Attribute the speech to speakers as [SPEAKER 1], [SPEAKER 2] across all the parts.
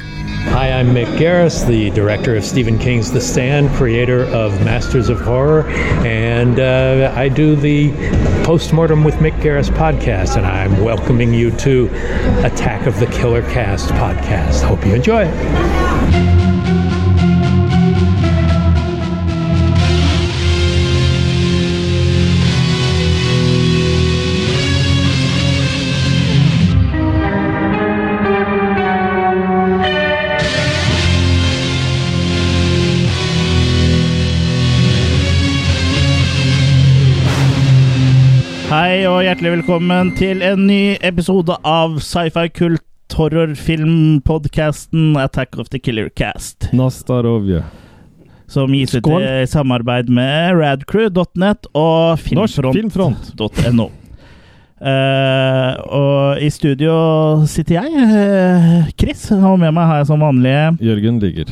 [SPEAKER 1] Hi, I'm Mick Garris, the director of Stephen King's The Stand, creator of Masters of Horror, and uh, I do the Postmortem with Mick Garris podcast, and I'm welcoming you to Attack of the Killer Cast podcast. Hope you enjoy it.
[SPEAKER 2] Hei og hjertelig velkommen til en ny episode av sci-fi kult horrorfilmpodkasten Attack of the Killer Cast,
[SPEAKER 3] Nastarovje.
[SPEAKER 2] som gis ut
[SPEAKER 3] Skål.
[SPEAKER 2] i samarbeid med radcrew.net og
[SPEAKER 3] Norsk
[SPEAKER 2] filmfront.no.
[SPEAKER 3] Filmfront.
[SPEAKER 2] Eh, og i studio sitter jeg, eh, Chris, og med meg har jeg som vanlig
[SPEAKER 3] Jørgen ligger.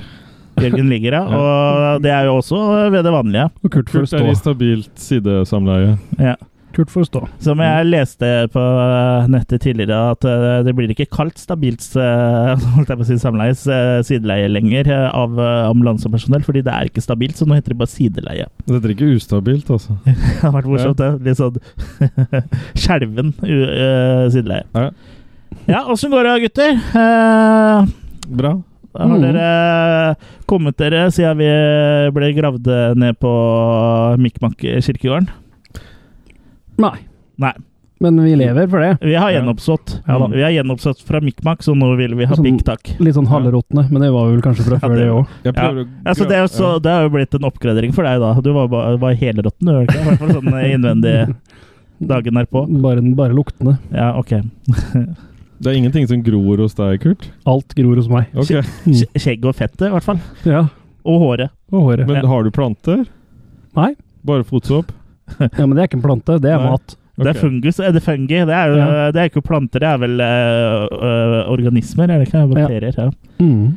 [SPEAKER 2] Jørgen Ligera.
[SPEAKER 3] Ja.
[SPEAKER 2] Og det er jo også ved det vanlige.
[SPEAKER 4] Og Kurt får
[SPEAKER 3] Kurt er
[SPEAKER 4] stå.
[SPEAKER 3] i stabilt sidesamleie.
[SPEAKER 2] Ja.
[SPEAKER 4] Kurt får stå.
[SPEAKER 2] Som jeg leste på eh, nettet tidligere, at eh, det blir ikke kalt stabilt eh, holdt jeg på å si, samleies eh, sideleie lenger eh, av eh, ambulansepersonell, fordi det er ikke stabilt, så nå heter det bare sideleie.
[SPEAKER 3] Det er ikke ustabilt, altså.
[SPEAKER 2] Det har vært morsomt, det. Litt sånn skjelven u- eh, sideleie.
[SPEAKER 3] Ja.
[SPEAKER 2] Ja, åssen går det, gutter? Eh,
[SPEAKER 3] Bra.
[SPEAKER 2] har
[SPEAKER 4] Mm.
[SPEAKER 2] dere kommet dere siden vi ble gravd ned på Mikmak kirkegården?
[SPEAKER 4] Nei.
[SPEAKER 2] Nei.
[SPEAKER 4] Men vi lever for det.
[SPEAKER 2] Vi har
[SPEAKER 3] Ja.
[SPEAKER 2] gjenoppstått.
[SPEAKER 4] Ja da.
[SPEAKER 2] vi har gjenoppstått fra Mikmak, så nå vil vi ha
[SPEAKER 4] Sånn-
[SPEAKER 2] pikktak.
[SPEAKER 4] Litt sånn halvråtne, men det var vel kanskje fra
[SPEAKER 2] Ja,
[SPEAKER 4] før
[SPEAKER 2] det-
[SPEAKER 4] det òg.
[SPEAKER 2] Ja.
[SPEAKER 3] Jeg prøver å
[SPEAKER 2] Altså, det, er jo så, det har jo blitt en oppgradering for deg, da. Du var, ba- var helråtten, du, var det ikke? I hvert fall sånn innvendig dagen derpå.
[SPEAKER 4] Bare, bare luktende.
[SPEAKER 2] Ja, ok.
[SPEAKER 3] Ja. Det er ingenting som gror hos deg, Kurt?
[SPEAKER 4] Alt gror hos meg.
[SPEAKER 3] Ok,
[SPEAKER 2] Skje- Skjegg og fettet, i hvert fall.
[SPEAKER 4] Ja,
[SPEAKER 2] Og håret.
[SPEAKER 4] Og håret.
[SPEAKER 3] Men har du planter?
[SPEAKER 4] Nei.
[SPEAKER 3] Bare fotsåp?
[SPEAKER 4] Ja, Men det er ikke en plante, det er
[SPEAKER 3] Nei.
[SPEAKER 4] mat.
[SPEAKER 2] Det er
[SPEAKER 3] Ok.
[SPEAKER 2] fungus, er det fungi? Det er jo
[SPEAKER 4] Ja.
[SPEAKER 2] det er ikke planter, det er vel eh, ø, organismer, er det ikke? Bakterier. Ja.
[SPEAKER 4] Mm.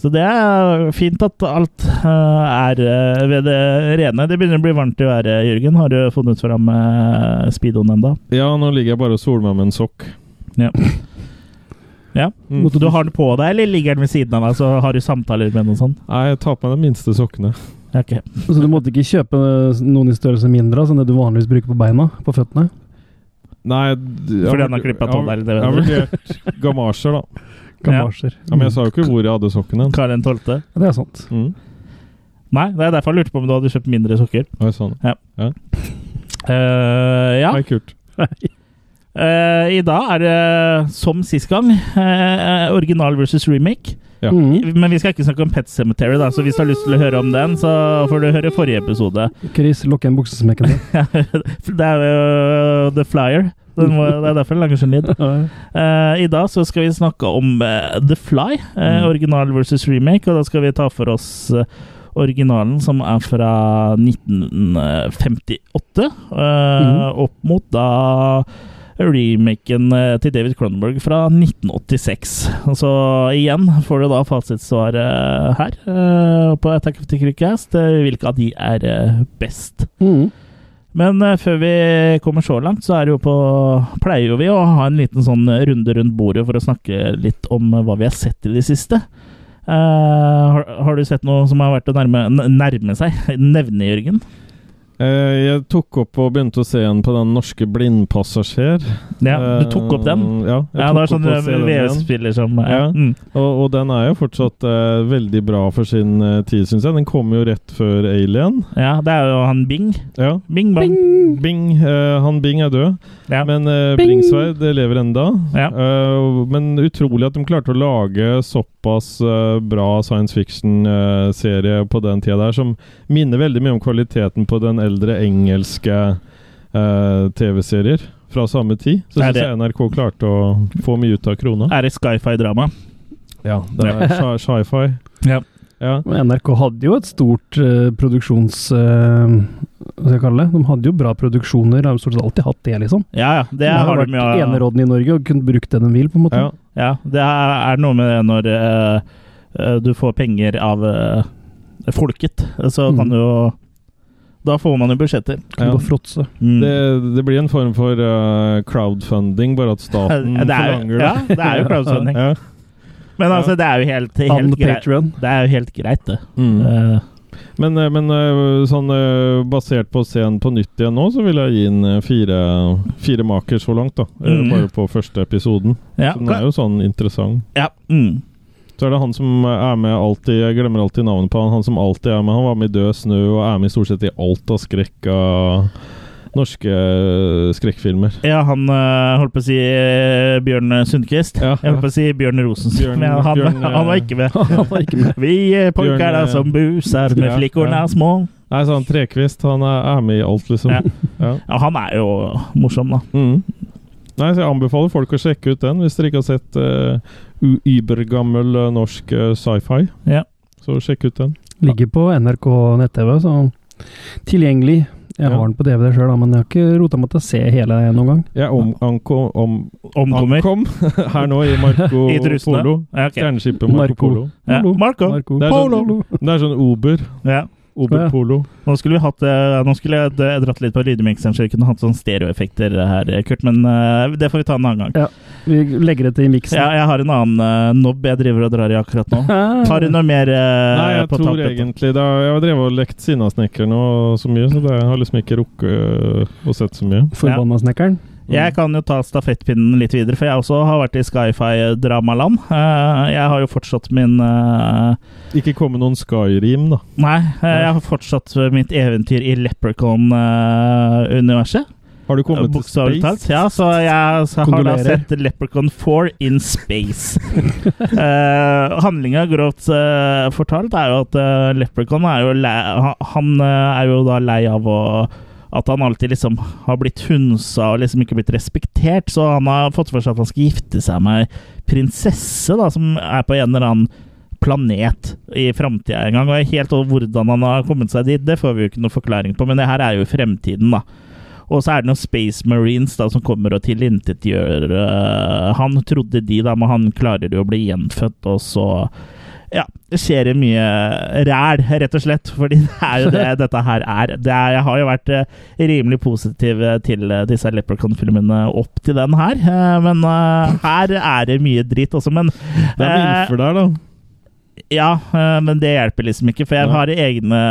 [SPEAKER 2] Så det er fint at alt eh, er eh, ved det rene. Det begynner å bli varmt i været, Jørgen. Har du funnet fram uh, speedoen ennå?
[SPEAKER 3] Ja, nå ligger jeg bare og soler meg med en sokk.
[SPEAKER 2] Ja. Ja.
[SPEAKER 3] Mm.
[SPEAKER 2] Du har den på deg, eller ligger den ved siden av deg, så har du samtaler med den og sånn?
[SPEAKER 3] Nei, jeg tar på meg de minste sokkene.
[SPEAKER 2] Ja, ok.
[SPEAKER 3] Mm.
[SPEAKER 4] Så du måtte ikke kjøpe noen i størrelse mindre altså, enn det du vanligvis bruker på beina? På føttene?
[SPEAKER 3] Nei d- jeg
[SPEAKER 2] Fordi han
[SPEAKER 3] vurd-
[SPEAKER 2] har klippet
[SPEAKER 3] jeg
[SPEAKER 2] tåa der, det vet
[SPEAKER 3] Jeg har
[SPEAKER 2] du.
[SPEAKER 3] vurdert gamasjer, da.
[SPEAKER 4] Gamasjer.
[SPEAKER 3] Ja, men jeg sa jo ikke hvor jeg hadde sokken hen.
[SPEAKER 2] Karl den 12.
[SPEAKER 4] Ja, det er sant.
[SPEAKER 3] Mm.
[SPEAKER 2] Nei, det er derfor jeg lurte på om du hadde kjøpt mindre sokker.
[SPEAKER 3] Oi, sånn.
[SPEAKER 2] Eh, ja.
[SPEAKER 3] Hei, Kurt.
[SPEAKER 2] Eh, I dag er det som sist gang, eh, original versus remake.
[SPEAKER 3] Ja.
[SPEAKER 4] Mm.
[SPEAKER 2] Men vi skal ikke snakke om Pet Cemetery, da, så hvis du har lyst til å høre om den, så får du høre forrige episode.
[SPEAKER 4] Chris, lukk igjen buksesmekken din.
[SPEAKER 2] det er jo eh, The Flyer. Den må, det er derfor den lager sånn lyd. Eh, I dag så skal vi snakke om eh, The Fly, eh,
[SPEAKER 3] Mm.
[SPEAKER 2] original versus remake. Og da skal vi ta for oss eh, originalen, som er fra 1958. eh, Opp mot da remaken eh, til David Cronenberg fra 1986. Så igjen får du da fasitsvaret her eh, på Attack of the Crickcast. eh, Hvilke av de er eh, best?
[SPEAKER 4] Mm.
[SPEAKER 2] Men eh, før vi kommer så langt, så er det jo på, pleier jo vi å ha en liten sånn runde rundt bordet for å snakke litt om eh, hva vi har sett i det siste. Eh, har, har du sett noe som har vært å nærme, n- nærme seg? Nevne, Jørgen?
[SPEAKER 3] Eh, jeg tok opp og begynte å se igjen på den norske blindpassasjer.
[SPEAKER 2] Ja, du tok opp den?
[SPEAKER 3] Eh, Ja,
[SPEAKER 2] Ja,
[SPEAKER 3] jeg tok
[SPEAKER 2] det var
[SPEAKER 3] opp
[SPEAKER 2] sånn
[SPEAKER 3] og se den igjen.
[SPEAKER 2] VS-spiller som ja.
[SPEAKER 3] Ja.
[SPEAKER 2] Mm,
[SPEAKER 3] Og, og den er jo fortsatt eh, veldig bra for sin eh, tid, syns jeg. Den kom jo rett før Alien.
[SPEAKER 2] ja, det er jo han Bing.
[SPEAKER 3] Ja.
[SPEAKER 2] Bing Bang.
[SPEAKER 3] Bing, eh, han Bing er død,
[SPEAKER 2] Ja.
[SPEAKER 3] men eh,
[SPEAKER 4] Bing!
[SPEAKER 3] Bringsværd lever enda.
[SPEAKER 2] Ja.
[SPEAKER 3] Eh, men utrolig at de klarte å lage såpass eh, bra science fiction-serie på den tida der, som minner veldig mye om kvaliteten på den eldre engelske eh, TV-serier fra samme tid. Så
[SPEAKER 2] Er
[SPEAKER 3] syns
[SPEAKER 2] det-
[SPEAKER 3] jeg NRK klarte å få mye ut av krona.
[SPEAKER 2] Er det sci-fi-drama?
[SPEAKER 3] Ja, det er sci- sci-fi.
[SPEAKER 2] Ja.
[SPEAKER 3] Ja.
[SPEAKER 4] Men NRK hadde jo et stort eh, produksjons... eh, hva skal jeg kalle det? De hadde jo bra produksjoner, de har stort sett alltid hatt det, liksom.
[SPEAKER 2] Ja, ja. Det
[SPEAKER 4] Det har
[SPEAKER 2] har
[SPEAKER 4] vært
[SPEAKER 2] de jo.
[SPEAKER 4] eneråden i Norge og kunne brukt det den vil, på en måte.
[SPEAKER 3] Ja.
[SPEAKER 2] Ja, det er er noe med det når eh, eh, du får penger av eh, folket, så
[SPEAKER 4] Mm.
[SPEAKER 2] kan du jo Da får man jo budsjetter.
[SPEAKER 4] Kunne
[SPEAKER 3] Ja.
[SPEAKER 4] bare fråtse.
[SPEAKER 2] Mm.
[SPEAKER 3] Det, det blir en form for eh, crowdfunding, bare at staten
[SPEAKER 2] det er,
[SPEAKER 3] forlanger
[SPEAKER 2] jo- ja, det er jo crowdfunding.
[SPEAKER 3] Ja.
[SPEAKER 2] Men altså, det er jo helt,
[SPEAKER 4] On
[SPEAKER 2] helt
[SPEAKER 4] the
[SPEAKER 2] greit.
[SPEAKER 4] Patreon.
[SPEAKER 2] Det er jo helt greit, det.
[SPEAKER 3] Mm.
[SPEAKER 2] Eh,
[SPEAKER 3] Men, eh, men eh, sånn eh, basert på å se den på nytt igjen nå, så vil jeg gi den eh, fire, fire maker så langt, da. Eh,
[SPEAKER 2] Mm.
[SPEAKER 3] Bare på første episoden.
[SPEAKER 2] ja,
[SPEAKER 3] Så den er jo sånn interessant.
[SPEAKER 2] ja. Mm.
[SPEAKER 3] Så er det han som er med alltid Jeg glemmer alltid navnet på han. Han som alltid er med. Han var med i Død snø og er med i stort sett i alt av skrekk av norske eh, skrekkfilmer.
[SPEAKER 2] ja, han eh, holdt på å si eh, Bjørn Sundquist.
[SPEAKER 3] Ja.
[SPEAKER 2] Jeg holdt på å si Bjørn Rosenstrøm,
[SPEAKER 3] Bjørn-
[SPEAKER 2] men han,
[SPEAKER 3] Bjørn, eh,
[SPEAKER 2] han var ikke med.
[SPEAKER 4] Han var ikke med.
[SPEAKER 2] Vi eh, pojkar
[SPEAKER 3] Bjørn, eh,
[SPEAKER 2] da som buser med
[SPEAKER 3] ja,
[SPEAKER 2] flikkorna
[SPEAKER 3] ja.
[SPEAKER 2] er små.
[SPEAKER 3] Nei, så han Trekvist han er, er med i alt, liksom.
[SPEAKER 2] Ja.
[SPEAKER 3] Ja.
[SPEAKER 2] Ja, han er jo morsom, da.
[SPEAKER 3] Mm. Nei, så Jeg anbefaler folk å sjekke ut den hvis dere ikke har sett uh, übergammel eh, norsk eh, sci-fi.
[SPEAKER 2] Ja.
[SPEAKER 3] Så sjekk ut den.
[SPEAKER 4] Ligger på NRK nett-TV, så tilgjengelig. Jeg
[SPEAKER 3] Ja.
[SPEAKER 4] har den på DVD sjøl, men jeg har ikke rota meg til å se hele noen gang.
[SPEAKER 3] Jeg om, anko, om,
[SPEAKER 2] Omkommer.
[SPEAKER 3] ankom her nå i Marco
[SPEAKER 2] I trusene.
[SPEAKER 3] Polo.
[SPEAKER 2] Ja, ok.
[SPEAKER 3] Stjerneskipet Marco,
[SPEAKER 4] Marco.
[SPEAKER 3] Polo.
[SPEAKER 2] Ja.
[SPEAKER 4] Polo.
[SPEAKER 2] Marco.
[SPEAKER 4] Marco.
[SPEAKER 3] Det er sånn- Det er sånn Uber.
[SPEAKER 2] Ja.
[SPEAKER 3] Uber
[SPEAKER 4] Ja.
[SPEAKER 3] Polo.
[SPEAKER 2] Nå skulle vi hatt eh, Nå skulle jeg d- dratt litt på lydmikseren, så vi kunne hatt sånne stereoeffekter her, Kurt, men eh, det får vi ta en annen gang.
[SPEAKER 4] Vi legger det til i miksen.
[SPEAKER 2] Ja, jeg har en annen eh, nobb jeg driver og drar i akkurat nå.
[SPEAKER 4] Ah.
[SPEAKER 2] Har du noe mer eh,
[SPEAKER 3] Nei, jeg
[SPEAKER 2] på
[SPEAKER 3] tror
[SPEAKER 2] tappet?
[SPEAKER 3] egentlig det er, Jeg har drevet og lekt Sinnasnekkeren og så mye, så det, jeg har liksom ikke rukket øh, å sett så mye.
[SPEAKER 4] Forbanna snekkeren.
[SPEAKER 2] Jeg kan jo ta stafettpinnen litt videre, for jeg også har vært i sci-fi dramaland. Eh, jeg har jo fortsatt min eh,
[SPEAKER 3] Ikke komme noen Skyrim, da.
[SPEAKER 2] Nei, eh, jeg har fortsatt mitt eventyr i eh, Leprechaun-universet.
[SPEAKER 3] Har du kommet til
[SPEAKER 2] Eh, Bokstavelig
[SPEAKER 3] Space?
[SPEAKER 2] talt. Ja, så jeg så har da
[SPEAKER 4] Kondolerer.
[SPEAKER 2] sett Leprechaun 4 in space. uh, Handlinga, grovt eh, fortalt, er jo at eh, Leprechaun er jo lei ha- Han eh, er jo da lei av å at han alltid liksom har blitt hunsa og liksom ikke blitt respektert. Så han har fått for seg at han skal gifte seg med ei prinsesse da, som er på en eller annen planet i framtida en gang. Og helt over hvordan han har kommet seg dit, det får vi jo ikke noe forklaring på, men det her er jo i fremtiden, da. Og så er det noen Space Marines da, som kommer og tilintetgjør øh, Han trodde de, da, men han klarer jo å bli gjenfødt, og så ja, det skjer det mye ræl, rett og slett. Fordi det er jo det dette her er. Det er jeg har jo vært eh, rimelig positiv til eh, disse Leprechaun-filmene opp til den her. eh, men eh, her er det mye dritt også. Men
[SPEAKER 3] Det er
[SPEAKER 2] eh,
[SPEAKER 3] vilfer der, da.
[SPEAKER 2] ja, eh, men det hjelper liksom ikke, for jeg
[SPEAKER 3] Nei.
[SPEAKER 2] har egne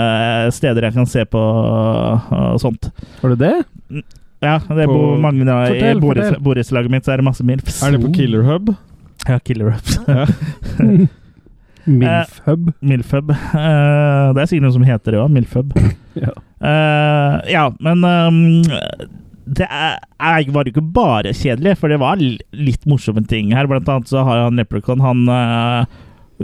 [SPEAKER 2] steder jeg kan se på eh, sånt.
[SPEAKER 4] Har du det?
[SPEAKER 2] Ja, det
[SPEAKER 3] På-
[SPEAKER 2] bor mange da, I
[SPEAKER 4] Fortell,
[SPEAKER 2] boretts-
[SPEAKER 4] fortell.
[SPEAKER 2] borettslaget mitt så er det masse MILFs.
[SPEAKER 3] Er det på Killer Hub?
[SPEAKER 2] Ja, Killer Ups. Eh.
[SPEAKER 4] Milfhub.
[SPEAKER 2] Milfub. Eh, det er sikkert noe som heter det òg, Milfub.
[SPEAKER 4] Ja.
[SPEAKER 2] Eh, ja, men ehm, det er, er- var jo ikke bare kjedelig, for det var l- litt morsomme ting her. Blant annet så har jo han Leprechaun Han eh,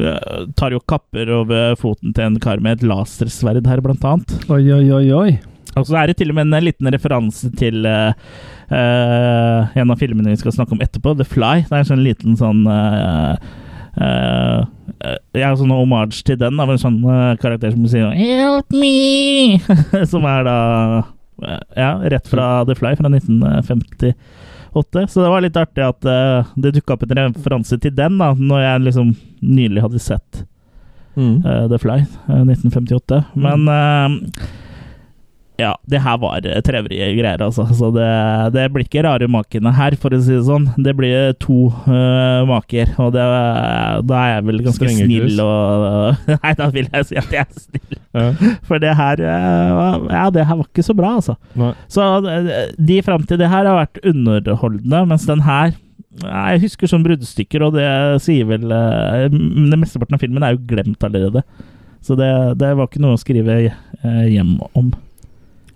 [SPEAKER 2] eh, tar jo kapper over foten til en kar med et lasersverd her, blant annet.
[SPEAKER 4] Oi, oi, oi, oi.
[SPEAKER 2] Og så er det til og med en liten referanse til eh, eh, en av filmene vi skal snakke om etterpå, The Fly. Det er en sånn liten sånn eh, eh, eh, ja, sånn homage til den av en sånn eh, karakter som sier 'Help me!' som er da eh, Ja, rett fra The Fly fra 1958. Så det var litt artig at eh, det dukka opp en referanse til den, da, når jeg liksom nylig hadde sett
[SPEAKER 3] Mm.
[SPEAKER 2] eh, The Fly, eh, 1958. Men eh, ja, det her var eh, trevrige greier, altså. Så det, det blir ikke rare makene her, for å si det sånn. Det blir to eh, maker, og det, eh, da er jeg vel ganske
[SPEAKER 3] Strenge
[SPEAKER 2] snill
[SPEAKER 3] kryss.
[SPEAKER 2] og Nei, da vil jeg si at jeg er snill,
[SPEAKER 3] Ja.
[SPEAKER 2] for det her eh, var- Ja, det her var ikke så bra, altså.
[SPEAKER 3] Nei.
[SPEAKER 2] Så eh, de fram til det her har vært underholdende, mens den her Nei, jeg husker sånn bruddstykker, og det sier vel eh, m- Det mesteparten av filmen er jo glemt allerede. Så det, det var ikke noe å skrive eh, hjem om.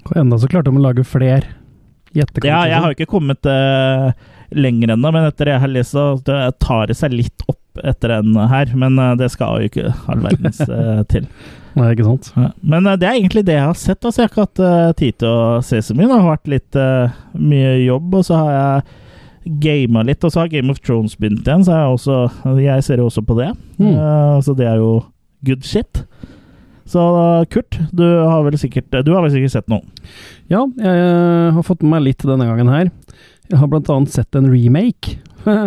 [SPEAKER 4] Og enda så klarte de å lage fler. Gjettekort.
[SPEAKER 2] Ja, jeg har jo ikke kommet eh, lenger ennå, men etter det jeg har lest, så det tar det seg litt opp etter den her. Men eh, det skal jo ikke all verdens eh, til.
[SPEAKER 4] Nei, ikke sant?
[SPEAKER 2] Ja, Men eh, det er egentlig det jeg har sett. Altså, jeg har ikke hatt eh, tid til å se så mye. Det har vært litt eh, mye jobb, og så har jeg gama litt. Og så har Game of Thrones begynt igjen, så har jeg, også, jeg ser jo også på det.
[SPEAKER 4] Mm.
[SPEAKER 2] Eh, så det er jo good shit. Så eh, Kurt, du har vel sikkert, eh, du har vel sikkert sett noe?
[SPEAKER 4] Ja, jeg eh, har fått med meg litt denne gangen her. Jeg har blant annet sett en remake.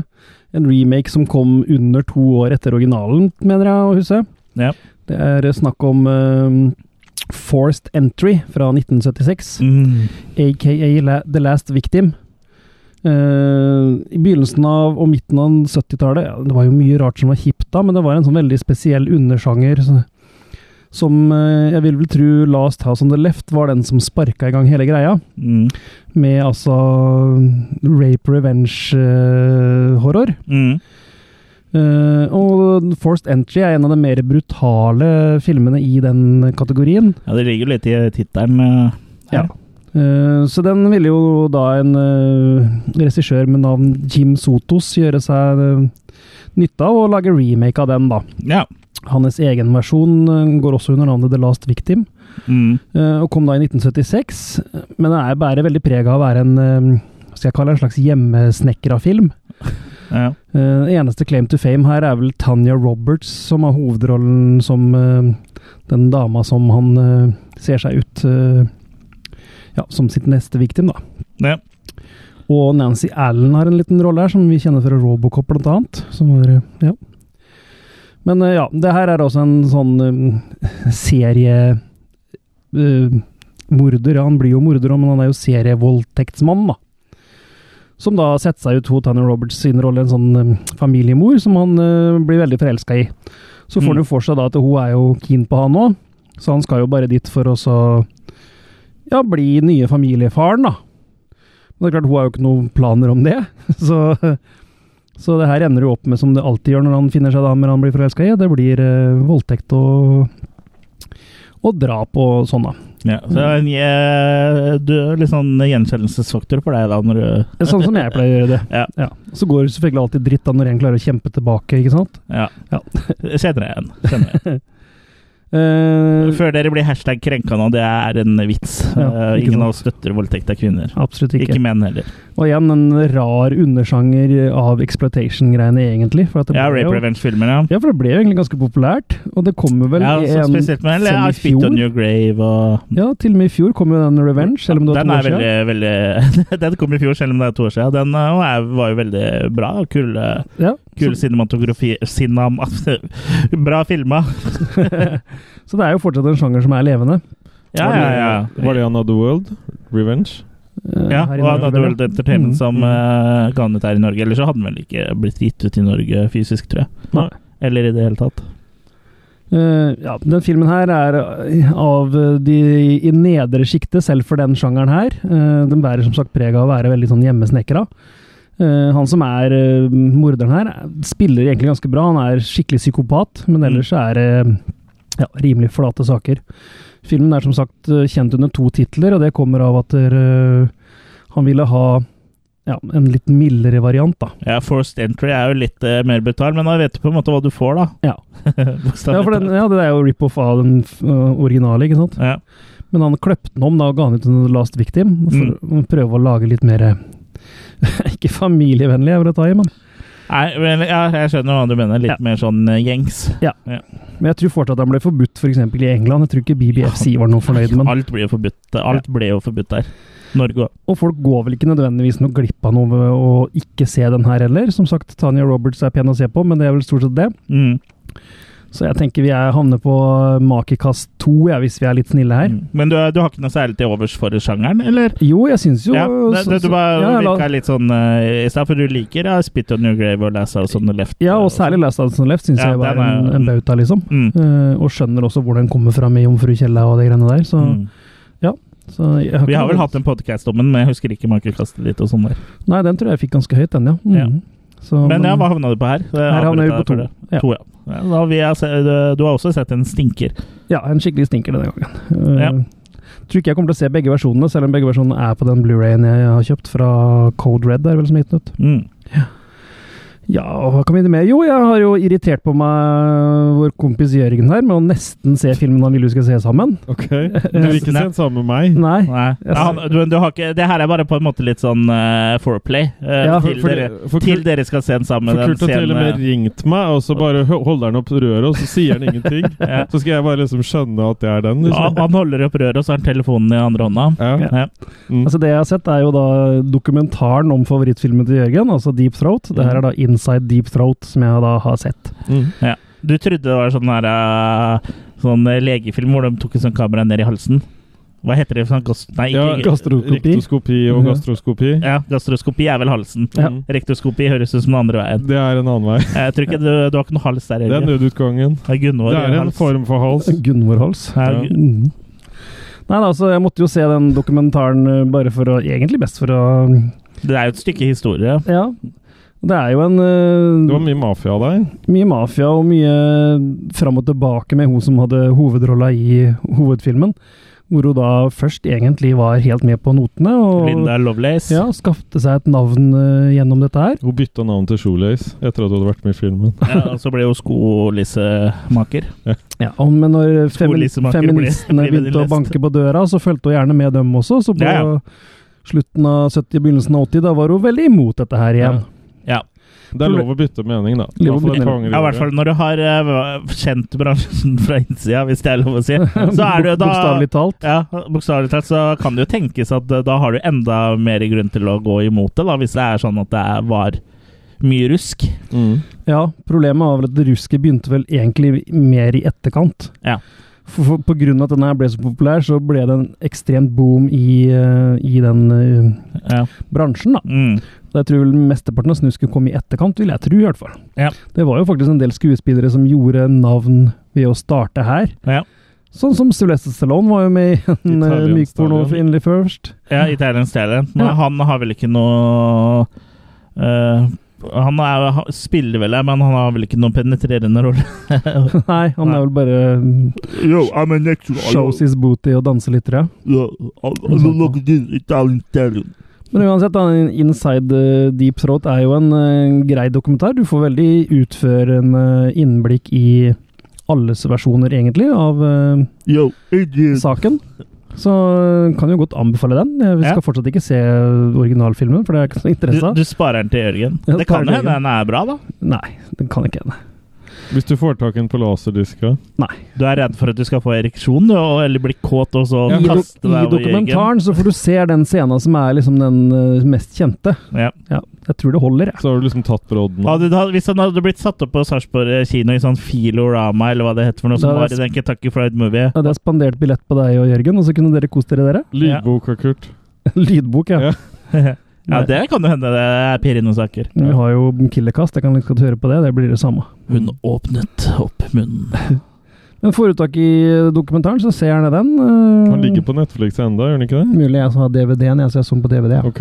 [SPEAKER 4] en remake som kom under to år etter originalen, mener jeg å huske.
[SPEAKER 2] Ja.
[SPEAKER 4] Det er snakk om eh, Forced Entry fra 1976, aka La The Last Victim. Eh, I begynnelsen av og midten av 70-tallet ja, Det var jo mye rart som var hipt da, men det var en sånn veldig spesiell undersjanger så- som eh, jeg vil vel tro Last House on the Left var den som sparka i gang hele greia.
[SPEAKER 2] Mm.
[SPEAKER 4] Med altså rape revenge-horror.
[SPEAKER 2] Mm.
[SPEAKER 4] Eh, og Forced Entry er en av de mer brutale filmene i den kategorien.
[SPEAKER 2] Ja, det ligger jo litt i tittelen. eh, her.
[SPEAKER 4] Ja. Eh, så den ville jo da en eh, regissør med navn Jim Sotos gjøre seg eh, nytte av, og lage remake av den, da.
[SPEAKER 2] ja.
[SPEAKER 4] Hans egen versjon eh, går også under navnet The Last Victim,
[SPEAKER 2] Mm.
[SPEAKER 4] eh, og kom da i 1976. Men den er bærer veldig preg av å være en eh, hva skal jeg kalle det, en slags hjemmesnekra film.
[SPEAKER 2] Ja.
[SPEAKER 4] Eh, eneste claim to fame her er vel Tanya Roberts, som har hovedrollen som eh, den dama som han eh, ser seg ut eh, ja, som sitt neste victim, da.
[SPEAKER 2] Ja.
[SPEAKER 4] Og Nancy Allen har en liten rolle her, som vi kjenner fra Robocop blant annet. Som var, eh, ja. Men eh, ja, det her er også en sånn eh, serie eh, Morder, ja, han blir jo morder, men han er jo serievoldtektsmann, da. Som da setter seg ut hos Tanner Roberts sin rolle, en sånn eh, familiemor som han eh, blir veldig forelska i. Så får
[SPEAKER 2] Mm.
[SPEAKER 4] han jo for seg da at hun er jo keen på han òg, så han skal jo bare dit for å så ja, bli nye familiefaren, da. Men det er klart, hun har jo ikke noen planer om det, så så det her ender jo opp med, som det alltid gjør når han finner seg damer han blir forelska i, det blir eh, voldtekt og, og drap og sånn, da.
[SPEAKER 2] ja. Så det er en, eh, du er litt sånn gjenkjennelsesfaktor for deg, da, når du
[SPEAKER 4] Det er Sånn som jeg pleier å gjøre det.
[SPEAKER 2] Ja.
[SPEAKER 4] Så går det selvfølgelig alltid dritt da når en klarer å kjempe tilbake, ikke sant?
[SPEAKER 2] Ja.
[SPEAKER 4] Ja.
[SPEAKER 2] Kjenner jeg igjen. Kjenner jeg.
[SPEAKER 4] Eh,
[SPEAKER 2] Før dere blir hashtag krenka nå, det er en vits.
[SPEAKER 4] Ja,
[SPEAKER 2] Eh,
[SPEAKER 4] ikke
[SPEAKER 2] Ingen
[SPEAKER 4] sant.
[SPEAKER 2] av oss støtter voldtekt av kvinner.
[SPEAKER 4] absolutt
[SPEAKER 2] Ikke
[SPEAKER 4] ikke.
[SPEAKER 2] menn heller.
[SPEAKER 4] Og igjen en rar undersjanger av exploitation-greiene, egentlig. For at det
[SPEAKER 2] Ja,
[SPEAKER 4] ble
[SPEAKER 2] Rape
[SPEAKER 4] jo-
[SPEAKER 2] Revenge-filmer, ja.
[SPEAKER 4] Ja, for det ble jo egentlig ganske populært, og det kommer vel
[SPEAKER 2] ja
[SPEAKER 4] i
[SPEAKER 2] så
[SPEAKER 4] en
[SPEAKER 2] spesielt med eller,
[SPEAKER 4] som i
[SPEAKER 2] I Spit on
[SPEAKER 4] fjor.
[SPEAKER 2] Your Grave og
[SPEAKER 4] Ja, til og med i fjor kom jo den Revenge, selv om det var
[SPEAKER 2] den
[SPEAKER 4] to
[SPEAKER 2] er
[SPEAKER 4] år siden.
[SPEAKER 2] veldig, veldig Den kom i fjor, selv om det er to år siden. Den eh, og er, var jo veldig bra. og Kul, eh,
[SPEAKER 4] Ja,
[SPEAKER 2] kul cinematografi cinam, Bra filma.
[SPEAKER 4] Så det er jo fortsatt en sjanger som er levende.
[SPEAKER 2] Ja, ja, ja.
[SPEAKER 3] Var det Another World? Revenge?
[SPEAKER 4] eh,
[SPEAKER 2] Ja,
[SPEAKER 4] her i
[SPEAKER 2] og han
[SPEAKER 4] Norge,
[SPEAKER 2] hadde
[SPEAKER 4] vel,
[SPEAKER 2] vel Entertainment
[SPEAKER 4] Mm.
[SPEAKER 2] som
[SPEAKER 3] Mm.
[SPEAKER 2] eh, ga den ut her i Norge. Ellers så hadde den vel ikke blitt gitt ut i Norge fysisk, tror jeg.
[SPEAKER 3] Nei.
[SPEAKER 2] Eller i det hele tatt.
[SPEAKER 4] Eh, ja, den filmen her er eh, av eh, de i nedre sjiktet, selv for den sjangeren her. Eh, den bærer som sagt preg av å være veldig sånn hjemmesnekra. Eh, han som er eh, morderen her, eh, spiller egentlig ganske bra. Han er skikkelig psykopat, men ellers er det ja, rimelig flate saker. Filmen er som sagt eh, kjent under to titler, og det kommer av at eh, han ville ha ja, en litt mildere variant, da.
[SPEAKER 2] Ja, Forced Entry er jo litt eh, mer brutal, men da vet du på en måte hva du får, da.
[SPEAKER 4] Ja.
[SPEAKER 2] Bokstavelig
[SPEAKER 4] Ja, for den,
[SPEAKER 2] talt.
[SPEAKER 4] ja, det er jo rip-off av den eh, originale, ikke sant?
[SPEAKER 2] Ja.
[SPEAKER 4] Men han kløpte den om da og ga den ut under Last Victim, for
[SPEAKER 2] Mm.
[SPEAKER 4] å prøve å lage litt mer eh, Ikke familievennlig, jeg vil ta i, men.
[SPEAKER 2] Nei, men, ja, jeg skjønner hva du mener. Litt
[SPEAKER 4] Ja.
[SPEAKER 2] mer sånn eh, gjengs.
[SPEAKER 4] men jeg tror fortsatt han ble forbudt f.eks. i England. Jeg tror ikke BBFC var noe fornøyd med den.
[SPEAKER 2] Alt blir jo forbudt. eh, Alt ble jo forbudt der. Norge òg.
[SPEAKER 4] Og folk går vel ikke nødvendigvis noe glipp av noe ved å ikke se den her heller. Som sagt, Tanya Roberts er pen å se på, men det er vel stort sett det.
[SPEAKER 2] Mm.
[SPEAKER 4] Så jeg tenker vi er, havner på makekast to, ja, hvis vi er litt snille her.
[SPEAKER 2] Mm. Men du, du har ikke noe særlig til overs for sjangeren, eller?
[SPEAKER 4] Jo, jeg syns jo
[SPEAKER 2] ja, det,
[SPEAKER 4] så-
[SPEAKER 2] det, du
[SPEAKER 4] så-
[SPEAKER 2] var,
[SPEAKER 4] ja, la-
[SPEAKER 2] virka litt sånn eh, i stad, for du liker ja, Spit on your grave og Last House on the Left.
[SPEAKER 4] ja,
[SPEAKER 2] eh,
[SPEAKER 4] og
[SPEAKER 2] sånn.
[SPEAKER 4] særlig Last Dance on the Left syns
[SPEAKER 2] Ja,
[SPEAKER 4] jeg var
[SPEAKER 2] den er-
[SPEAKER 4] en, en bauta, liksom.
[SPEAKER 2] mm.
[SPEAKER 4] Eh, og skjønner også hvor den kommer fra med Jomfru Kjella og de greiene der. Så,
[SPEAKER 2] Mm.
[SPEAKER 4] så jeg
[SPEAKER 2] Vi
[SPEAKER 4] ikke
[SPEAKER 2] har vel
[SPEAKER 4] noe-
[SPEAKER 2] hatt en podkast om den, men jeg husker ikke makekastet ditt og sånn der.
[SPEAKER 4] Nei, den tror jeg fikk ganske høyt, den, ja. Mm.
[SPEAKER 2] Ja.
[SPEAKER 4] Så,
[SPEAKER 2] Men ja, hva havna du på her?
[SPEAKER 4] her havner vi på to. Ja.
[SPEAKER 2] To, ja. Ja, Da, har vi, altså, du har også sett en stinker.
[SPEAKER 4] ja, en skikkelig stinker denne gangen. Uh,
[SPEAKER 2] Ja.
[SPEAKER 4] Tror ikke jeg kommer til å se begge versjonene, selv om begge versjonene er på den Blu-rayen jeg har kjøpt fra Code Red. Er det vel som er gitt ut.
[SPEAKER 2] Mm.
[SPEAKER 4] Ja, og hva kan vi med? Jo, jeg har jo irritert på meg vår kompis Jørgen her med å nesten se filmen han ville vi skulle se sammen.
[SPEAKER 3] Ok. Du vil ikke se den sammen med meg?
[SPEAKER 4] Nei.
[SPEAKER 2] Nei.
[SPEAKER 4] Jeg
[SPEAKER 2] Ja, han- du, du har ikke, det her er bare på en måte litt sånn eh, foreplay eh,
[SPEAKER 4] Ja,
[SPEAKER 2] til,
[SPEAKER 3] For,
[SPEAKER 2] dere,
[SPEAKER 3] for,
[SPEAKER 2] til
[SPEAKER 3] Kurt-
[SPEAKER 2] dere skal se den sammen.
[SPEAKER 3] for
[SPEAKER 2] den
[SPEAKER 3] Kurt har til og
[SPEAKER 2] scenen, eh.
[SPEAKER 3] med ringt meg, og så bare hø- holder han opp røret, og så sier han ingenting.
[SPEAKER 2] Ja.
[SPEAKER 3] Så skal jeg bare liksom skjønne at det er den.
[SPEAKER 2] ja,
[SPEAKER 3] Liksom.
[SPEAKER 2] han holder opp røret, og så har han telefonen i andre hånda.
[SPEAKER 3] Ja.
[SPEAKER 2] Ja.
[SPEAKER 3] Mm.
[SPEAKER 4] Altså Det jeg har sett, er jo da dokumentaren om favorittfilmen til Jørgen, altså Deep Throat. Det her er da Inside Deep Throat, som jeg da har sett.
[SPEAKER 3] Mm.
[SPEAKER 2] Du trodde det var sånn her eh, Sånn eh, legefilm hvor de tok en sånn kamera ned i halsen. Hva heter det? for Sånn, gast, nei,
[SPEAKER 3] Ja,
[SPEAKER 2] ikke,
[SPEAKER 4] gastroskopi.
[SPEAKER 3] Rektoskopi og
[SPEAKER 4] Mhm.
[SPEAKER 3] gastroskopi.
[SPEAKER 2] ja, gastroskopi er vel halsen.
[SPEAKER 4] Ja.
[SPEAKER 3] Mhm.
[SPEAKER 2] Rektoskopi høres ut som den andre veien.
[SPEAKER 3] Det er en annen vei.
[SPEAKER 2] Jeg tror ikke du, du har ikke noe hals der.
[SPEAKER 3] Det er
[SPEAKER 2] Helge.
[SPEAKER 3] nødutgangen.
[SPEAKER 2] Det er Gunvor
[SPEAKER 3] Det
[SPEAKER 2] i
[SPEAKER 3] er en
[SPEAKER 2] hals.
[SPEAKER 3] form for hals.
[SPEAKER 4] Gunvor Hals.
[SPEAKER 2] Ja,
[SPEAKER 3] Ja.
[SPEAKER 2] Gu-
[SPEAKER 4] Mm. Nei, da, altså, jeg måtte jo se den dokumentaren eh, bare for å Egentlig best for å
[SPEAKER 2] Det er jo et stykke historie.
[SPEAKER 4] Ja. Det er jo en
[SPEAKER 3] Det var
[SPEAKER 4] eh,
[SPEAKER 3] mye mafia der.
[SPEAKER 4] mye mafia og mye fram og tilbake med hun som hadde hovedrolla i hovedfilmen. Hvor hun da først egentlig var helt med på notene, og
[SPEAKER 2] Linda Lovelace.
[SPEAKER 4] ja, skapte seg et navn eh, gjennom dette her.
[SPEAKER 3] Hun bytta navn til Shoelace etter at hun hadde vært med i filmen.
[SPEAKER 2] Ja, og så ble jo skolissemaker.
[SPEAKER 4] Ja, og- men når femi
[SPEAKER 2] Skolisemaker
[SPEAKER 4] feministene
[SPEAKER 2] blir- blir
[SPEAKER 4] begynte å
[SPEAKER 2] lest.
[SPEAKER 4] banke på døra, så fulgte hun gjerne med dem også. Så på
[SPEAKER 2] Ja, ja.
[SPEAKER 4] slutten av 70- begynnelsen av 80, da var hun veldig imot dette her igjen.
[SPEAKER 2] Ja.
[SPEAKER 3] Det er lov å bytte mening, da.
[SPEAKER 4] Lov å
[SPEAKER 3] Iallfall
[SPEAKER 4] bytte
[SPEAKER 3] et
[SPEAKER 2] ja,
[SPEAKER 3] par ganger i
[SPEAKER 2] i hvert
[SPEAKER 3] året.
[SPEAKER 2] fall når du har eh, v- kjent bransjen fra innsida, hvis det er lov å si. Så er det jo da
[SPEAKER 4] Bokstavelig talt.
[SPEAKER 2] ja, Bokstavelig talt så kan det jo tenkes at eh, da har du enda mer grunn til å gå imot det, da, hvis det er sånn at det er- var mye rusk.
[SPEAKER 3] Mm.
[SPEAKER 4] Ja, problemet var vel at det ruske begynte vel egentlig mer i etterkant.
[SPEAKER 2] Ja.
[SPEAKER 4] For, for, på grunn av at denne her ble så populær, så ble det en ekstremt boom i, eh, i den eh,
[SPEAKER 2] Ja.
[SPEAKER 4] bransjen, da.
[SPEAKER 2] Mm.
[SPEAKER 4] Så jeg tror vel mesteparten av snusket kom i etterkant, vil jeg tro, i hvert fall.
[SPEAKER 2] Ja.
[SPEAKER 4] Det var jo faktisk en del skuespillere som gjorde navn ved å starte her.
[SPEAKER 2] Ja.
[SPEAKER 4] Sånn som Sylvester Stallone var jo med i en eh,
[SPEAKER 3] Italiensk
[SPEAKER 4] mykporno
[SPEAKER 3] Stallion.
[SPEAKER 4] Inly First.
[SPEAKER 2] Ja, Italian Stallion. Men
[SPEAKER 4] Ja.
[SPEAKER 2] han har vel ikke noe eh, han er, ha- spiller vel her, men han har vel ikke noen penetrerende rolle.
[SPEAKER 4] Nei, han
[SPEAKER 2] Nei.
[SPEAKER 4] er vel bare mm,
[SPEAKER 2] Yo, I'm a natural.
[SPEAKER 4] shows his booty og danser litt, tror jeg. Sånn.
[SPEAKER 2] Yeah, I, I don't look at this Italian Stallion.
[SPEAKER 4] Men uansett, da, Inside eh, Deep Throat er jo en eh, grei dokumentar. Du får veldig utførende innblikk i alles versjoner, egentlig, av eh,
[SPEAKER 2] Yo, Adrian.
[SPEAKER 4] saken. Så eh, kan jo godt anbefale den. Jeg
[SPEAKER 2] Ja.
[SPEAKER 4] skal fortsatt ikke se originalfilmen, for det er ikke så
[SPEAKER 2] Du,
[SPEAKER 4] interesse av.
[SPEAKER 2] du sparer den til Jørgen.
[SPEAKER 4] Ja,
[SPEAKER 2] det kan
[SPEAKER 4] sparer til
[SPEAKER 2] jo hende
[SPEAKER 4] Jørgen.
[SPEAKER 2] den er bra, da.
[SPEAKER 4] Nei, den kan ikke jeg.
[SPEAKER 3] Hvis du får tak i en på laserdiska
[SPEAKER 2] Du er redd for at du skal få ereksjon du, og, eller bli kåt og så
[SPEAKER 4] I, do
[SPEAKER 2] kaste deg
[SPEAKER 4] I
[SPEAKER 2] over Jørgen.
[SPEAKER 4] dokumentaren så får du se den scenen som er liksom den eh, mest kjente.
[SPEAKER 2] Ja.
[SPEAKER 4] Jeg tror det holder, jeg.
[SPEAKER 3] så har du liksom tatt brodden.
[SPEAKER 2] Hadde, du- hvis han hadde blitt satt opp på Sarpsborg kino i sånn Filorama eller hva det heter for noe som
[SPEAKER 4] Da
[SPEAKER 2] var i
[SPEAKER 4] hadde jeg
[SPEAKER 2] den Kentucky Fried Movie
[SPEAKER 4] Jeg hadde spandert billett på deg og Jørgen, og så kunne dere kost dere, dere.
[SPEAKER 3] Lydboka, Kurt.
[SPEAKER 4] Lydbok, ja.
[SPEAKER 3] Ja.
[SPEAKER 2] Ja, det kan jo hende det er pirrende saker.
[SPEAKER 4] Vi har jo Killercast, jeg kan litt godt høre på det. Det blir det samme.
[SPEAKER 2] Hun åpnet opp munnen.
[SPEAKER 4] Men får du tak i dokumentaren, så ser gjerne den. eh,
[SPEAKER 3] Han ligger på Netflix enda, gjør han ikke det?
[SPEAKER 4] Mulig jeg som har DVD-en, jeg, så jeg så den på DVD. Ja.
[SPEAKER 3] Ok.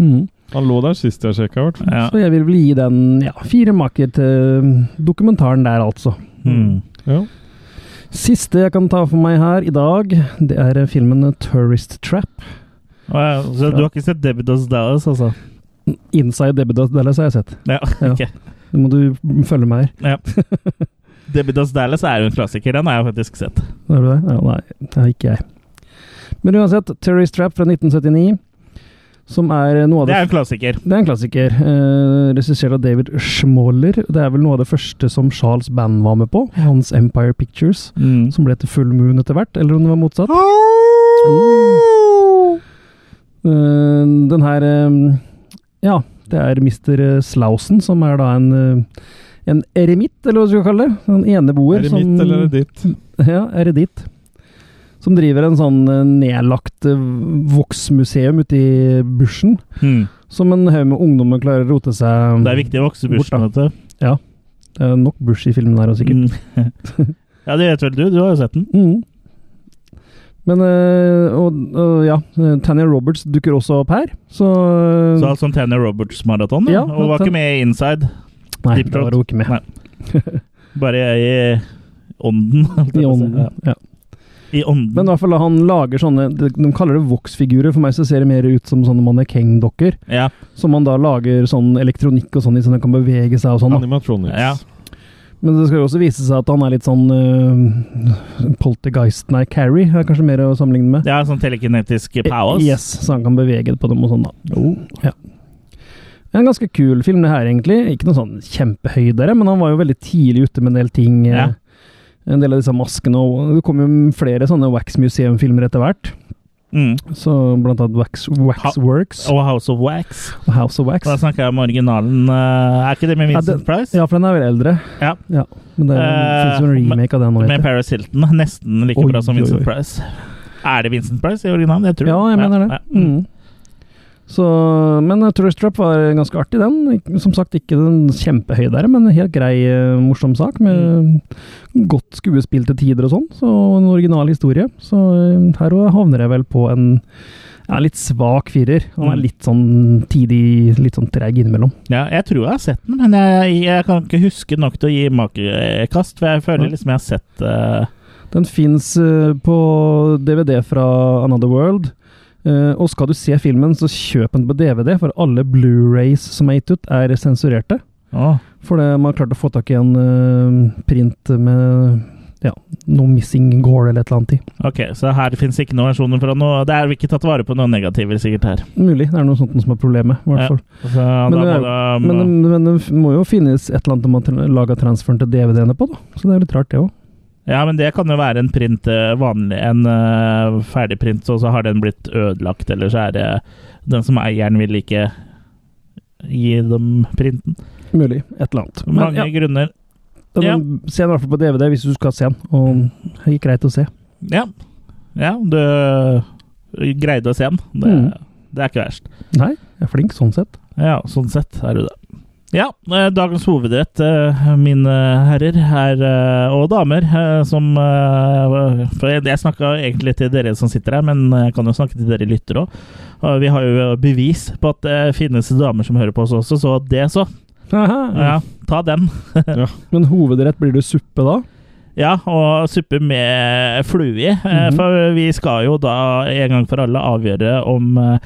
[SPEAKER 4] Mm.
[SPEAKER 3] Han lå der sist jeg sjekka, i hvert fall.
[SPEAKER 2] Ja.
[SPEAKER 4] Så jeg vil vel gi den ja, fire maker til dokumentaren der, altså.
[SPEAKER 2] Mm.
[SPEAKER 3] Ja.
[SPEAKER 4] Siste jeg kan ta for meg her i dag, det er eh, filmen 'Tourist Trap'.
[SPEAKER 2] Å ja, Så du har ikke sett Debidos Dallas, altså?
[SPEAKER 4] 'Inside Debidas Dallas' har jeg sett.
[SPEAKER 2] Ja, ok.
[SPEAKER 4] Nå må du følge med her.
[SPEAKER 2] Debidos Dallas er jo en klassiker. Den har jeg faktisk sett.
[SPEAKER 4] Har du det? Ja, nei, det har ikke jeg. Men uansett, 'Tourist Trap' fra 1979, som er eh, noe av
[SPEAKER 2] Det
[SPEAKER 4] det
[SPEAKER 2] er en klassiker.
[SPEAKER 4] Det er en klassiker. Eh, Regissert av David Schmoller. Det er vel noe av det første som Charles Band var med på. Hans Empire Pictures,
[SPEAKER 2] Mm.
[SPEAKER 4] som ble til Full Moon etter hvert. Eller om det var motsatt. Eh, den her eh, Ja, det er Mr. Slausen, som er da en eh, en eremitt, eller hva du skal kalle det. En eneboer.
[SPEAKER 3] Er det mitt, eller er det ditt?
[SPEAKER 4] Ja, ereditt. Som driver en sånn eh, nedlagt eh, voksmuseum ute i bushen.
[SPEAKER 2] Mm.
[SPEAKER 4] Som en haug med ungdommer klarer å rote seg
[SPEAKER 2] Det er viktig å vokse i bushen,
[SPEAKER 4] Bort,
[SPEAKER 2] vet du.
[SPEAKER 4] Det er nok bush i filmen her, og sikkert.
[SPEAKER 2] Mm. ja, det vet vel du. Du har jo sett den.
[SPEAKER 4] Mm. Men øh, og, og ja, Tanya Roberts dukker også opp her, så,
[SPEAKER 2] Så altså en Tanner Roberts-maraton, ja.
[SPEAKER 4] Ja,
[SPEAKER 2] og var
[SPEAKER 4] den-
[SPEAKER 2] ikke med i Inside.
[SPEAKER 4] Nei,
[SPEAKER 2] Deep
[SPEAKER 4] da
[SPEAKER 2] Throat.
[SPEAKER 4] var hun ikke med.
[SPEAKER 2] Nei, Bare i ånden. holdt jeg
[SPEAKER 4] I
[SPEAKER 2] på å si.
[SPEAKER 4] ånden. Ja.
[SPEAKER 2] Ja. I ånden.
[SPEAKER 4] Men i hvert fall da han lager sånne De de kaller det voksfigurer. For meg så ser det mer ut som sånne mannekengdokker.
[SPEAKER 2] ja.
[SPEAKER 4] Som man da lager sånn elektronikk og sånn i, så de kan bevege seg og sånn. da.
[SPEAKER 3] Animatronics.
[SPEAKER 2] Ja.
[SPEAKER 4] Men det skal jo også vise seg at han er litt sånn øh, Poltergeist, nei, Carrie er kanskje mer å sammenligne med.
[SPEAKER 2] Det er sånn telekinetisk powers.
[SPEAKER 4] Yes, så han kan bevege det på dem og sånn, da.
[SPEAKER 2] Oh.
[SPEAKER 4] En ganske kul film, det her, egentlig. Ikke noe sånn kjempehøydere, men han var jo veldig tidlig ute med en del ting. eh,
[SPEAKER 2] Ja.
[SPEAKER 4] En del av disse maskene, og det kom jo flere sånne Wax Museum-filmer etter hvert.
[SPEAKER 2] Mm.
[SPEAKER 4] Så blant annet Wax, Waxworks
[SPEAKER 2] Og House of Oh. Wax.
[SPEAKER 4] og House of Wax.
[SPEAKER 2] Da snakker jeg om originalen. eh, Er ikke det med
[SPEAKER 4] Ja,
[SPEAKER 2] Vincent
[SPEAKER 4] det-
[SPEAKER 2] Price?
[SPEAKER 4] Ja, for den er vel eldre.
[SPEAKER 2] Ja.
[SPEAKER 4] Men det
[SPEAKER 2] Eh,
[SPEAKER 4] finnes jo en remake av den nå,
[SPEAKER 2] Med
[SPEAKER 4] vet jeg.
[SPEAKER 2] Paris Hilton. Nesten like
[SPEAKER 4] Oi,
[SPEAKER 2] bra som
[SPEAKER 4] oi,
[SPEAKER 2] Vincent
[SPEAKER 4] oi.
[SPEAKER 2] Price. Er det Vincent Price i originalen? Jeg tror
[SPEAKER 4] Ja, jeg mener det.
[SPEAKER 2] ja.
[SPEAKER 4] Mm. Så, men eh, Tourist Trap var ganske artig, den. Ik- Som sagt, ikke den kjempehøye der, men en helt grei, eh, morsom sak. Med godt skuespill til tider og sånn, så en original historie. Så eh, her også havner jeg vel på en ja, litt svak firer. Han er
[SPEAKER 2] Mm.
[SPEAKER 4] litt sånn tidig, litt sånn treig innimellom.
[SPEAKER 2] Ja, jeg tror jeg har sett den, men jeg, jeg kan ikke huske nok til å gi makekast. For jeg føler
[SPEAKER 4] Ja.
[SPEAKER 2] liksom jeg har sett eh,
[SPEAKER 4] Den fins på DVD fra Another World. Eh, og skal du se filmen, så kjøp den på DVD, for alle Blu-rays som er gitt ut, er sensurerte.
[SPEAKER 2] å,
[SPEAKER 4] For det, man har klart å få tak i en eh, print med ja, noe missing gore eller et eller annet i.
[SPEAKER 2] Ok, så her fins ikke noen versjoner fra noe Det er ikke tatt vare på noen negativer, sikkert, her.
[SPEAKER 4] Mulig. Det er noe sånt som er problemet, i
[SPEAKER 2] Ja,
[SPEAKER 4] hvert fall.
[SPEAKER 2] Så
[SPEAKER 4] Men
[SPEAKER 2] da
[SPEAKER 4] det er-
[SPEAKER 2] må det,
[SPEAKER 4] Men, det- men det f- må jo finnes et eller annet man tra- lager transferen til DVD-ene på, da. Så det er jo litt rart, det òg.
[SPEAKER 2] Ja, men det kan jo være en print eh, vanlig, en eh, ferdig print, og så har den blitt ødelagt, eller så er det den som eieren vil ikke gi dem printen.
[SPEAKER 4] Mulig. Et eller annet. Men
[SPEAKER 2] Mange
[SPEAKER 4] ja,
[SPEAKER 2] grunner.
[SPEAKER 4] den,
[SPEAKER 2] ja.
[SPEAKER 4] se den i hvert fall på DVD hvis du skal se den. Og det gikk greit å se.
[SPEAKER 2] Ja. ja, du greide å se den. Det,
[SPEAKER 4] Mm.
[SPEAKER 2] det er ikke verst.
[SPEAKER 4] Nei, jeg er flink sånn sett.
[SPEAKER 2] Ja, sånn sett er du det. Ja, eh, dagens hovedrett, eh, mine herrer her, eh, og damer, eh, som eh, For jeg, jeg snakka egentlig til dere som sitter her, men jeg kan jo snakke til dere lyttere òg. Vi har jo bevis på at det finnes damer som hører på oss også, så det så.
[SPEAKER 4] Haha.
[SPEAKER 2] Ja, ta den.
[SPEAKER 4] Men hovedrett blir det suppe da?
[SPEAKER 2] Ja, og suppe med flue i. eh,
[SPEAKER 4] Mhm.
[SPEAKER 2] For vi skal jo da en gang for alle avgjøre om eh,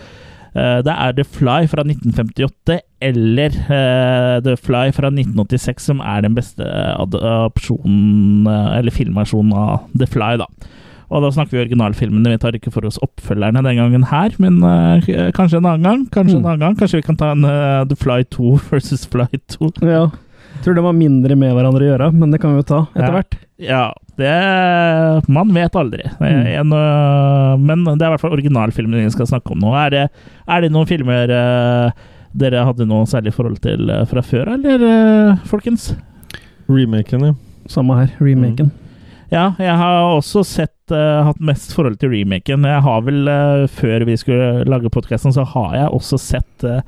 [SPEAKER 2] eh, det er The Fly fra 1958 eller eh, The Fly fra 1986 som er den beste adopsjonen, eh, eller filmversjonen av The Fly, da. Og da snakker vi originalfilmene, vi tar ikke for oss oppfølgerne den gangen her, men eh, kanskje en annen gang. Kanskje en
[SPEAKER 4] Mhm.
[SPEAKER 2] annen gang. Kanskje vi kan ta en eh, The Fly 2 versus Fly 2.
[SPEAKER 4] Ja. Tror de har mindre med hverandre å gjøre, men det kan vi jo ta etter
[SPEAKER 2] Ja.
[SPEAKER 4] hvert.
[SPEAKER 2] Ja, det Man vet aldri.
[SPEAKER 4] Mm.
[SPEAKER 2] En, øh, men det er i hvert fall originalfilmen vi skal snakke om nå. Er det, er det noen filmer øh, dere hadde noe særlig forhold til øh, fra før, eller, øh, folkens?
[SPEAKER 3] Remaken, ja.
[SPEAKER 4] Samme her, remaken.
[SPEAKER 2] Mm. Ja, jeg har også sett, eh, hatt mest forhold til remaken. Jeg har vel, eh, før vi skulle lage podkasten, så har jeg også sett eh,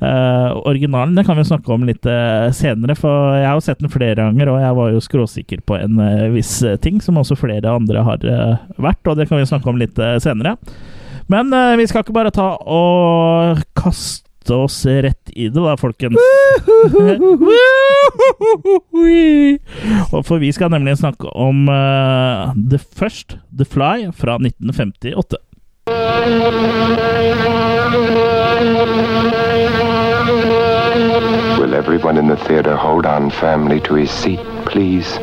[SPEAKER 2] eh, originalen. Det kan vi jo snakke om litt eh, senere, for jeg har jo sett den flere ganger, og jeg var jo skråsikker på en eh, viss eh, ting, som også flere andre har eh, vært, og det kan vi jo snakke om litt eh, senere. Men eh, vi skal ikke bare ta og kaste oss rett i det, da, folkens. Og for vi skal nemlig snakke om eh, The First, The Fly, fra 1958.
[SPEAKER 5] Will everyone in the theater hold on firmly to his seat, please?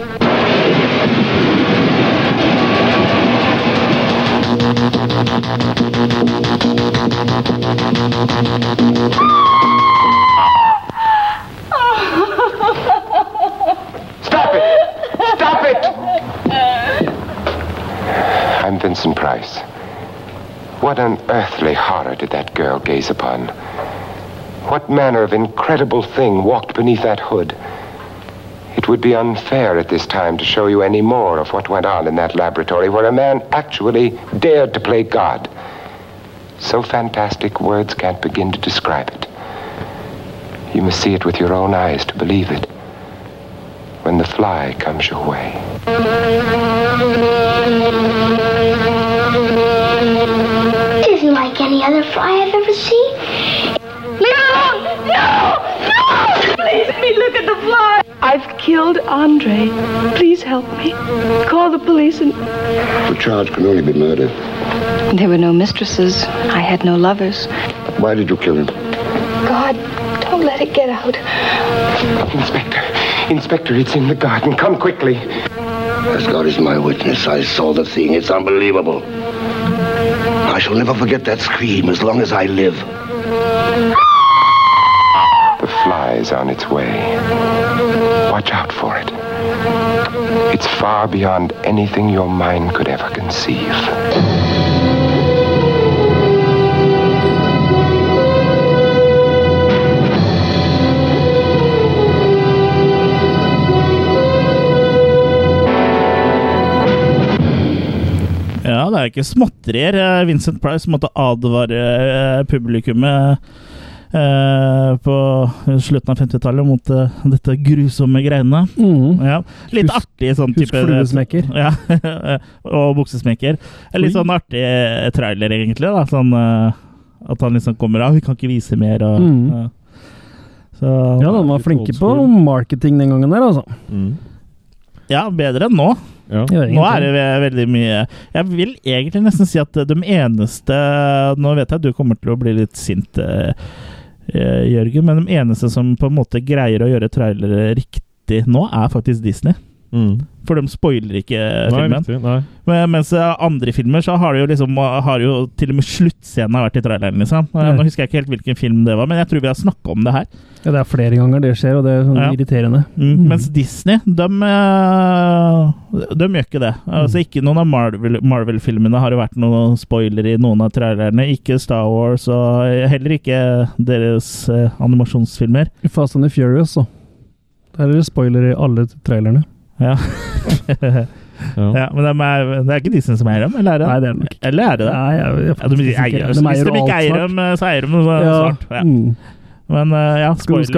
[SPEAKER 5] Stop it! Stop it! I'm Vincent Price. What unearthly horror did that girl gaze upon? What manner of incredible thing walked beneath that hood? It would be unfair at this time to show you any more of what went on in that laboratory where a man actually dared to play God. So fantastic, words can't begin to describe it. You must see it with your own eyes to believe it. When the fly comes your way.
[SPEAKER 6] It isn't like any other fly I've ever seen.
[SPEAKER 7] No! No! No! Please, let me look at the fly. I've killed Andre. Please help me. Call the police and.
[SPEAKER 8] The charge can only be murder.
[SPEAKER 9] There were no mistresses. I had no lovers.
[SPEAKER 8] Why did you kill him?
[SPEAKER 6] God, don't let it get out.
[SPEAKER 5] Inspector, Inspector, it's in the garden. Come quickly.
[SPEAKER 8] As God is my witness, I saw the thing. It's unbelievable. I shall never forget that scream as long as I live.
[SPEAKER 5] The fly is on its way. Watch out for it. It's far beyond anything your mind could ever conceive.
[SPEAKER 2] Ja, det er ikke småtterier. Eh, Vincent Price måtte advare eh, publikummet eh, på slutten av 50-tallet mot eh, dette grusomme greiene.
[SPEAKER 4] Mm.
[SPEAKER 2] Ja. Litt
[SPEAKER 4] Husk-
[SPEAKER 2] artig sånn
[SPEAKER 4] Husk
[SPEAKER 2] type
[SPEAKER 4] fluesmekker.
[SPEAKER 2] Ja, og buksesmekker. En Litt sånn artig eh, trailer, egentlig. da sånn, eh, At han liksom kommer av. Vi kan ikke vise mer. Og,
[SPEAKER 4] Mm.
[SPEAKER 2] ja. Så,
[SPEAKER 4] Ja, de var
[SPEAKER 3] Litt
[SPEAKER 4] flinke
[SPEAKER 3] old
[SPEAKER 4] på
[SPEAKER 3] school.
[SPEAKER 4] marketing den gangen der, altså.
[SPEAKER 3] Mm.
[SPEAKER 2] ja, bedre enn nå.
[SPEAKER 3] Ja.
[SPEAKER 4] Gjør
[SPEAKER 2] Nå er det
[SPEAKER 4] ingenting.
[SPEAKER 2] ve- veldig mye Jeg vil egentlig nesten si at de eneste Nå vet jeg at du kommer til å bli litt sint, eh, eh, Jørgen, men de eneste som på en måte greier å gjøre trailere riktig nå, er faktisk Disney.
[SPEAKER 3] Mm.
[SPEAKER 2] For de spoiler ikke eh,
[SPEAKER 3] Nei,
[SPEAKER 2] filmen.
[SPEAKER 3] riktig. Nei.
[SPEAKER 2] Men- Mens eh, andre filmer så har det jo liksom Har jo til og med sluttscenen har vært i traileren, liksom. Eh,
[SPEAKER 4] Mm.
[SPEAKER 2] Nå husker jeg ikke helt hvilken film det var, men jeg tror vi har snakka om det her.
[SPEAKER 4] Ja, det er flere ganger det skjer, og det er sånn
[SPEAKER 2] Ja.
[SPEAKER 4] irriterende.
[SPEAKER 2] Mm. Mens Disney, de, eh, de gjør ikke det.
[SPEAKER 4] Mm.
[SPEAKER 2] Altså Ikke noen av Marvel- Marvel-filmene har det vært noen spoiler i noen av trailerne. Ikke Star Wars, og heller ikke deres eh, animasjonsfilmer.
[SPEAKER 4] Fast and the Furious, så. Der er det spoiler i alle trailerne.
[SPEAKER 2] Ja.
[SPEAKER 3] Ja.
[SPEAKER 2] ja, men de er, det er ikke Disney som eier dem, eller er det?
[SPEAKER 4] Nei, det er det nok.
[SPEAKER 2] Eller er det det?
[SPEAKER 4] Nei, jeg, jeg,
[SPEAKER 2] Ja, de, eier,
[SPEAKER 4] sikkert.
[SPEAKER 2] hvis
[SPEAKER 4] De
[SPEAKER 2] de
[SPEAKER 4] eier jo
[SPEAKER 2] ikke
[SPEAKER 4] alt
[SPEAKER 2] eier
[SPEAKER 4] snart.
[SPEAKER 2] dem, eh, så eier de dem ja.
[SPEAKER 4] Ja.
[SPEAKER 2] snart. Ja.
[SPEAKER 4] Mm.
[SPEAKER 2] Men eh, ja,
[SPEAKER 4] Skal
[SPEAKER 2] spoiler.
[SPEAKER 4] du-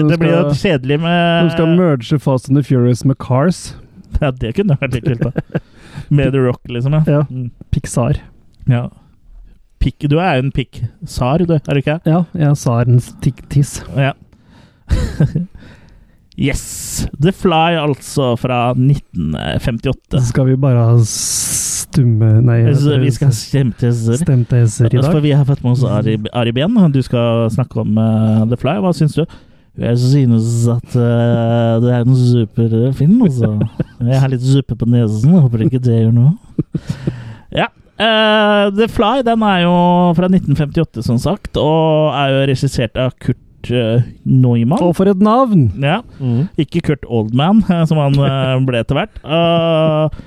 [SPEAKER 4] skal-
[SPEAKER 2] det blir jo
[SPEAKER 4] skal-
[SPEAKER 2] kjedelig med
[SPEAKER 4] De skal merge Fast and the Furious med Cars.
[SPEAKER 2] Ja, det kunne vært litt kult, da. Med The Rock, liksom. Ja.
[SPEAKER 4] Ja.
[SPEAKER 2] Mm.
[SPEAKER 4] Pixar.
[SPEAKER 2] Ja. Pikk, du er jo en pikk-sar, du, er du ikke?
[SPEAKER 4] Ja, jeg sa en stikk tiss.
[SPEAKER 2] Ja. yes! The Fly, altså, fra 1958.
[SPEAKER 4] Skal vi bare ha stumme Nei, eh,
[SPEAKER 2] Så vi skal kjempe til Zuri.
[SPEAKER 4] stemte s-er i
[SPEAKER 2] For
[SPEAKER 4] dag.
[SPEAKER 2] vi har fått med oss Ari, Ari Ben. Du skal snakke om eh, The Fly. Hva syns du? Jeg synes at eh, det er en super film, altså. Jeg har litt suppe på nesen. jeg Håper ikke det gjør noe. Ja. eh, The Fly den er jo fra 1958, som sagt, og er jo regissert av Kurt eh, Neumann.
[SPEAKER 4] Og for et navn!
[SPEAKER 2] Ja.
[SPEAKER 3] Mm.
[SPEAKER 2] Ikke Kurt Oldman, eh, som han eh, ble etter hvert. Eh,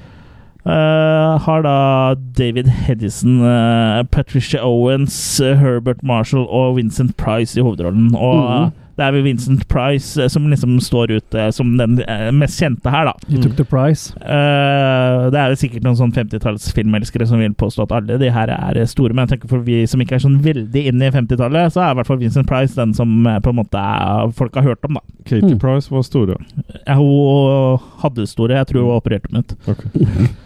[SPEAKER 2] eh, har da David Hedison, eh, Patricia Owens, eh, Herbert Marshall og Vincent Price i hovedrollen. Og eh, det er vel Vincent Price eh, som liksom står ut eh, som den eh, mest kjente her, da.
[SPEAKER 4] You took the prize.
[SPEAKER 2] Eh, det er jo sikkert noen sånn 50-tallsfilmelskere som vil påstå at alle de her er store, men jeg tenker for vi som ikke er sånn veldig inn i 50-tallet, så er i hvert fall Vincent Price den som eh, på en måte er, folk har hørt om, da.
[SPEAKER 3] Katie
[SPEAKER 4] Mm.
[SPEAKER 3] Price var store.
[SPEAKER 2] Ja, hun hadde store. Jeg tror hun opererte med et.
[SPEAKER 3] Ok.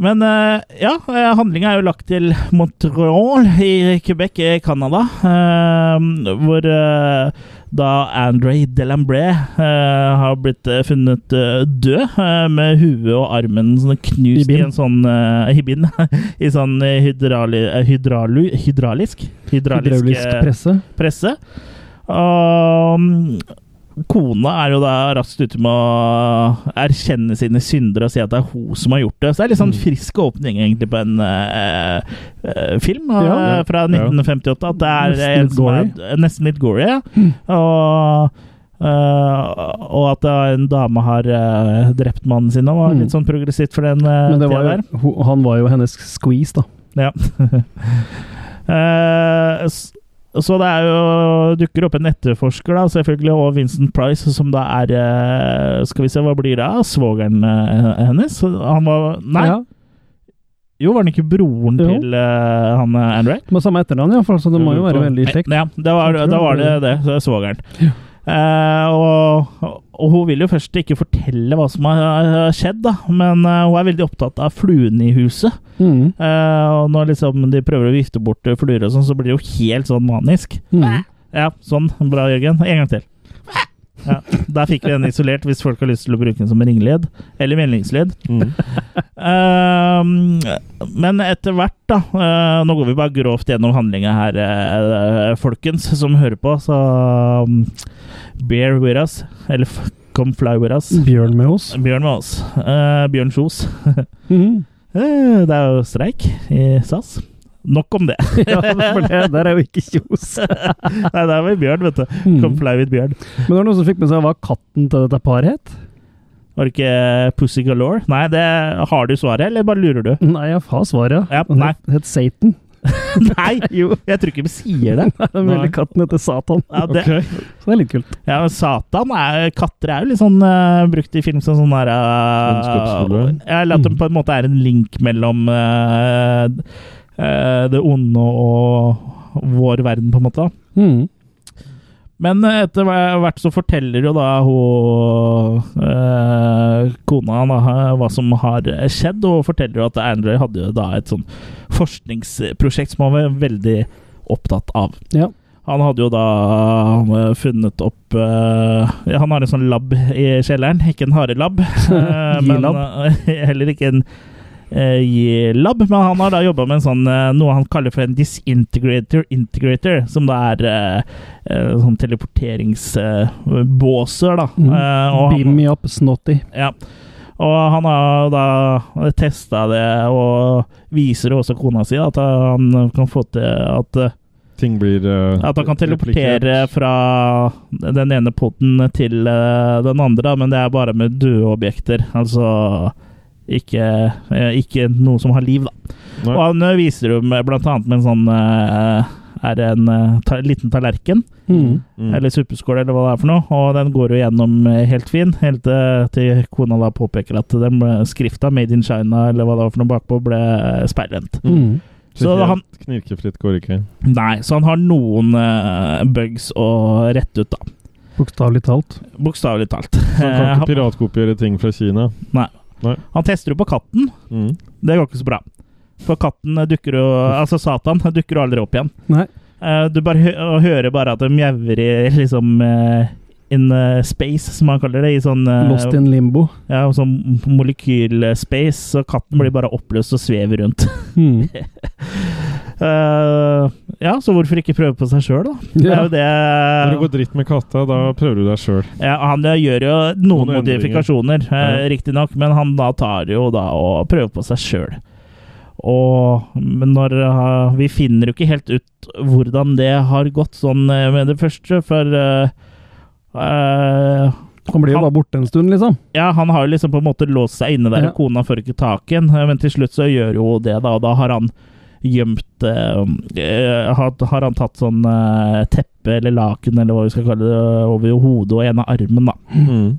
[SPEAKER 2] Men eh, ja, handlinga er jo lagt til Montreal i Quebec i Canada. eh, hvor eh, da André Delambre eh, har blitt eh, funnet eh, død eh, med huet og armen sånn knust
[SPEAKER 4] I bind.
[SPEAKER 2] i en sånn eh, I bind. I sånn eh, hydrauli, eh, hydralu, hydraulisk
[SPEAKER 4] Hydraulisk
[SPEAKER 2] eh,
[SPEAKER 4] presse.
[SPEAKER 2] presse. Og kona er jo da raskt ute med å erkjenne sine synder og si at det er hun som har gjort det. Så det er litt sånn
[SPEAKER 4] Mm.
[SPEAKER 2] frisk åpning egentlig på en eh, eh, film eh,
[SPEAKER 4] Ja, ja.
[SPEAKER 2] fra 1958. At det er
[SPEAKER 4] Nesten litt Mm.
[SPEAKER 2] en som er- nesten litt gory. Ja. Og eh, og at eh, en dame har eh, drept mannen sin. Det var
[SPEAKER 4] Mm.
[SPEAKER 2] litt sånn progressivt for den uh,
[SPEAKER 4] Men det
[SPEAKER 2] tida
[SPEAKER 4] var
[SPEAKER 2] der.
[SPEAKER 4] jo, ho- han var jo hennes squeeze, da.
[SPEAKER 2] Ja. Eh, s- så det er jo dukker opp en etterforsker, da, selvfølgelig, og Vincent Price, som da er eh, Skal vi se, hva blir det av svogeren eh, hennes? Han var Nei,
[SPEAKER 4] Ja,
[SPEAKER 2] jo, var han ikke broren
[SPEAKER 4] Jo.
[SPEAKER 2] til eh, han eh, Andre?
[SPEAKER 4] med samme etternavn, iallfall, så det må jo være veldig kjekt.
[SPEAKER 2] Nei, Ja, det var,
[SPEAKER 4] Jeg tror
[SPEAKER 2] da var
[SPEAKER 4] det.
[SPEAKER 2] det det. så er Svogeren. Eh, og, og hun vil jo først ikke fortelle hva som har skjedd, da, men eh, hun er veldig opptatt av fluene i huset.
[SPEAKER 4] Mm.
[SPEAKER 2] Eh, og når liksom de prøver å vifte bort eh, fluer og sånn, så blir det jo helt sånn manisk.
[SPEAKER 4] Mm.
[SPEAKER 2] Ja, sånn. Bra, Jørgen. En gang til. Ja, der fikk vi den isolert, hvis folk har lyst til å bruke den som ringlyd. Eller meldingslyd.
[SPEAKER 3] Mm.
[SPEAKER 2] Ehm, men etter hvert, da eh, Nå går vi bare grovt gjennom handlinga her, eh, eh, folkens som hører på, så um, Bear with us. Eller f- come fly with us.
[SPEAKER 4] Bjørn med oss.
[SPEAKER 2] Bjørn med oss. Eh, Bjørn Kjos.
[SPEAKER 4] Mm.
[SPEAKER 2] Eh, Det er jo streik i SAS. Nok om det.
[SPEAKER 4] Ja, for det der er jo ikke kjos.
[SPEAKER 2] Nei, det er vel Bjørn, vet du. Kom
[SPEAKER 4] Mm.
[SPEAKER 2] fly with Bjørn.
[SPEAKER 4] Men det var noen som fikk med seg hva katten til dette paret het?
[SPEAKER 2] Var det ikke Pussy Galore? Nei, det har du svaret, eller bare lurer du?
[SPEAKER 4] Nei, jeg har svaret.
[SPEAKER 2] Ja,
[SPEAKER 4] Han
[SPEAKER 2] Eh, nei.
[SPEAKER 4] het- het Satan.
[SPEAKER 2] Nei!
[SPEAKER 4] Mhm. Jo.
[SPEAKER 2] Jeg tror ikke de sier det.
[SPEAKER 4] Den
[SPEAKER 3] Nei.
[SPEAKER 4] ville katten heter Satan.
[SPEAKER 2] Ja, det
[SPEAKER 3] Ok.
[SPEAKER 4] Så det er litt kult.
[SPEAKER 2] ja, men Satan er Katter er jo litt sånn eh, brukt i film som sånn der eh,
[SPEAKER 3] Ondskapsfulle.
[SPEAKER 2] ja, Eller at det på en måte er en link mellom eh, eh, det onde og vår verden, på en måte. da.
[SPEAKER 4] Mm.
[SPEAKER 2] Men eh, etter hver- hvert så forteller jo da hun eh, kona da, hva som har eh, skjedd, og forteller jo at Android hadde jo da et sånn forskningsprosjekt som han var veldig opptatt av.
[SPEAKER 4] Ja.
[SPEAKER 2] Han hadde jo da eh, funnet opp eh, Han har en sånn lab i kjelleren, ikke en harelab. eh, men, eh, heller ikke en eh, G-lab, men han har da jobba med en sånn eh, noe han kaller for en disintegrator integrator, som da er eh, eh, sånn teleporteringsbåser, da.
[SPEAKER 4] Mm.
[SPEAKER 2] Eh, og han-
[SPEAKER 4] Beam me up, snotty.
[SPEAKER 2] ja. Og han har jo da testa det, og viser jo også kona si at han kan få til at eh,
[SPEAKER 3] Ting blir eh,
[SPEAKER 2] at han kan teleportere
[SPEAKER 3] replikert.
[SPEAKER 2] fra den ene poten til eh, den andre, da, men det er bare med døde objekter. Altså ikke, eh, ikke noe som har liv, da.
[SPEAKER 3] Nei.
[SPEAKER 2] Og han eh, viser jo med- blant annet med en sånn eh, er en eh, ta liten tallerken,
[SPEAKER 4] Mm.
[SPEAKER 3] Mm.
[SPEAKER 2] eller suppeskål, eller hva det er for noe, og den går jo gjennom eh, helt fin, helt eh, til kona da påpeker at den ble- skrifta 'Made in China', eller hva det var for noe bakpå, ble eh, sperrent.
[SPEAKER 4] Mm.
[SPEAKER 3] Så
[SPEAKER 2] Så
[SPEAKER 3] helt
[SPEAKER 2] han-
[SPEAKER 3] Knirkefritt går ikke.
[SPEAKER 2] Nei, så han har noen eh, bugs å rette ut, da.
[SPEAKER 4] Bokstavelig talt.
[SPEAKER 2] Bokstavelig talt.
[SPEAKER 3] Så
[SPEAKER 2] Eh,
[SPEAKER 3] han kan
[SPEAKER 2] han-
[SPEAKER 3] ikke piratkopiere ting fra Kina.
[SPEAKER 2] Han tester jo på katten.
[SPEAKER 3] Mm.
[SPEAKER 2] Det går ikke så bra. For katten dukker jo Altså, Satan dukker jo aldri opp igjen.
[SPEAKER 4] Nei.
[SPEAKER 2] Eh, Du bare hø og hører bare at de mjauer i liksom eh, In eh, space, som han kaller det. I sånn eh,
[SPEAKER 4] Lost in limbo.
[SPEAKER 2] ja, sånn molekylspace. Så katten blir bare oppløst og svever rundt.
[SPEAKER 4] Mm.
[SPEAKER 2] Eh, ja, så hvorfor ikke prøve på seg sjøl, da? Det er
[SPEAKER 4] Ja.
[SPEAKER 2] jo det
[SPEAKER 3] Når det går dritt med katta, da prøver du deg sjøl.
[SPEAKER 2] Ja, han gjør jo noen
[SPEAKER 3] Noen endringer.
[SPEAKER 2] modifikasjoner, eh,
[SPEAKER 3] Ja.
[SPEAKER 2] riktignok, men han da tar jo da og prøver på seg sjøl. Og men når eh, Vi finner jo ikke helt ut hvordan det har gått sånn eh, med det første, for eh, eh,
[SPEAKER 4] Han blir jo
[SPEAKER 2] Han-
[SPEAKER 4] bare borte en stund, liksom.
[SPEAKER 2] ja, han har jo liksom på en måte låst seg inne der,
[SPEAKER 4] Ja.
[SPEAKER 2] og kona får ikke tak i ham. Men til slutt så gjør jo det, da, og da har han gjemt eh, eh, har, har han tatt sånn eh, teppe eller laken, eller hva vi skal kalle det, over hodet og ene armen, da.
[SPEAKER 3] Mm.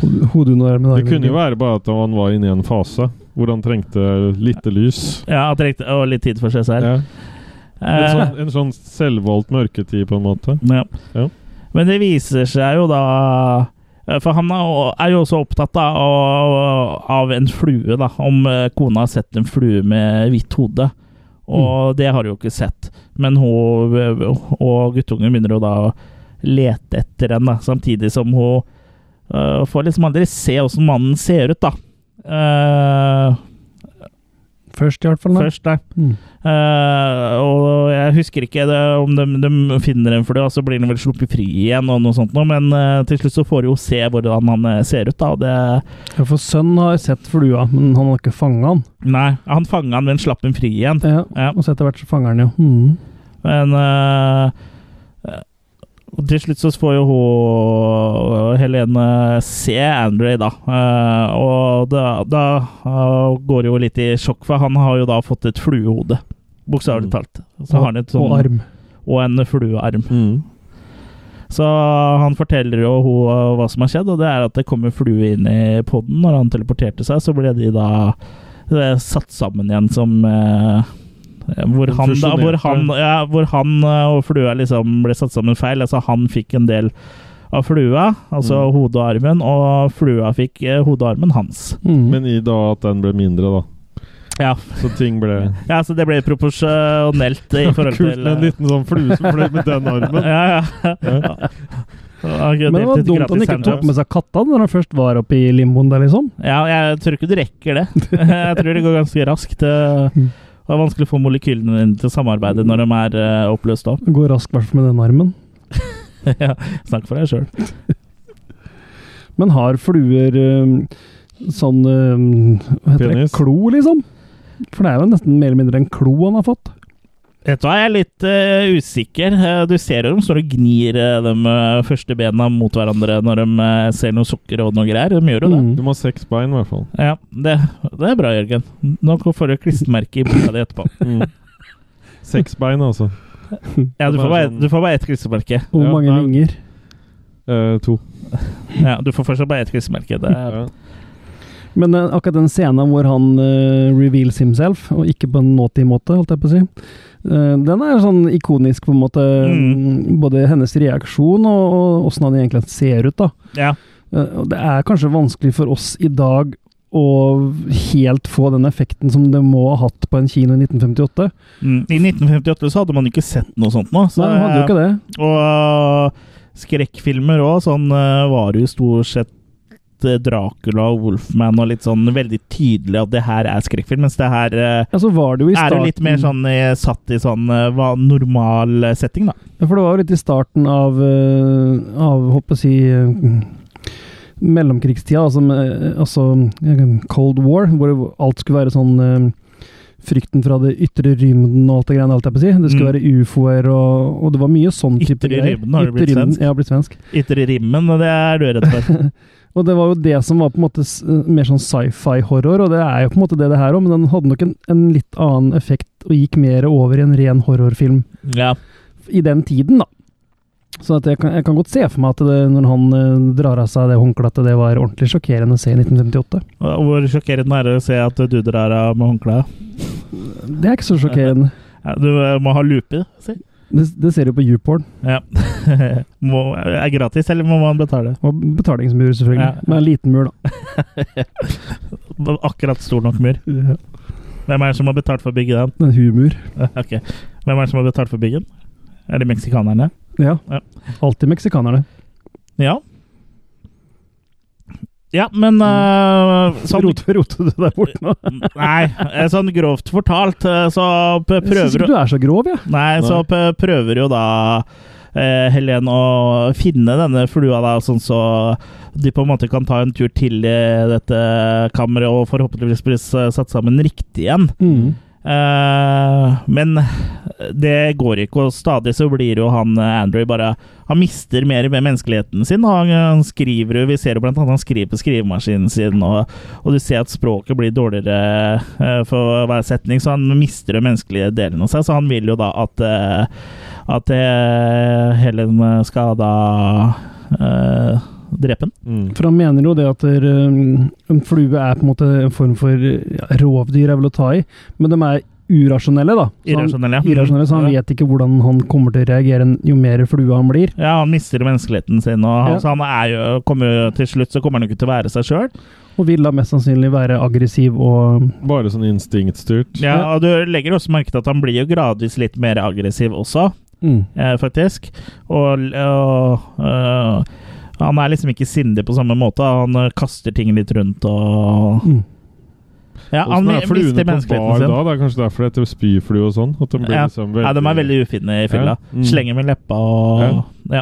[SPEAKER 4] Hod- Hodet under armen.
[SPEAKER 3] Det
[SPEAKER 4] armen
[SPEAKER 3] kunne jo
[SPEAKER 4] under.
[SPEAKER 3] være bare at han var inne i en fase hvor han trengte lite lys.
[SPEAKER 2] Ja, at det riktig, og litt tid for seg selv.
[SPEAKER 3] Ja. En,
[SPEAKER 2] Eh,
[SPEAKER 3] sånn, en sånn selvvalgt mørketid, på en måte.
[SPEAKER 2] ja.
[SPEAKER 3] Ja.
[SPEAKER 2] Men det viser seg jo da eh, For han er jo- er jo også opptatt da, av, av en flue, da. Om eh, kona har sett en flue med hvitt hode. Og
[SPEAKER 3] Mm.
[SPEAKER 2] det har hun jo ikke sett. Men hun og guttungen begynner jo da å lete etter henne, da, samtidig som hun eh, får liksom aldri se åssen mannen ser ut, da. Eh,
[SPEAKER 4] Først, i hvert fall. Nei.
[SPEAKER 2] først, da.
[SPEAKER 4] Mm.
[SPEAKER 2] Eh, og jeg husker ikke det, om de, de finner en for det, og så blir den vel sluppet fri igjen, og noe sånt noe, men eh, til slutt så får du jo se hvordan han eh, ser ut, da. og Det,
[SPEAKER 4] Ja, for sønnen har sett flua, men han har ikke fanget han.
[SPEAKER 2] nei, han fanga han, men slapp den fri igjen.
[SPEAKER 4] Ja.
[SPEAKER 2] Ja.
[SPEAKER 4] Og så etter hvert så fanger han jo. Mm.
[SPEAKER 2] Men eh, eh, og til slutt så får jo hun eh, Helene se Andre, da. Eh, og da, da eh, går det jo litt i sjokk, for han har jo da fått et fluehode. Bokstavelig
[SPEAKER 3] Mm.
[SPEAKER 2] talt. Så har han et sånn,
[SPEAKER 4] Og arm.
[SPEAKER 2] og en fluearm. Så han forteller jo hun eh, hva som har skjedd, og det er at det kommer flue inn i poden. Når han teleporterte seg, så ble de da eh, satt sammen igjen som eh, hvor han, da, hvor, han, ja, hvor han eh, og flua liksom ble satt sammen feil. Altså han fikk en del av flua, altså
[SPEAKER 3] Mm.
[SPEAKER 2] hodet og armen, og flua fikk eh, hodet og armen hans.
[SPEAKER 4] Mm.
[SPEAKER 3] Men i da at den ble mindre, da.
[SPEAKER 2] Ja.
[SPEAKER 3] Så ting ble
[SPEAKER 2] ja, så det ble proporsjonelt i forhold til
[SPEAKER 3] Kult
[SPEAKER 2] eh,
[SPEAKER 3] med en liten sånn flue som fløy med den armen.
[SPEAKER 2] ja, ja.
[SPEAKER 3] Ja.
[SPEAKER 2] Han kunne
[SPEAKER 4] men
[SPEAKER 2] delt ut
[SPEAKER 4] det var dumt han
[SPEAKER 2] gratis
[SPEAKER 4] ikke
[SPEAKER 2] sandwich.
[SPEAKER 4] tok med seg katta når han først var oppe i limboen der, liksom.
[SPEAKER 2] Ja, jeg tror ikke du rekker det. Jeg tror det går ganske raskt.
[SPEAKER 4] Mm.
[SPEAKER 2] eh, Det er vanskelig å få molekylene dine til å samarbeide når de er eh, oppløst opp.
[SPEAKER 4] Går raskt i hvert fall med den armen.
[SPEAKER 2] Ja, Snakk for deg sjøl.
[SPEAKER 4] Men har fluer øhm, sånn øhm, Hva heter
[SPEAKER 3] Penis?
[SPEAKER 4] det? Klo, liksom? For det er jo nesten mer eller mindre en klo han har fått.
[SPEAKER 2] Vet du hva, jeg er litt eh, usikker. Eh, du ser jo de står og gnir eh, de eh, første bena mot hverandre når de eh, ser noe sukker og noe greier. De gjør jo det.
[SPEAKER 4] Mm.
[SPEAKER 3] Du må ha seks bein, i hvert fall.
[SPEAKER 2] Ja, det, det er bra, Jørgen. Nå får du klistremerke i boka di etterpå.
[SPEAKER 3] Mm. Seks bein, altså.
[SPEAKER 2] Ja, du får bare,
[SPEAKER 4] sånn-
[SPEAKER 2] du får bare ett klistremerke.
[SPEAKER 4] Hvor
[SPEAKER 3] Ja,
[SPEAKER 4] mange
[SPEAKER 3] nei.
[SPEAKER 4] vinger?
[SPEAKER 3] Eh, to.
[SPEAKER 2] Ja, du får fortsatt bare ett klistremerke. Det er
[SPEAKER 3] Ja.
[SPEAKER 4] Mm. Men eh, akkurat den scenen hvor han eh, reveals himself, og ikke på en naughty måte, holdt jeg på å si, eh, den er sånn ikonisk, på en måte.
[SPEAKER 2] Mm.
[SPEAKER 4] Både hennes reaksjon og, og åssen han egentlig ser ut, da.
[SPEAKER 2] Ja.
[SPEAKER 4] Eh, og det er kanskje vanskelig for oss i dag å helt få den effekten som det må ha hatt på en kino i 1958.
[SPEAKER 2] Mm. I 1958 så hadde man ikke sett noe sånt nå. Så,
[SPEAKER 4] Nei, han hadde jo ikke det.
[SPEAKER 2] Og øh, skrekkfilmer òg. Sånn øh, var det jo stort sett øh, Dracula og Wolfman og litt sånn veldig tydelig at det her er skrekkfilm, mens det her øh,
[SPEAKER 4] Ja, så var det jo i
[SPEAKER 2] er
[SPEAKER 4] starten
[SPEAKER 2] jo litt mer sånn øh, satt i sånn øh, hva, normal øh, setting, da.
[SPEAKER 4] Ja, for det var jo litt i starten av, eh, av håper jeg å si eh, mellomkrigstida, altså, med- altså eh, Cold War, hvor alt skulle være sånn eh, Frykten fra det ytre rymden og alt det greiene. Alt jeg på å si. Det skulle
[SPEAKER 2] Mm.
[SPEAKER 4] være ufoer og, og det var mye sånn type
[SPEAKER 2] Ytre
[SPEAKER 4] greier.
[SPEAKER 2] rymden har det blitt
[SPEAKER 4] Ytre rymden,
[SPEAKER 2] svensk.
[SPEAKER 4] Ja, blitt svensk.
[SPEAKER 2] Ytre rimmen, og det er du redd for.
[SPEAKER 4] Og det var jo det som var på en måte s- mer sånn sci-fi-horror, og det er jo på en måte det det her òg, men den hadde nok en, en litt annen effekt og gikk mer over i en ren horrorfilm
[SPEAKER 2] ja.
[SPEAKER 4] i den tiden, da. Så at jeg, kan, jeg kan godt se for meg at det, når han eh, drar av seg det håndkleet, at det var ordentlig sjokkerende å se i 1958.
[SPEAKER 2] Og Hvor sjokkerende er det å se at du drar av med håndkleet?
[SPEAKER 4] Det er ikke så sjokkerende.
[SPEAKER 2] Ja, du øh, må ha lupe, si.
[SPEAKER 4] Det, det ser du på YouPorn.
[SPEAKER 2] Ja. må, er gratis, eller må man betale?
[SPEAKER 4] Og betalingsmur, selvfølgelig.
[SPEAKER 2] Ja.
[SPEAKER 4] Men en liten mur, da.
[SPEAKER 2] Akkurat stor nok mur. Hvem er det som har betalt for å bygge den?
[SPEAKER 4] En humur.
[SPEAKER 2] Ok. Hvem er det som har betalt for byggen? Er det meksikanerne?
[SPEAKER 4] Ja.
[SPEAKER 2] Ja.
[SPEAKER 4] Alltid meksikanerne.
[SPEAKER 2] Ja. Ja, men øh, sånn,
[SPEAKER 4] Mm. Roter rote du der borte nå?
[SPEAKER 2] Nei, eh, sånn grovt fortalt, eh, så p-
[SPEAKER 4] Jeg syns
[SPEAKER 2] prøver
[SPEAKER 4] ikke du er så grov, jeg. Ja.
[SPEAKER 2] Nei, så p- prøver jo da eh, Helen å finne denne flua, da, sånn så de på en måte kan ta en tur til i dette kammeret og forhåpentligvis bli s- satt sammen riktig igjen.
[SPEAKER 4] Mm.
[SPEAKER 2] Eh, men det går ikke, og stadig så blir jo han eh, Andrew bare Han mister mer med menneskeligheten sin. og Han, han skriver jo Vi ser jo blant annet han skriver på skrivemaskinen sin, og, og du ser at språket blir dårligere eh, for hver setning, så han mister den menneskelige delen av seg. Så han vil jo da at eh, At eh, Helen skal da eh, drepe han.
[SPEAKER 3] Mm.
[SPEAKER 4] For han mener jo det at der, um, en flue er på en måte en form for ja, rovdyr jeg vil ta i, men de er urasjonelle, da. Så han,
[SPEAKER 2] Irrasjonell, ja.
[SPEAKER 4] irrasjonelle, så han
[SPEAKER 2] Ja.
[SPEAKER 4] vet ikke hvordan han kommer til å reagere jo mer flue han blir.
[SPEAKER 2] Ja, han mister menneskeligheten sin, og han,
[SPEAKER 4] Ja.
[SPEAKER 2] så han er jo, kommer jo til slutt så kommer han jo ikke til å være seg sjøl.
[SPEAKER 4] Og vil da mest sannsynlig være aggressiv og
[SPEAKER 3] Bare sånn instinktstyrt.
[SPEAKER 2] Ja, og du legger også merke til at han blir jo gradvis litt mer aggressiv også,
[SPEAKER 4] mm.
[SPEAKER 2] eh, faktisk. Og, og øh, han er liksom ikke sindig på samme måte. Han øh, kaster ting litt rundt og
[SPEAKER 4] Mm.
[SPEAKER 2] Ja, han
[SPEAKER 3] Åssen er sånn fluene
[SPEAKER 2] mister
[SPEAKER 3] på bar
[SPEAKER 2] menneskeligheten
[SPEAKER 3] da?
[SPEAKER 2] sin.
[SPEAKER 3] Det er kanskje derfor det heter spyflue og sånn? At de blir
[SPEAKER 2] Ja.
[SPEAKER 3] liksom
[SPEAKER 2] Ja, de er veldig ufine i fylla.
[SPEAKER 3] Ja. Mm.
[SPEAKER 2] Slenger med leppa og Ja.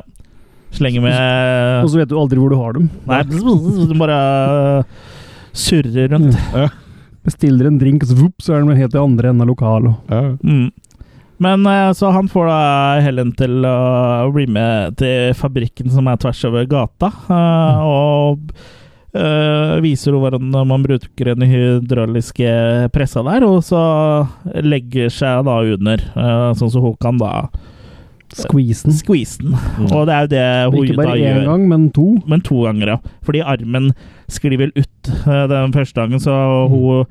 [SPEAKER 2] Slenger
[SPEAKER 4] Og
[SPEAKER 2] med
[SPEAKER 4] så vet du aldri hvor du har dem.
[SPEAKER 2] Nei, de bare øh, surrer rundt.
[SPEAKER 4] Bestiller en drink, og så, vopp, så er den helt i andre enden av lokalet.
[SPEAKER 3] ja.
[SPEAKER 2] Mm. Men eh, så han får da Helen til å bli med til fabrikken som er tvers over gata, eh,
[SPEAKER 4] Mm.
[SPEAKER 2] og eh, viser henne hvordan man bruker den hydrauliske pressa der, og så legger seg da under, eh, sånn så hun kan da
[SPEAKER 4] Squeezen.
[SPEAKER 2] squeeze den.
[SPEAKER 3] Mm.
[SPEAKER 2] Og det er jo det hun
[SPEAKER 4] Ikke
[SPEAKER 2] da
[SPEAKER 4] bare
[SPEAKER 2] gjør.
[SPEAKER 4] én gang, men to.
[SPEAKER 2] Men to ganger, ja. Fordi armen sklir vel ut eh, den første gangen, så
[SPEAKER 4] Mm.
[SPEAKER 2] hun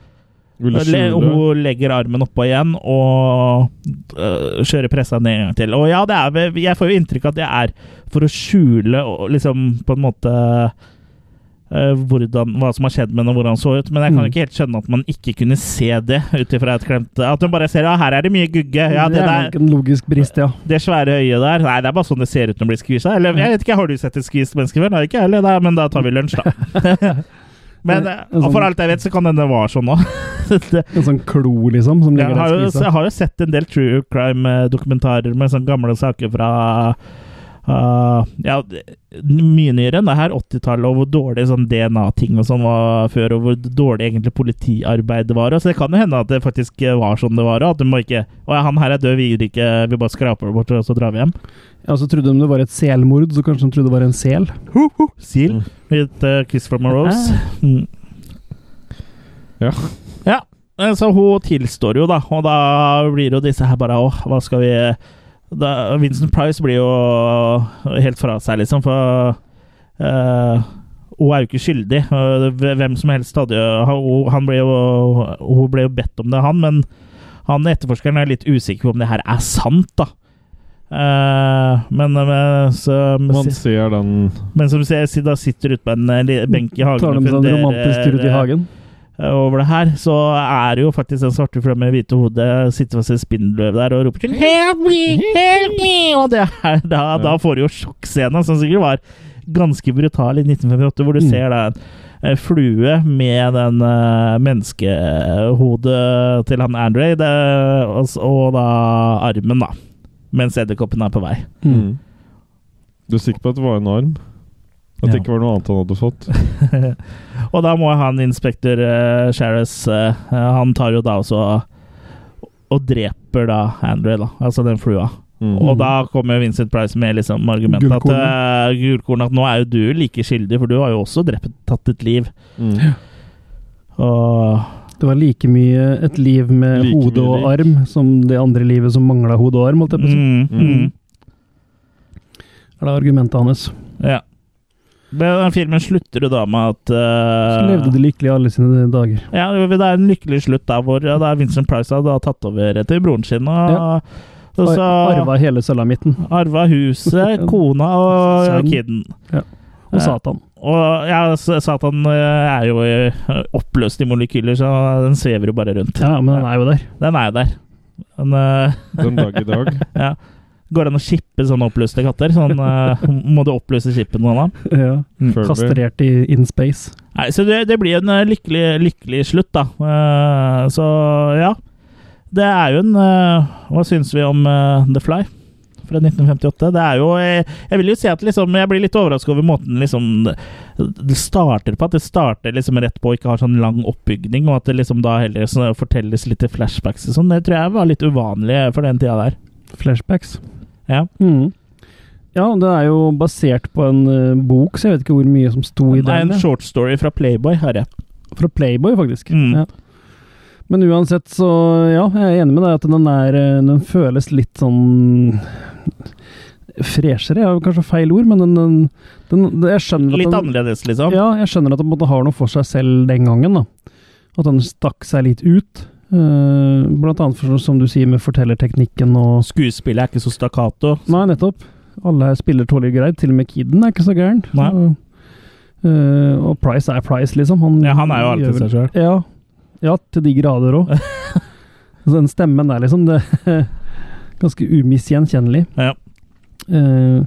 [SPEAKER 3] Ville
[SPEAKER 2] Le
[SPEAKER 3] skjule.
[SPEAKER 2] hun legger armen oppå igjen og øh, kjører pressa ned en gang til. Og ja, det er, vel- jeg får jo inntrykk av at det er for å skjule og liksom på en måte øh, hvordan, hva som har skjedd med henne, og hvordan han så ut. Men jeg kan
[SPEAKER 4] Mm.
[SPEAKER 2] ikke helt skjønne at man ikke kunne se det ut ifra et klemt At hun bare ser ja, her er det mye gugge. Ja, det,
[SPEAKER 4] det er
[SPEAKER 2] der,
[SPEAKER 4] nok en logisk brist, ja.
[SPEAKER 2] det svære øyet der. Nei, det er bare sånn det ser ut når det blir skvisa. Eller jeg vet ikke, har du sett et skvist menneske før? Nei, ikke jeg heller, Nei, men da tar vi lunsj, da. Men
[SPEAKER 4] Det er
[SPEAKER 2] øh,
[SPEAKER 4] sånn-
[SPEAKER 2] for alt jeg vet, så kan hende det var sånn òg.
[SPEAKER 4] En sånn klo, liksom, som ligger
[SPEAKER 2] Jeg har,
[SPEAKER 4] der
[SPEAKER 2] jo,
[SPEAKER 4] og
[SPEAKER 2] jeg
[SPEAKER 4] skviser.
[SPEAKER 2] har jo sett en del true crime-dokumentarer med sånne gamle saker fra uh, ja, mye nyere enn det her, 80-tallet, og hvor dårlig sånn DNA-ting og sånn var før, og hvor dårlig egentlig politiarbeidet var. Så det kan jo hende at det faktisk var sånn det var, og at du må ikke Å ja, han her er død, vi gir ikke Vi bare skraper det bort, og så drar vi hjem.
[SPEAKER 4] Ja, så trodde de det var et selmord, så kanskje de trodde det var en sel.
[SPEAKER 2] Seal. eh,
[SPEAKER 4] Ah.
[SPEAKER 2] With uh, kiss from a rose. Mm.
[SPEAKER 3] Ja.
[SPEAKER 2] Ja. eh, så hun tilstår jo, da. Og da blir jo disse her bare Åh, hva skal vi da, Vincent Price blir jo helt fra seg, liksom, for eh, hun er jo ikke skyldig. Eh, Hvem som helst hadde jo hun- Han ble jo Hun ble jo bedt om det, han, men han etterforskeren er litt usikker på om det her er sant, da. Eh, men, eh, så,
[SPEAKER 3] Man ser den
[SPEAKER 2] men som sier, sier da sitter ute på en eh, li- benk i hagen
[SPEAKER 4] Tar de
[SPEAKER 2] og
[SPEAKER 4] med seg en romantisk tur ut i
[SPEAKER 2] funderer,
[SPEAKER 4] hagen?
[SPEAKER 2] eh, over det her, så er det jo faktisk den svarte flua med hvite hodet sitter fast i et spindelvev der og roper til Help me! Help me! Og det er, da, da får du jo sjokkscena, som sikkert var ganske brutal i 1958, hvor du ser da en eh, flue med den eh, menneskehodet til han Andre, det, og, s- og da armen, da. Mens edderkoppen er på vei.
[SPEAKER 3] Mm. Du er sikker på at det var en arm? At det
[SPEAKER 2] Ja.
[SPEAKER 3] ikke var noe annet han hadde fått?
[SPEAKER 2] Og da må han inspektør uh, Sharris eh, Han tar jo da også og dreper da Andre, da. Altså den flua.
[SPEAKER 3] Mm.
[SPEAKER 2] Og da kommer Vincent Price med liksom argumentet
[SPEAKER 4] Gullkornet.
[SPEAKER 2] at eh, Gullkornet at nå er jo du like skyldig, for du har jo også drept, tatt et liv.
[SPEAKER 3] Mm.
[SPEAKER 2] Og
[SPEAKER 4] Det var like mye et liv med
[SPEAKER 3] Like
[SPEAKER 4] hode
[SPEAKER 3] mye
[SPEAKER 4] og
[SPEAKER 3] liv.
[SPEAKER 4] arm som det andre livet som mangla hode og arm, holdt jeg på å si.
[SPEAKER 2] mm, mm,
[SPEAKER 3] Mm.
[SPEAKER 4] Er det argumentet hans?
[SPEAKER 2] Ja. Men den filmen slutter jo da med at
[SPEAKER 4] Så
[SPEAKER 2] eh,
[SPEAKER 4] levde de lykkelig alle sine dager.
[SPEAKER 2] Ja, det er en lykkelig slutt der hvor ja, da Vincent Price har da tatt over etter broren sin. Og,
[SPEAKER 4] Ja.
[SPEAKER 2] og så
[SPEAKER 4] Arva hele salamitten.
[SPEAKER 2] Arva huset, kona og
[SPEAKER 4] Sønnen.
[SPEAKER 2] kiden. Eh.
[SPEAKER 4] Og Satan.
[SPEAKER 2] Og ja, s- Satan eh, er jo eh, oppløst i molekyler, så den svever jo bare rundt.
[SPEAKER 4] Ja, men han er jo der.
[SPEAKER 2] Den er jo der. Den, eh,
[SPEAKER 3] Den dag i dag.
[SPEAKER 2] ja. Går det an å shippe sånne oppløste katter? Sånn, eh, må du oppløse shippen noen av?
[SPEAKER 4] Ja.
[SPEAKER 3] Furby.
[SPEAKER 4] Kastrert i in space.
[SPEAKER 2] Nei, så det, det blir en eh, lykkelig, lykkelig slutt, da. Eh, så ja. Det er jo en eh, Hva syns vi om eh, The Fly? Fra 1958. Det er jo eh, Jeg vil jo si at liksom Jeg blir litt overraska over måten liksom det starter på. At det starter liksom rett på og ikke har sånn lang oppbygning, og at det liksom da heller så fortelles litt i flashbacks og sånn. Det tror jeg var litt uvanlig for den tida der.
[SPEAKER 4] Flashbacks.
[SPEAKER 2] Ja.
[SPEAKER 4] Mhm. Ja, det er jo basert på en eh, bok, så jeg vet ikke hvor mye som sto i
[SPEAKER 2] Det er
[SPEAKER 4] den.
[SPEAKER 2] en
[SPEAKER 4] ja.
[SPEAKER 2] short story fra Playboy, har jeg.
[SPEAKER 4] Fra Playboy, faktisk.
[SPEAKER 2] Mm.
[SPEAKER 4] Ja. Men uansett, så ja, jeg er enig med deg at den er eh, Den føles litt sånn Freshere er jo kanskje feil ord, men den, den, den Jeg skjønner at
[SPEAKER 2] Litt
[SPEAKER 4] den,
[SPEAKER 2] annerledes, liksom.
[SPEAKER 4] ja, jeg skjønner at den på en måte har noe for seg selv den gangen. da. At den stakk seg litt ut. eh, blant annet, for, som du sier, med fortellerteknikken og
[SPEAKER 2] Skuespillet er ikke så stakkato.
[SPEAKER 4] Nei, nettopp. Alle her spiller tålelig greit. Til og med Kidden er ikke så gæren.
[SPEAKER 2] Nei.
[SPEAKER 4] Så, eh, og Price er Price, liksom. Han,
[SPEAKER 2] Ja, han er jo
[SPEAKER 4] gjør
[SPEAKER 2] alltid
[SPEAKER 4] vel-
[SPEAKER 2] seg sjøl.
[SPEAKER 4] Ja. ja, til de grader òg. Den stemmen der, liksom. Det er ganske umisgjenkjennelig.
[SPEAKER 2] Ja.
[SPEAKER 4] Eh,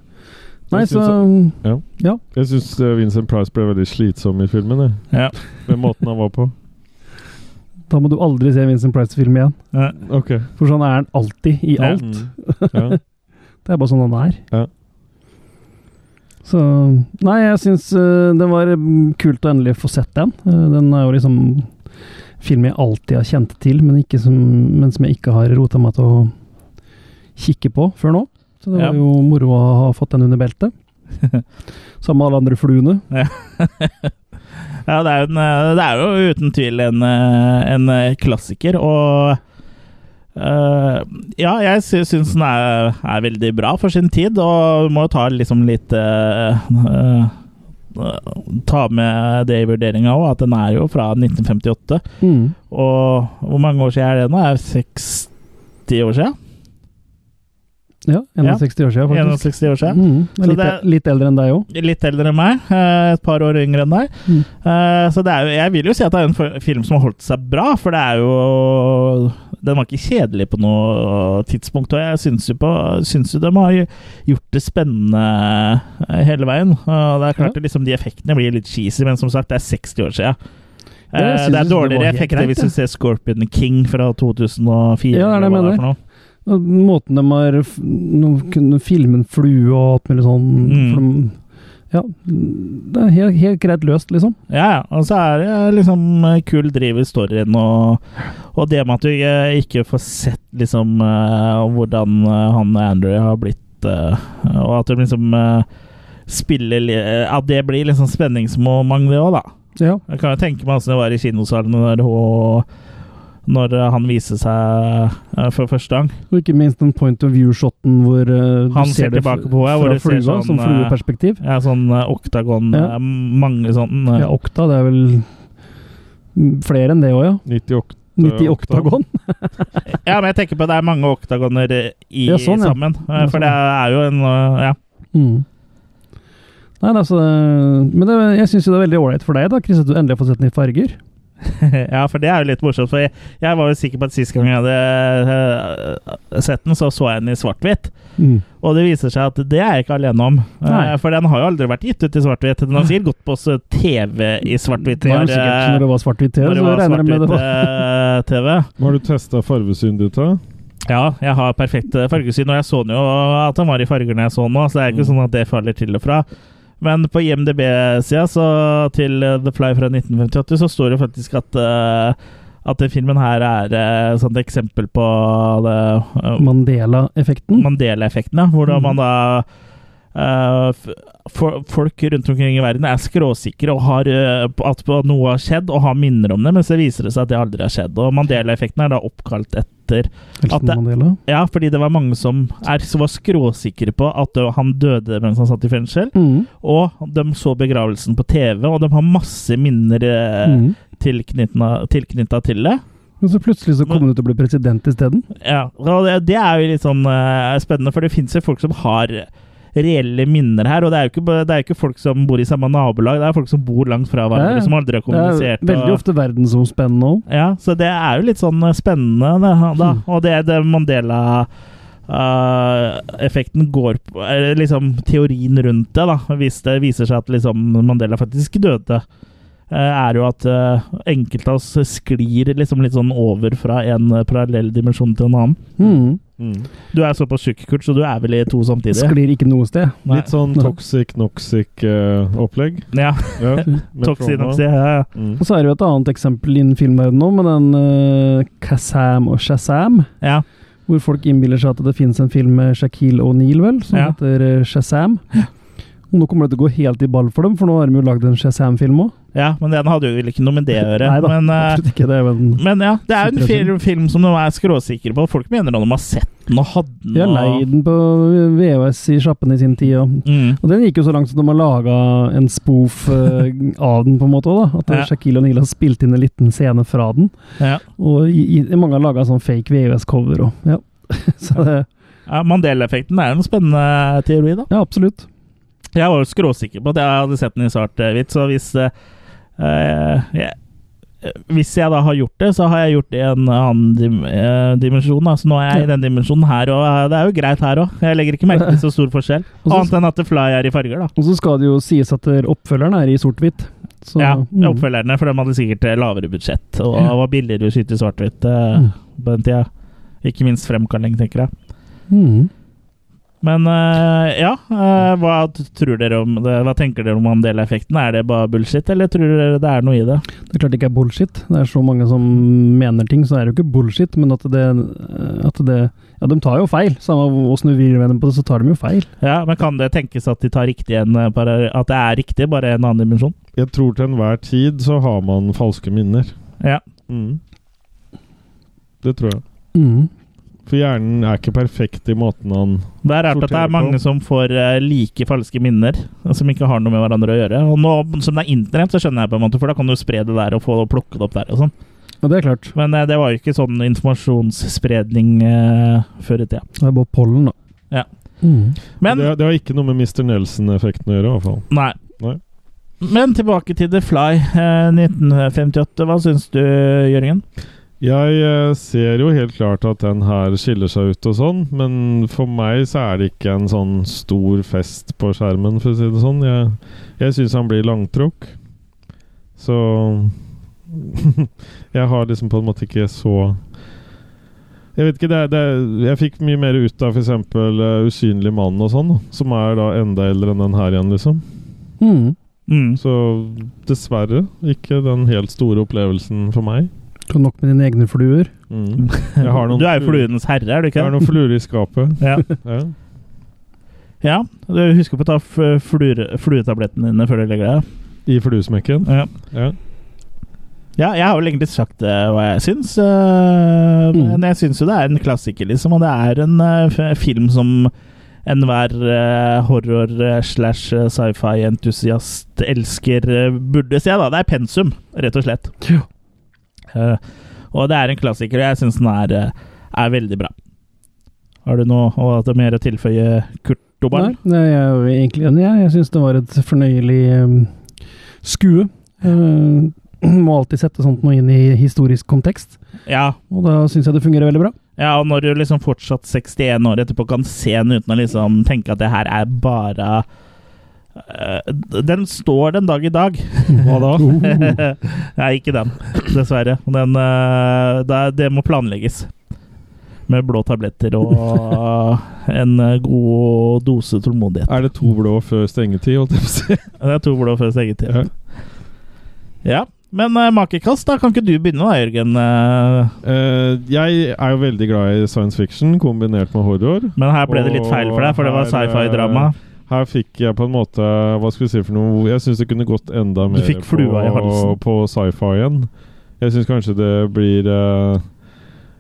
[SPEAKER 4] nei,
[SPEAKER 3] Jeg synes
[SPEAKER 4] så
[SPEAKER 3] Jeg syns Vincent Price ble veldig slitsom i filmen, jeg.
[SPEAKER 2] Ja.
[SPEAKER 3] med måten han var på.
[SPEAKER 4] da må du aldri se Vincent Price-film igjen.
[SPEAKER 2] Ja.
[SPEAKER 3] Ok.
[SPEAKER 4] For sånn er han alltid, i
[SPEAKER 2] Ja.
[SPEAKER 4] alt.
[SPEAKER 3] Mm. Ja.
[SPEAKER 4] Det er bare sånn han er.
[SPEAKER 3] Ja.
[SPEAKER 4] Så Nei, jeg syns det var mm, kult å endelig få sett den. Eh, den er jo liksom film jeg alltid har kjent til, men, ikke som, men som jeg ikke har rota meg til å kikke på før nå. Så det
[SPEAKER 2] Ja.
[SPEAKER 4] var jo moro å ha fått den under beltet. Sammen med alle andre fluene.
[SPEAKER 2] Ja, det er, jo en, eh, det er jo uten tvil en, eh, en eh, klassiker, og eh, Ja, jeg sy- syns den er, er veldig bra for sin tid, og må jo ta liksom litt eh, eh, Ta med det i vurderinga òg, at den er jo fra 1958.
[SPEAKER 4] Mm.
[SPEAKER 2] Og hvor mange år siden er det nå? Er det 60 år siden?
[SPEAKER 4] Ja, 61 år siden, faktisk.
[SPEAKER 2] 61 år siden?
[SPEAKER 4] Mm.
[SPEAKER 2] Så
[SPEAKER 4] Det er litt,
[SPEAKER 2] det er-
[SPEAKER 4] litt eldre enn deg òg.
[SPEAKER 2] Litt eldre enn meg. eh, Et par år yngre enn deg.
[SPEAKER 4] Mm.
[SPEAKER 2] Eh, Så det er jo, jeg vil jo si at det er en for- film som har holdt seg bra, for det er jo Den var ikke kjedelig på noe tidspunkt, og jeg syns jo, på- syns jo de har gjort det spennende eh, hele veien. Og det er klart
[SPEAKER 4] Ja.
[SPEAKER 2] at liksom de effektene blir litt cheesy, men som sagt, det er 60 år siden.
[SPEAKER 4] Ja, jeg
[SPEAKER 2] Eh,
[SPEAKER 4] synes
[SPEAKER 2] det er
[SPEAKER 4] det var
[SPEAKER 2] dårligere
[SPEAKER 4] helt
[SPEAKER 2] effekter
[SPEAKER 4] greit,
[SPEAKER 2] hvis
[SPEAKER 4] ja.
[SPEAKER 2] du ser Scorpion King fra 2004.
[SPEAKER 4] Ja, det er det
[SPEAKER 2] eller hva
[SPEAKER 4] jeg
[SPEAKER 2] for noe.
[SPEAKER 4] Og Måten de har f- nå kunne filme en flue og alt mulig sånn
[SPEAKER 2] Mm.
[SPEAKER 4] for de, Ja. Det er helt, helt greit løst, liksom.
[SPEAKER 2] Ja, ja. Og så er det liksom eh, kul driv i storyen, og, og det med at du eh, ikke får sett liksom eh, hvordan eh, han Andrew har blitt eh, Og at du liksom eh, spiller li- eh, At det blir liksom spenningsmoment, det òg, da.
[SPEAKER 4] Ja.
[SPEAKER 2] Jeg kan jo tenke meg åssen det var i kinosalen når hun når eh, han viser seg eh, for første gang.
[SPEAKER 4] Og ikke minst den point of view-shoten hvor eh, du
[SPEAKER 2] Han ser
[SPEAKER 4] det
[SPEAKER 2] tilbake
[SPEAKER 4] f-
[SPEAKER 2] på henne, hvor
[SPEAKER 4] fra
[SPEAKER 2] du ser
[SPEAKER 4] flua,
[SPEAKER 2] sånn,
[SPEAKER 4] som
[SPEAKER 2] eh,
[SPEAKER 4] flueperspektiv.
[SPEAKER 2] Ja, sånn eh, oktagon
[SPEAKER 4] Ja.
[SPEAKER 2] eh, Mange sånn eh,
[SPEAKER 4] Ja, okta, det er vel mm, flere enn det òg, ja.
[SPEAKER 3] 98
[SPEAKER 4] 90 oktagon.
[SPEAKER 2] Ja, men jeg tenker på at det er mange oktagoner eh, i
[SPEAKER 4] Ja, sånn, ja.
[SPEAKER 2] sammen. eh,
[SPEAKER 4] Ja,
[SPEAKER 2] For
[SPEAKER 4] sånn,
[SPEAKER 2] det er jo en eh, Ja.
[SPEAKER 4] Mm. Nei, det er altså, det- men det, jeg syns det er veldig ålreit for deg, da, Chris, at du endelig har fått sett den i farger.
[SPEAKER 2] ja, for det er jo litt morsomt. For jeg, jeg var jo sikker på at sist gang jeg hadde eh, sett den, så så jeg den i svart-hvitt.
[SPEAKER 4] Mm.
[SPEAKER 2] Og det viser seg at det er jeg ikke alene om. Eh,
[SPEAKER 4] Nei.
[SPEAKER 2] For den har jo aldri vært gitt ut i svart-hvitt. Den har sikkert gått på også TV i svart-hvitt.
[SPEAKER 4] Det var
[SPEAKER 2] eh,
[SPEAKER 4] sikkert når det var svart-hvitt TV,
[SPEAKER 2] når det
[SPEAKER 4] så
[SPEAKER 2] var
[SPEAKER 4] regner jeg med det var
[SPEAKER 2] svart-hvitt eh, TV.
[SPEAKER 3] Har du testa fargesyn ditt, da?
[SPEAKER 2] Ja, jeg har perfekt eh, fargesyn, og jeg så den jo at han var i farger når jeg så den nå, så det er ikke sånn at det faller til og fra. Men på IMDb-sida så til eh, The Fly fra 1958 så står det faktisk at eh, at den filmen her er eh, sånn et eksempel på det, eh,
[SPEAKER 4] Mandela-effekten.
[SPEAKER 2] Mandela-effekten, ja. Hvordan
[SPEAKER 4] Mm.
[SPEAKER 2] man da eh, f- for, Folk rundt omkring i verden er skråsikre og har eh, på- at på- noe har skjedd og har minner om det, men så viser det seg at det aldri har skjedd. Og Mandela-effekten er da oppkalt etter at
[SPEAKER 4] Nelson
[SPEAKER 2] det-
[SPEAKER 4] Mandela.
[SPEAKER 2] ja, fordi det var mange som, er, som var skråsikre på at ø, han døde mens han satt i fengsel.
[SPEAKER 4] Mm.
[SPEAKER 2] Og de så begravelsen på TV, og de har masse minner mm.
[SPEAKER 4] Mm.
[SPEAKER 2] tilknytta til det.
[SPEAKER 4] Men så plutselig så kommer du til å bli president isteden.
[SPEAKER 2] Ja, og det, det er jo litt sånn eh, spennende, for det fins jo folk som har reelle minner her. Og det er jo ikke, bare- det er jo ikke folk som bor i samme nabolag, det er folk som bor langt fra
[SPEAKER 4] Ja, ja.
[SPEAKER 2] hverandre, som aldri har
[SPEAKER 4] Det
[SPEAKER 2] kommunisert.
[SPEAKER 4] er veldig
[SPEAKER 2] og-
[SPEAKER 4] ofte verdensomspennende òg.
[SPEAKER 2] Ja, så det er jo litt sånn eh, spennende, det,
[SPEAKER 4] Mm.
[SPEAKER 2] da. Og det, det Mandela-effekten går på Eller liksom teorien rundt det, da. Hvis det viser seg at liksom Mandela faktisk døde, eh, er jo at eh, enkelte av oss sklir liksom litt sånn over fra en eh, parallell dimensjon til en annen.
[SPEAKER 4] Mm.
[SPEAKER 2] Du er såpass tjukk, Kurt, så du er vel i to samtidig?
[SPEAKER 4] Sklir ikke noe sted.
[SPEAKER 2] Nei.
[SPEAKER 3] Litt sånn toxic-noxic-opplegg.
[SPEAKER 2] Ja.
[SPEAKER 3] ja, med
[SPEAKER 2] Toxin,
[SPEAKER 3] trauma.
[SPEAKER 2] ja, ja.
[SPEAKER 3] Mm.
[SPEAKER 4] Og så er det jo et annet eksempel innen filmverdenen nå, med den eh, Kazam og Shazam.
[SPEAKER 2] ja.
[SPEAKER 4] Hvor folk innbiller seg at det finnes en film med Shaquille O'Neal, vel, som
[SPEAKER 2] Ja.
[SPEAKER 4] heter eh, Shazam. Og nå kommer det til å gå helt i ball for dem, for nå har de jo lagd en Shazam-film òg.
[SPEAKER 2] ja, men den hadde jo vel ikke noe med det å gjøre.
[SPEAKER 4] Nei da,
[SPEAKER 2] men, eh,
[SPEAKER 4] absolutt ikke det. Men
[SPEAKER 2] Men ja, det er jo en
[SPEAKER 4] Sitter og
[SPEAKER 2] film, film som de er skråsikre på. Folk mener at de har sett den og hadde den.
[SPEAKER 4] de har leid den på VHS i sjappen i sin tid. Og
[SPEAKER 2] Mm.
[SPEAKER 4] Og den gikk jo så langt som de har laga en spoof eh, av den, på en måte òg, da. At
[SPEAKER 2] Ja.
[SPEAKER 4] Shaquille O'Neal har spilt inn en liten scene fra den.
[SPEAKER 2] Ja.
[SPEAKER 4] Og i, i, mange har laga sånn fake VØS-cover òg. Ja. så det
[SPEAKER 2] Ja, Mandela-effekten er jo en spennende teori, da.
[SPEAKER 4] Ja, absolutt.
[SPEAKER 2] Jeg var jo skråsikker på at jeg hadde sett den i svart-hvitt, så hvis eh, eh, jeg- eh, Hvis jeg da har gjort det, så har jeg gjort det i en annen dim eh, dimensjon. Da. Så nå er jeg i den dimensjonen her, og eh, det er jo greit her òg. Jeg legger ikke merke til så stor forskjell.
[SPEAKER 4] Og så-
[SPEAKER 2] Annet enn at The Fly er i farger, da.
[SPEAKER 4] Og så skal det jo sies at der oppfølgeren er i sort-hvitt. Så-
[SPEAKER 2] Ja,
[SPEAKER 4] mm.
[SPEAKER 2] oppfølgerne, for de hadde sikkert eh, lavere budsjett, og
[SPEAKER 4] Ja.
[SPEAKER 2] det var billigere å skyte i svart-hvitt eh,
[SPEAKER 4] Mm.
[SPEAKER 2] på den tida. Ikke minst fremkalling, tenker jeg.
[SPEAKER 4] Mm.
[SPEAKER 2] Men eh, ja, eh, hva t- tror dere om det? Hva tenker dere om Mandela-effekten? Er det bare bullshit, eller tror dere det er noe i det?
[SPEAKER 4] Det er klart det ikke er bullshit. Det er så mange som mener ting, så er det jo ikke bullshit. Men at det, eh, at det Ja, de tar jo feil. Samme åssen du vrir med dem på det, så tar de jo feil.
[SPEAKER 2] Ja, men kan det tenkes at de tar riktig en eh, para- At det er riktig, bare en annen dimensjon?
[SPEAKER 3] Jeg tror til enhver tid så har man falske minner.
[SPEAKER 2] Ja.
[SPEAKER 3] Mm. Det tror jeg.
[SPEAKER 4] Mm.
[SPEAKER 3] For hjernen er ikke perfekt i måten han
[SPEAKER 2] Det er rart at det
[SPEAKER 3] Sorterer
[SPEAKER 2] er mange
[SPEAKER 3] på.
[SPEAKER 2] som får eh, like falske minner, som ikke har noe med hverandre å gjøre. Og nå som det er internett, så skjønner jeg på en måte, for da kan du spre det der og få plukke det opp der og sånn.
[SPEAKER 4] Ja, det er klart.
[SPEAKER 2] Men eh, det var jo ikke sånn informasjonsspredning eh, før i tida.
[SPEAKER 4] Det er bare pollen, da.
[SPEAKER 2] Ja.
[SPEAKER 4] Mm.
[SPEAKER 2] Men
[SPEAKER 3] det, det har ikke noe med Mr. Nelson-effekten å gjøre, i hvert fall.
[SPEAKER 2] nei.
[SPEAKER 3] Nei.
[SPEAKER 2] Men tilbake til The Fly eh, 1958. Hva syns du, Jørgen?
[SPEAKER 3] Jeg eh, ser jo helt klart at den her skiller seg ut og sånn, men for meg så er det ikke en sånn stor fest på skjermen, for å si det sånn. Jeg, jeg syns han blir langtråkk. Så Jeg har liksom på en måte ikke så Jeg vet ikke, det er, det er Jeg fikk mye mer ut av f.eks. Uh, 'Usynlig mann' og sånn, da, som er da enda eldre enn den her igjen, liksom.
[SPEAKER 4] Mm.
[SPEAKER 2] Mm.
[SPEAKER 3] Så dessverre ikke den helt store opplevelsen for meg.
[SPEAKER 4] Du har nok med dine egne fluer.
[SPEAKER 3] Mm. Jeg har noen
[SPEAKER 2] Du er jo
[SPEAKER 3] fluer-
[SPEAKER 2] fluenes herre, er du
[SPEAKER 3] Jeg
[SPEAKER 2] ikke?
[SPEAKER 3] har noen fluer i skapet.
[SPEAKER 2] Ja.
[SPEAKER 3] Ja.
[SPEAKER 2] ja. Du husker på å ta f- fluer- fluetablettene dine før du legger deg.
[SPEAKER 3] I fluesmekken.
[SPEAKER 2] Ja.
[SPEAKER 3] Ja.
[SPEAKER 2] Ja, jeg har vel egentlig sagt eh, hva jeg syns, eh, men jeg syns jo det er en klassiker, liksom. Og det er en eh, f- film som enhver eh, horror-slash-sci-fi-entusiast elsker, eh, burde se. da. Det er pensum, rett og slett. Eh, og det er en klassiker, og jeg syns den er, eh, er veldig bra. Har du noe å- at det er mer å tilføye, Kurt Dobal?
[SPEAKER 4] Nei, nei, jeg er jo egentlig enig. Jeg, jeg syns det var et fornøyelig ehm, skue. Eh, må alltid sette sånt noe inn i historisk kontekst,
[SPEAKER 2] Ja,
[SPEAKER 4] og da syns jeg det fungerer veldig bra.
[SPEAKER 2] Ja, og når du liksom fortsatt 61 år etterpå kan se den uten å liksom tenke at det her er bare øh, Den står den dag i dag.
[SPEAKER 3] Hva da?
[SPEAKER 2] Nei, ikke den, dessverre. Den, øh, det, er- det må planlegges. Med blå tabletter og en øh, god dose tålmodighet.
[SPEAKER 3] Er det to blå før stengetid, holdt jeg på å si?
[SPEAKER 2] Det er to blå før eget tid. Ja. Men øh, makekast, da kan ikke du begynne da, Jørgen? Øh,
[SPEAKER 3] Eh, jeg er jo veldig glad i science fiction kombinert med horror.
[SPEAKER 2] Men her ble det litt feil for deg, for det var
[SPEAKER 3] Her, øh,
[SPEAKER 2] sci-fi-drama.
[SPEAKER 3] Her fikk jeg på en måte Hva skal vi si for noe Jeg syns det kunne gått enda mer
[SPEAKER 2] fikk
[SPEAKER 3] på,
[SPEAKER 2] flua i halsen.
[SPEAKER 3] på sci-fi-en. Jeg syns kanskje det blir eh,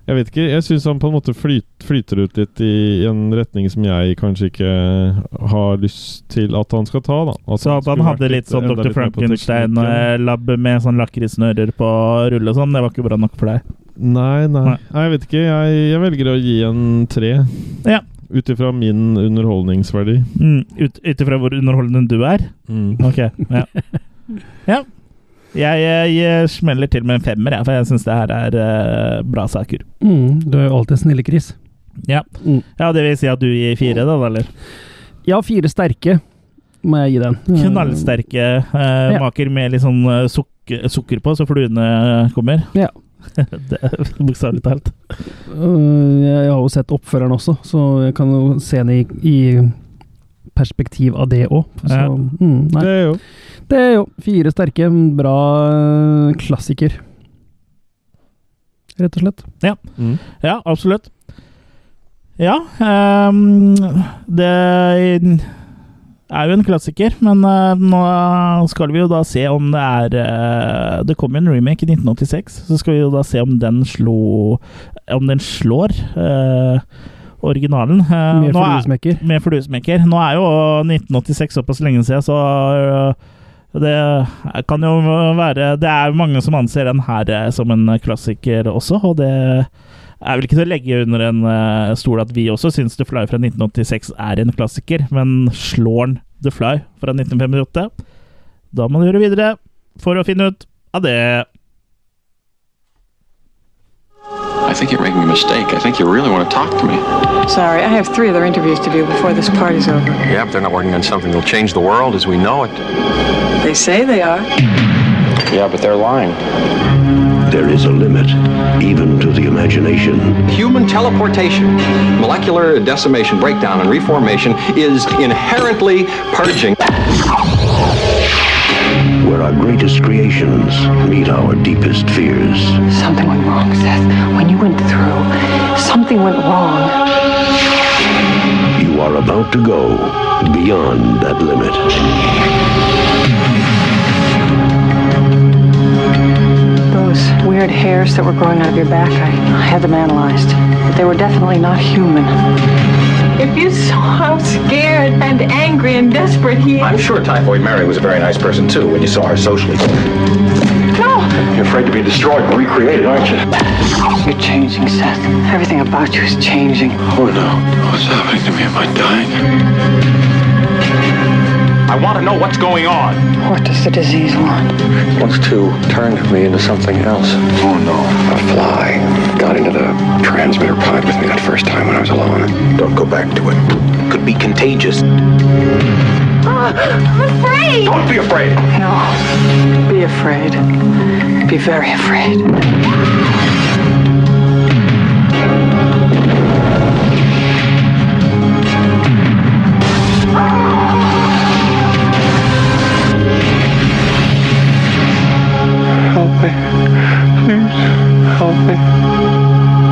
[SPEAKER 3] Jeg vet ikke. Jeg syns han på en måte flyt, flyter ut litt i en retning som jeg kanskje ikke har lyst til at han skal ta, da. At
[SPEAKER 2] Så at han
[SPEAKER 3] skulle
[SPEAKER 2] hadde
[SPEAKER 3] vært
[SPEAKER 2] litt sånn
[SPEAKER 3] enda
[SPEAKER 2] Dr. eh,
[SPEAKER 3] litt mer på teknikken.
[SPEAKER 2] Frankenstein-labb med sånn lakrissnører på rull og sånn, det var ikke bra nok for deg.
[SPEAKER 3] Nei, nei.
[SPEAKER 2] Nei.
[SPEAKER 3] Nei, jeg vet ikke. Jeg, jeg velger å gi en tre.
[SPEAKER 2] Ja.
[SPEAKER 3] Ut ifra min underholdningsverdi.
[SPEAKER 2] Mm, ut, ut ifra hvor underholdende du er?
[SPEAKER 4] Mm.
[SPEAKER 2] Ok, ja. ja. Jeg, jeg, jeg smeller til med en femmer, jeg, for jeg syns det her er eh, bra saker.
[SPEAKER 4] Mm, du er jo alltid snille, Chris.
[SPEAKER 2] Ja.
[SPEAKER 4] Mm.
[SPEAKER 2] ja, det vil si at du gir fire, da, eller?
[SPEAKER 4] Ja, fire sterke må jeg gi den.
[SPEAKER 2] Knallsterke eh,
[SPEAKER 4] Ja.
[SPEAKER 2] maker med litt sånn eh, sukker, sukker på, så fluene eh, kommer.
[SPEAKER 4] Ja.
[SPEAKER 2] Det er Bokstavelig talt.
[SPEAKER 4] Øh, Jeg har jo sett oppføreren også, så jeg kan jo se den i, i perspektiv av det òg.
[SPEAKER 2] Ja.
[SPEAKER 4] Mm, nei.
[SPEAKER 3] Det er jo
[SPEAKER 4] det er jo fire sterke, bra øh, klassiker. Rett og slett.
[SPEAKER 3] mm.
[SPEAKER 2] Ja, absolutt. Ja ehm, Det er jo en klassiker, men eh, nå skal vi jo da se om det er eh, Det kom jo en remake i 1986, så skal vi jo da se om den slo Om den slår eh, originalen. Eh,
[SPEAKER 4] Med
[SPEAKER 2] nå er-
[SPEAKER 4] fluesmekker.
[SPEAKER 2] med fluesmekker. Nå er jo 1986 såpass lenge siden, så øh, det kan jo være Det er mange som anser den her eh, som en klassiker også, og det er vel ikke til å legge under en eh, stol at vi også syns The Fly fra 1986 er en klassiker, men slår den The Fly fra 1958? Da må du gjøre videre for å finne ut av det.
[SPEAKER 10] I think you're making a mistake. I think you really want to talk to me.
[SPEAKER 7] Sorry, I have three other interviews to do before this party's over.
[SPEAKER 10] Yeah, but they're not working on something that'll change the world as we know it.
[SPEAKER 7] They say they are.
[SPEAKER 10] Yeah, but they're lying.
[SPEAKER 8] There is a limit, even to the imagination.
[SPEAKER 10] Human teleportation, molecular decimation, breakdown, and reformation is inherently purging.
[SPEAKER 8] Where our greatest creations meet our deepest fears.
[SPEAKER 7] Something went wrong, Seth. When you went through, something went wrong.
[SPEAKER 8] You are about to go beyond that limit.
[SPEAKER 7] Those weird hairs that were growing out of your back, I, I had them analyzed. They were definitely not human. If you saw how scared and angry and desperate he
[SPEAKER 10] I'm sure Typhoid Mary was a very nice person, too, when you saw her socially.
[SPEAKER 7] No!
[SPEAKER 10] You're afraid to be destroyed and recreated, aren't you?
[SPEAKER 7] You're changing, Seth. Everything about you is changing.
[SPEAKER 10] Oh, no. What's happening to me? Am I dying? I want to know what's going on.
[SPEAKER 7] What does the disease want?
[SPEAKER 10] wants to turn me into something else. Oh no. A fly got into the transmitter pod with me that first time when I was alone. Don't go back to it. It could be contagious.
[SPEAKER 7] Ah, I'm afraid!
[SPEAKER 10] Don't be afraid.
[SPEAKER 7] No. Be afraid. Be very afraid.
[SPEAKER 10] Help me. Please help me.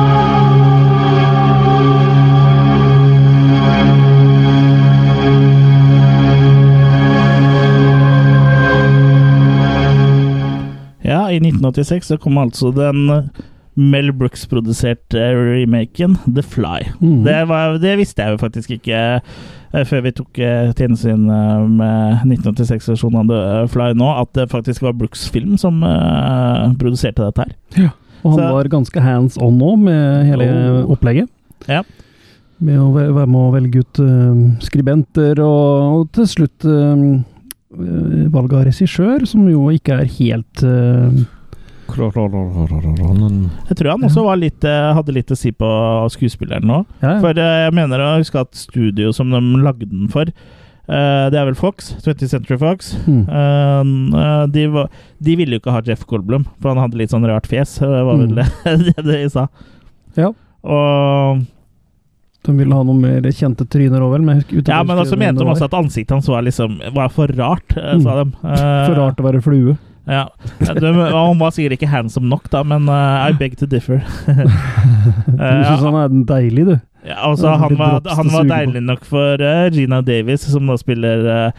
[SPEAKER 2] Ja, inn 1986 så kom altså den eh, Mel Brooks-produserte remaken The Fly.
[SPEAKER 4] Mhm.
[SPEAKER 2] Det, var, det visste jeg jo faktisk ikke eh, før vi tok eh, til innsyn eh, med 1986-versjonen av The eh, Fly nå, at det faktisk var Brooks-film som eh, produserte dette her.
[SPEAKER 4] Og han
[SPEAKER 2] Så-
[SPEAKER 4] var ganske hands on nå med hele
[SPEAKER 2] Oh.
[SPEAKER 4] opplegget.
[SPEAKER 2] Ja.
[SPEAKER 4] Med å væ- være med å velge ut eh, skribenter, og, og til slutt eh, eh, valg av regissør, som jo ikke er helt eh,
[SPEAKER 3] Sånn
[SPEAKER 2] Jeg tror han også var litt, eh, hadde litt å si på skuespilleren nå.
[SPEAKER 4] ja,
[SPEAKER 2] For eh, jeg mener å huske at studio som de lagde den for, eh, det er vel Fox? 20th Century Fox?
[SPEAKER 4] Mm.
[SPEAKER 2] Eh, de, var, de ville jo ikke ha Jeff Goldblum, for han hadde litt sånn rart fjes. Det var vel det de sa.
[SPEAKER 4] Mm. Ja.
[SPEAKER 2] Og,
[SPEAKER 4] De ville ha noen mer kjente tryner òg, vel? men jeg husker- uten
[SPEAKER 2] ja,
[SPEAKER 4] å
[SPEAKER 2] men
[SPEAKER 4] huske
[SPEAKER 2] også
[SPEAKER 4] hvem
[SPEAKER 2] mente
[SPEAKER 4] det
[SPEAKER 2] de
[SPEAKER 4] var.
[SPEAKER 2] også at ansiktet hans var, liksom, var for rart, eh, sa de. Eh,
[SPEAKER 4] Mm. For rart å være flue.
[SPEAKER 2] Ja. De, han var sikkert ikke handsome nok, da, men eh, I beg to differ. eh,
[SPEAKER 4] Du syns han er den deilig, du?
[SPEAKER 2] Ja, altså,
[SPEAKER 4] Det er
[SPEAKER 2] han
[SPEAKER 4] det
[SPEAKER 2] var,
[SPEAKER 4] droppeste
[SPEAKER 2] han var
[SPEAKER 4] suget på.
[SPEAKER 2] deilig nok for eh, Gina Davis, som da spiller eh,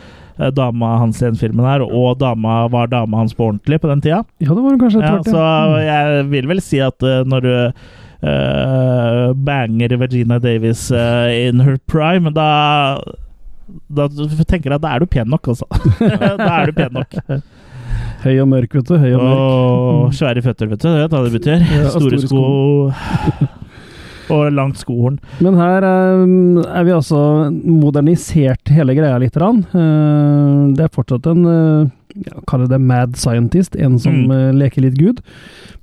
[SPEAKER 2] dama hans i den filmen her, og dama var dama hans på ordentlig på den tida.
[SPEAKER 4] Ja, det var han kanskje
[SPEAKER 2] Ja,
[SPEAKER 4] etter hvert,
[SPEAKER 2] så
[SPEAKER 4] ja. Mm.
[SPEAKER 2] jeg vil vel si at eh, når du eh, banger Regina Davis eh, in her prime, da da tenker jeg at da er du pen nok, altså. da er du pen nok.
[SPEAKER 4] Høy og mørk, vet du. Høy og mørk.
[SPEAKER 2] Og svære føtter, vet du. Du vet hva det betyr.
[SPEAKER 4] Mm. Ja, og
[SPEAKER 2] Store
[SPEAKER 4] store
[SPEAKER 2] sko og langt skohorn.
[SPEAKER 4] Men her um, er vi altså modernisert hele greia litt. grann. Eh, Det er fortsatt en eh, ja, Kall det mad scientist, en som
[SPEAKER 2] Mm.
[SPEAKER 4] eh, leker litt gud.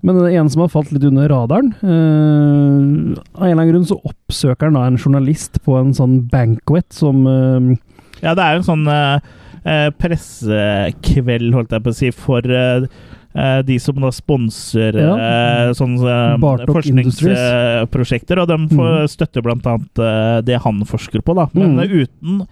[SPEAKER 4] Men det er en som har falt litt under radaren. Eh, Av en eller annen grunn så oppsøker han da en journalist på en sånn banquet som eh,
[SPEAKER 2] Ja, det er jo en sånn eh, eh, pressekveld, holdt jeg på å si, for eh, eh, de som da sponser
[SPEAKER 4] Ja.
[SPEAKER 2] eh, sånne eh,
[SPEAKER 4] Bartok Industries.
[SPEAKER 2] forskningsprosjekter, og de får
[SPEAKER 4] Mhm.
[SPEAKER 2] støtter blant annet eh, det han forsker på, da. Men
[SPEAKER 4] Mhm.
[SPEAKER 2] eh, uten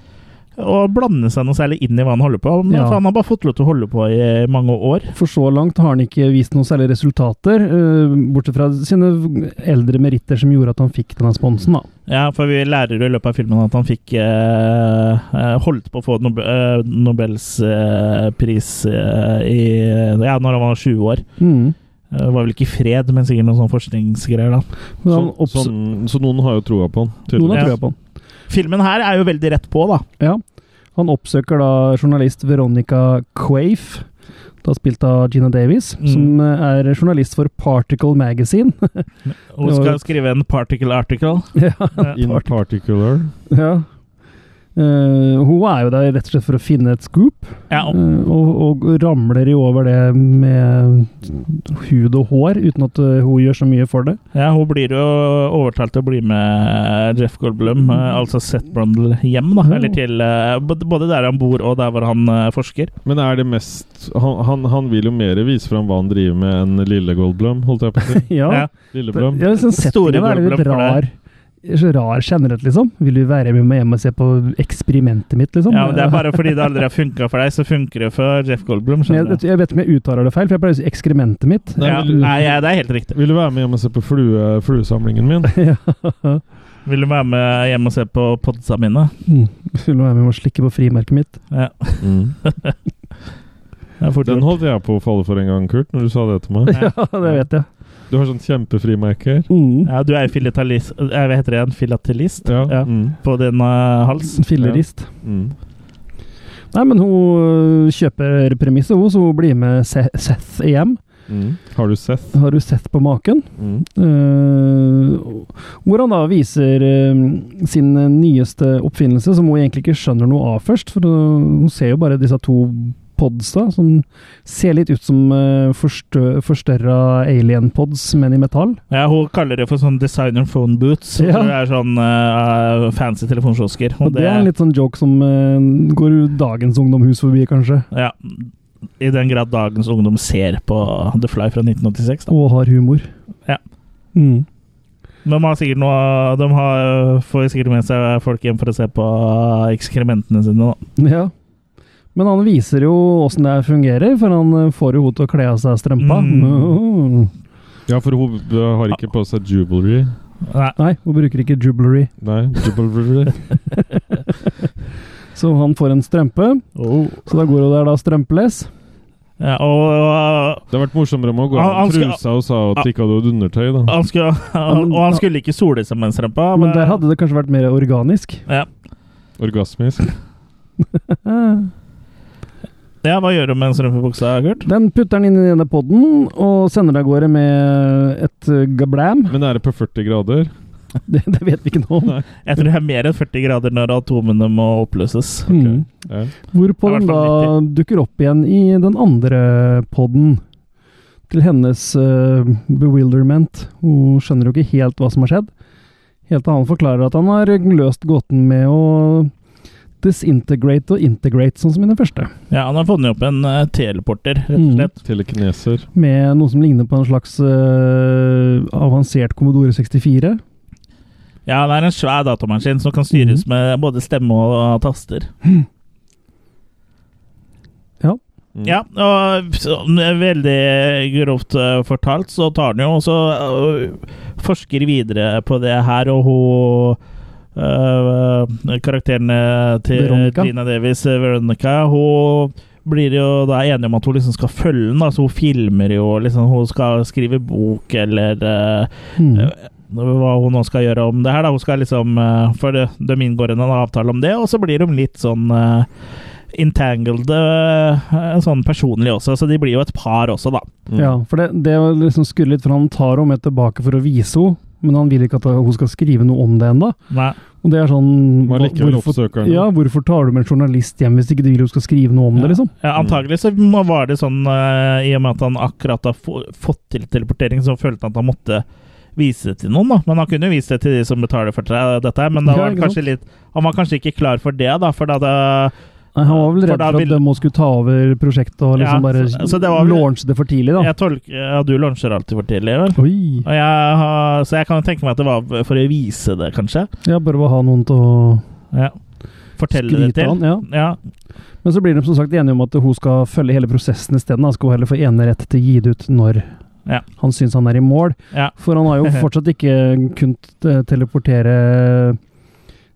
[SPEAKER 2] å blande seg noe særlig inn i hva han holder på. Men,
[SPEAKER 4] Ja.
[SPEAKER 2] for han har bare fått lov til å holde på i mange år.
[SPEAKER 4] For så langt har han ikke vist noen særlige resultater, eh, bortsett fra sine eldre meritter som gjorde at han fikk denne sponsen. da.
[SPEAKER 2] Ja, for vi lærer jo i løpet av filmen at han fikk eh, eh, holdt på å få Nobe eh, Nobels eh, pris eh, i, ja, når han var 20 år.
[SPEAKER 4] Mm.
[SPEAKER 2] Eh, Det var vel ikke fred, men sikkert noen sånne forskningsgreier. da.
[SPEAKER 4] Men
[SPEAKER 3] Så,
[SPEAKER 4] han opps-
[SPEAKER 3] sånn- så noen har jo troa på han,
[SPEAKER 4] Noen
[SPEAKER 3] tydeligvis.
[SPEAKER 4] har
[SPEAKER 2] Ja.
[SPEAKER 4] trua på han.
[SPEAKER 2] Filmen her er jo veldig rett på, da.
[SPEAKER 4] Ja. Han oppsøker da journalist Veronica Quaife, da spilt av Gina Davis,
[SPEAKER 2] Mm.
[SPEAKER 4] som eh, er journalist for Particle Magazine.
[SPEAKER 2] Hun skal skrive en particle article.
[SPEAKER 4] ja.
[SPEAKER 3] In particular.
[SPEAKER 4] ja. Eh, hun er jo der rett og slett for å finne et scoop,
[SPEAKER 2] Ja,
[SPEAKER 4] eh, og, og ramler jo over det med hud og hår, uten at eh, hun gjør så mye for det.
[SPEAKER 2] ja, hun blir jo overtalt til å bli med Jeff Goldblum, eh, altså Seth Brundle, hjem. da,
[SPEAKER 4] Ja.
[SPEAKER 2] eller til eh, b- Både der han bor, og der hvor han eh, forsker.
[SPEAKER 3] Men er det mest Han, han, han vil jo mer vise fram hva han driver med, enn lille Goldblum, holdt jeg på å si.
[SPEAKER 4] Ja,
[SPEAKER 2] Ja.
[SPEAKER 3] Lilleblom.
[SPEAKER 4] Ja, liksom
[SPEAKER 2] Store
[SPEAKER 4] settingen er litt
[SPEAKER 2] problem for
[SPEAKER 4] rar. Så rar generelt, liksom. Vil du være med meg hjem og se på eksperimentet mitt, liksom?
[SPEAKER 2] Sånn, Ja, men Det er bare fordi det aldri har funka for deg, så funker det for Jeff Goldblum.
[SPEAKER 4] Men
[SPEAKER 2] skjønner
[SPEAKER 4] Jeg,
[SPEAKER 2] du?
[SPEAKER 4] jeg vet ikke om jeg uttaler det feil, for jeg pleier å si ekskrementet mitt.
[SPEAKER 2] Ja, nei, ja, det er helt riktig.
[SPEAKER 3] Vil du være med hjem og se på flue, fluesamlingen min?
[SPEAKER 2] Vil du være med hjem og se på podsa mine?
[SPEAKER 4] Mm. Skulle være med og slikke på frimerket mitt.
[SPEAKER 2] Ja.
[SPEAKER 4] Mm.
[SPEAKER 2] det er fort
[SPEAKER 3] Den
[SPEAKER 2] gjort.
[SPEAKER 3] holdt jeg på å falle for en gang, Kurt, når du sa det til meg.
[SPEAKER 4] Ja, det vet jeg.
[SPEAKER 3] Du har sånn kjempefrimerker.
[SPEAKER 4] Mm.
[SPEAKER 2] Ja, du er jo filatelist eh, Hva heter det igjen? Filatelist?
[SPEAKER 3] Ja.
[SPEAKER 2] Ja.
[SPEAKER 3] Mm.
[SPEAKER 2] På din eh, hals?
[SPEAKER 4] Fillerist.
[SPEAKER 3] Mm.
[SPEAKER 4] Nei, men hun øh, kjøper premisset, hun, så hun blir med Se- Seth hjem.
[SPEAKER 3] Mm. Har du Seth?
[SPEAKER 4] Har du sett på maken?
[SPEAKER 3] Mm.
[SPEAKER 4] Eh, hvor han da viser eh, sin nyeste oppfinnelse, som hun egentlig ikke skjønner noe av først. For eh, hun ser jo bare disse to podsa, som ser litt ut som uh, forstørra alien-pods, men i metall.
[SPEAKER 2] Ja, hun kaller det for sånn designer phone boots.
[SPEAKER 4] Ja.
[SPEAKER 2] Ja. Det er sånn eh, fancy telefonkiosker.
[SPEAKER 4] Og det er en litt sånn joke som eh, går dagens ungdom hus forbi, kanskje.
[SPEAKER 2] ja, I den grad dagens ungdom ser på The Fly fra 1986, da.
[SPEAKER 4] Og har humor.
[SPEAKER 2] Ja.
[SPEAKER 4] Mm.
[SPEAKER 2] De, har sikkert noe, de har, får sikkert med seg folk hjem for å se på ekskrementene sine, da.
[SPEAKER 4] ja. Men han viser jo åssen det her fungerer, for han eh, får jo henne til å kle av seg strømpa.
[SPEAKER 2] Mm.
[SPEAKER 3] Ja, for hun uh, har ikke på seg jubelry.
[SPEAKER 2] Nei.
[SPEAKER 4] Nei, hun bruker ikke jublery.
[SPEAKER 3] Nei, jubelry.
[SPEAKER 4] Så han får en strømpe,
[SPEAKER 2] Oh.
[SPEAKER 4] Oh. så da går hun der da strømpeless.
[SPEAKER 2] Ja, og, og
[SPEAKER 3] Det har vært morsommere med å gå
[SPEAKER 2] Han-
[SPEAKER 3] av
[SPEAKER 2] han skal- Ah.
[SPEAKER 3] trusa og sa at de ikke hadde undertøy, da.
[SPEAKER 2] han skulle,
[SPEAKER 4] men-
[SPEAKER 2] og han skulle ikke sole seg mens rempa.
[SPEAKER 4] Men der hadde det kanskje vært mer organisk.
[SPEAKER 2] ja.
[SPEAKER 3] Orgasmisk.
[SPEAKER 2] ja, hva gjør du med en strømpebukse, Kurt?
[SPEAKER 4] Den putter den inn i denne podden og sender deg av gårde med et eh, gablam.
[SPEAKER 3] Men er det på 40 grader?
[SPEAKER 4] Det, det vet vi ikke noe om.
[SPEAKER 3] Nei.
[SPEAKER 2] Jeg tror det er mer enn 40 grader når atomene må oppløses.
[SPEAKER 4] Mm.
[SPEAKER 3] Ja.
[SPEAKER 4] Hvorpå
[SPEAKER 2] Det er i
[SPEAKER 4] den
[SPEAKER 2] hvert
[SPEAKER 4] da
[SPEAKER 2] fall
[SPEAKER 4] dukker opp igjen i den andre podden. Til hennes eh, bewilderment. Hun skjønner jo ikke helt hva som har skjedd. Helt til han forklarer at han har løst gåten med å disintegrate og integrate, sånn som i den første.
[SPEAKER 2] Ja, han har funnet opp en eh, teleporter, rett og
[SPEAKER 4] Mm.
[SPEAKER 2] slett.
[SPEAKER 3] Telekineser.
[SPEAKER 4] Med noe som ligner på en slags eh, avansert Commodore 64.
[SPEAKER 2] Ja, det er en svær datamaskin som kan styres
[SPEAKER 4] Mhm.
[SPEAKER 2] med både stemme og, og taster.
[SPEAKER 4] Ja.
[SPEAKER 3] Mm.
[SPEAKER 2] Ja, og så- veldig grovt eh, fortalt så tar den jo også eh, forsker videre på det her, og hun eh, karakteren eh, til
[SPEAKER 4] Veronica.
[SPEAKER 2] Trina Davies, eh, Veronica, hun blir jo da enig om at hun liksom skal følge den. Altså, hun filmer jo, liksom, hun skal skrive bok eller eh,
[SPEAKER 4] Mm.
[SPEAKER 2] hva hun nå skal gjøre om det her. Da. Hun skal liksom, eh, for det- de inngår en avtale om det, og så blir de litt sånn eh, entangled eh, sånn personlig også, så de blir jo et par også, da.
[SPEAKER 3] Mm.
[SPEAKER 4] Ja, for det, det var liksom skurrer litt, for han tar henne med tilbake for å vise henne. Men han vil ikke at hun skal skrive noe om det ennå.
[SPEAKER 2] Nei.
[SPEAKER 4] Og det er sånn
[SPEAKER 3] Man liker vel oppsøkeren.
[SPEAKER 4] Ja, hvorfor tar du med en journalist hjem hvis ikke du vil hun skal skrive noe om det, liksom?
[SPEAKER 2] Ja, antagelig så må- var det sånn, eh, i og med at han akkurat har få, fått til teleportering, så følte han at han måtte vise det til noen, da. Men han kunne jo vise det til de som betaler for det- dette, her, men da
[SPEAKER 4] Ja,
[SPEAKER 2] var han
[SPEAKER 4] ikke sant.
[SPEAKER 2] kanskje litt Han var kanskje ikke klar for det, da, for da det
[SPEAKER 4] Nei, han var vel
[SPEAKER 2] For
[SPEAKER 4] redd
[SPEAKER 2] da
[SPEAKER 4] for at
[SPEAKER 2] vil-
[SPEAKER 4] de må skulle ta over prosjektet og
[SPEAKER 2] Ja,
[SPEAKER 4] liksom bare
[SPEAKER 2] så- så det var vel-
[SPEAKER 4] launche det for tidlig, da.
[SPEAKER 2] Jeg tolker Ja, du lunsjer alltid for tidlig, vel?
[SPEAKER 4] Oi!
[SPEAKER 2] Og jeg, har- så jeg kan jo tenke meg at det var for å vise det, kanskje.
[SPEAKER 4] Ja, bare å ha noen til å
[SPEAKER 2] Ja. Fortelle det
[SPEAKER 4] skryte
[SPEAKER 2] til.
[SPEAKER 4] av han. Ja.
[SPEAKER 2] Ja.
[SPEAKER 4] Men så blir de som sagt enige om at hun skal følge hele prosessen isteden. Han skal hun heller få enerett til å gi det ut når
[SPEAKER 2] Ja.
[SPEAKER 4] han syns han er i mål.
[SPEAKER 2] Ja.
[SPEAKER 4] For han har jo fortsatt ikke kunnet eh, teleportere eh,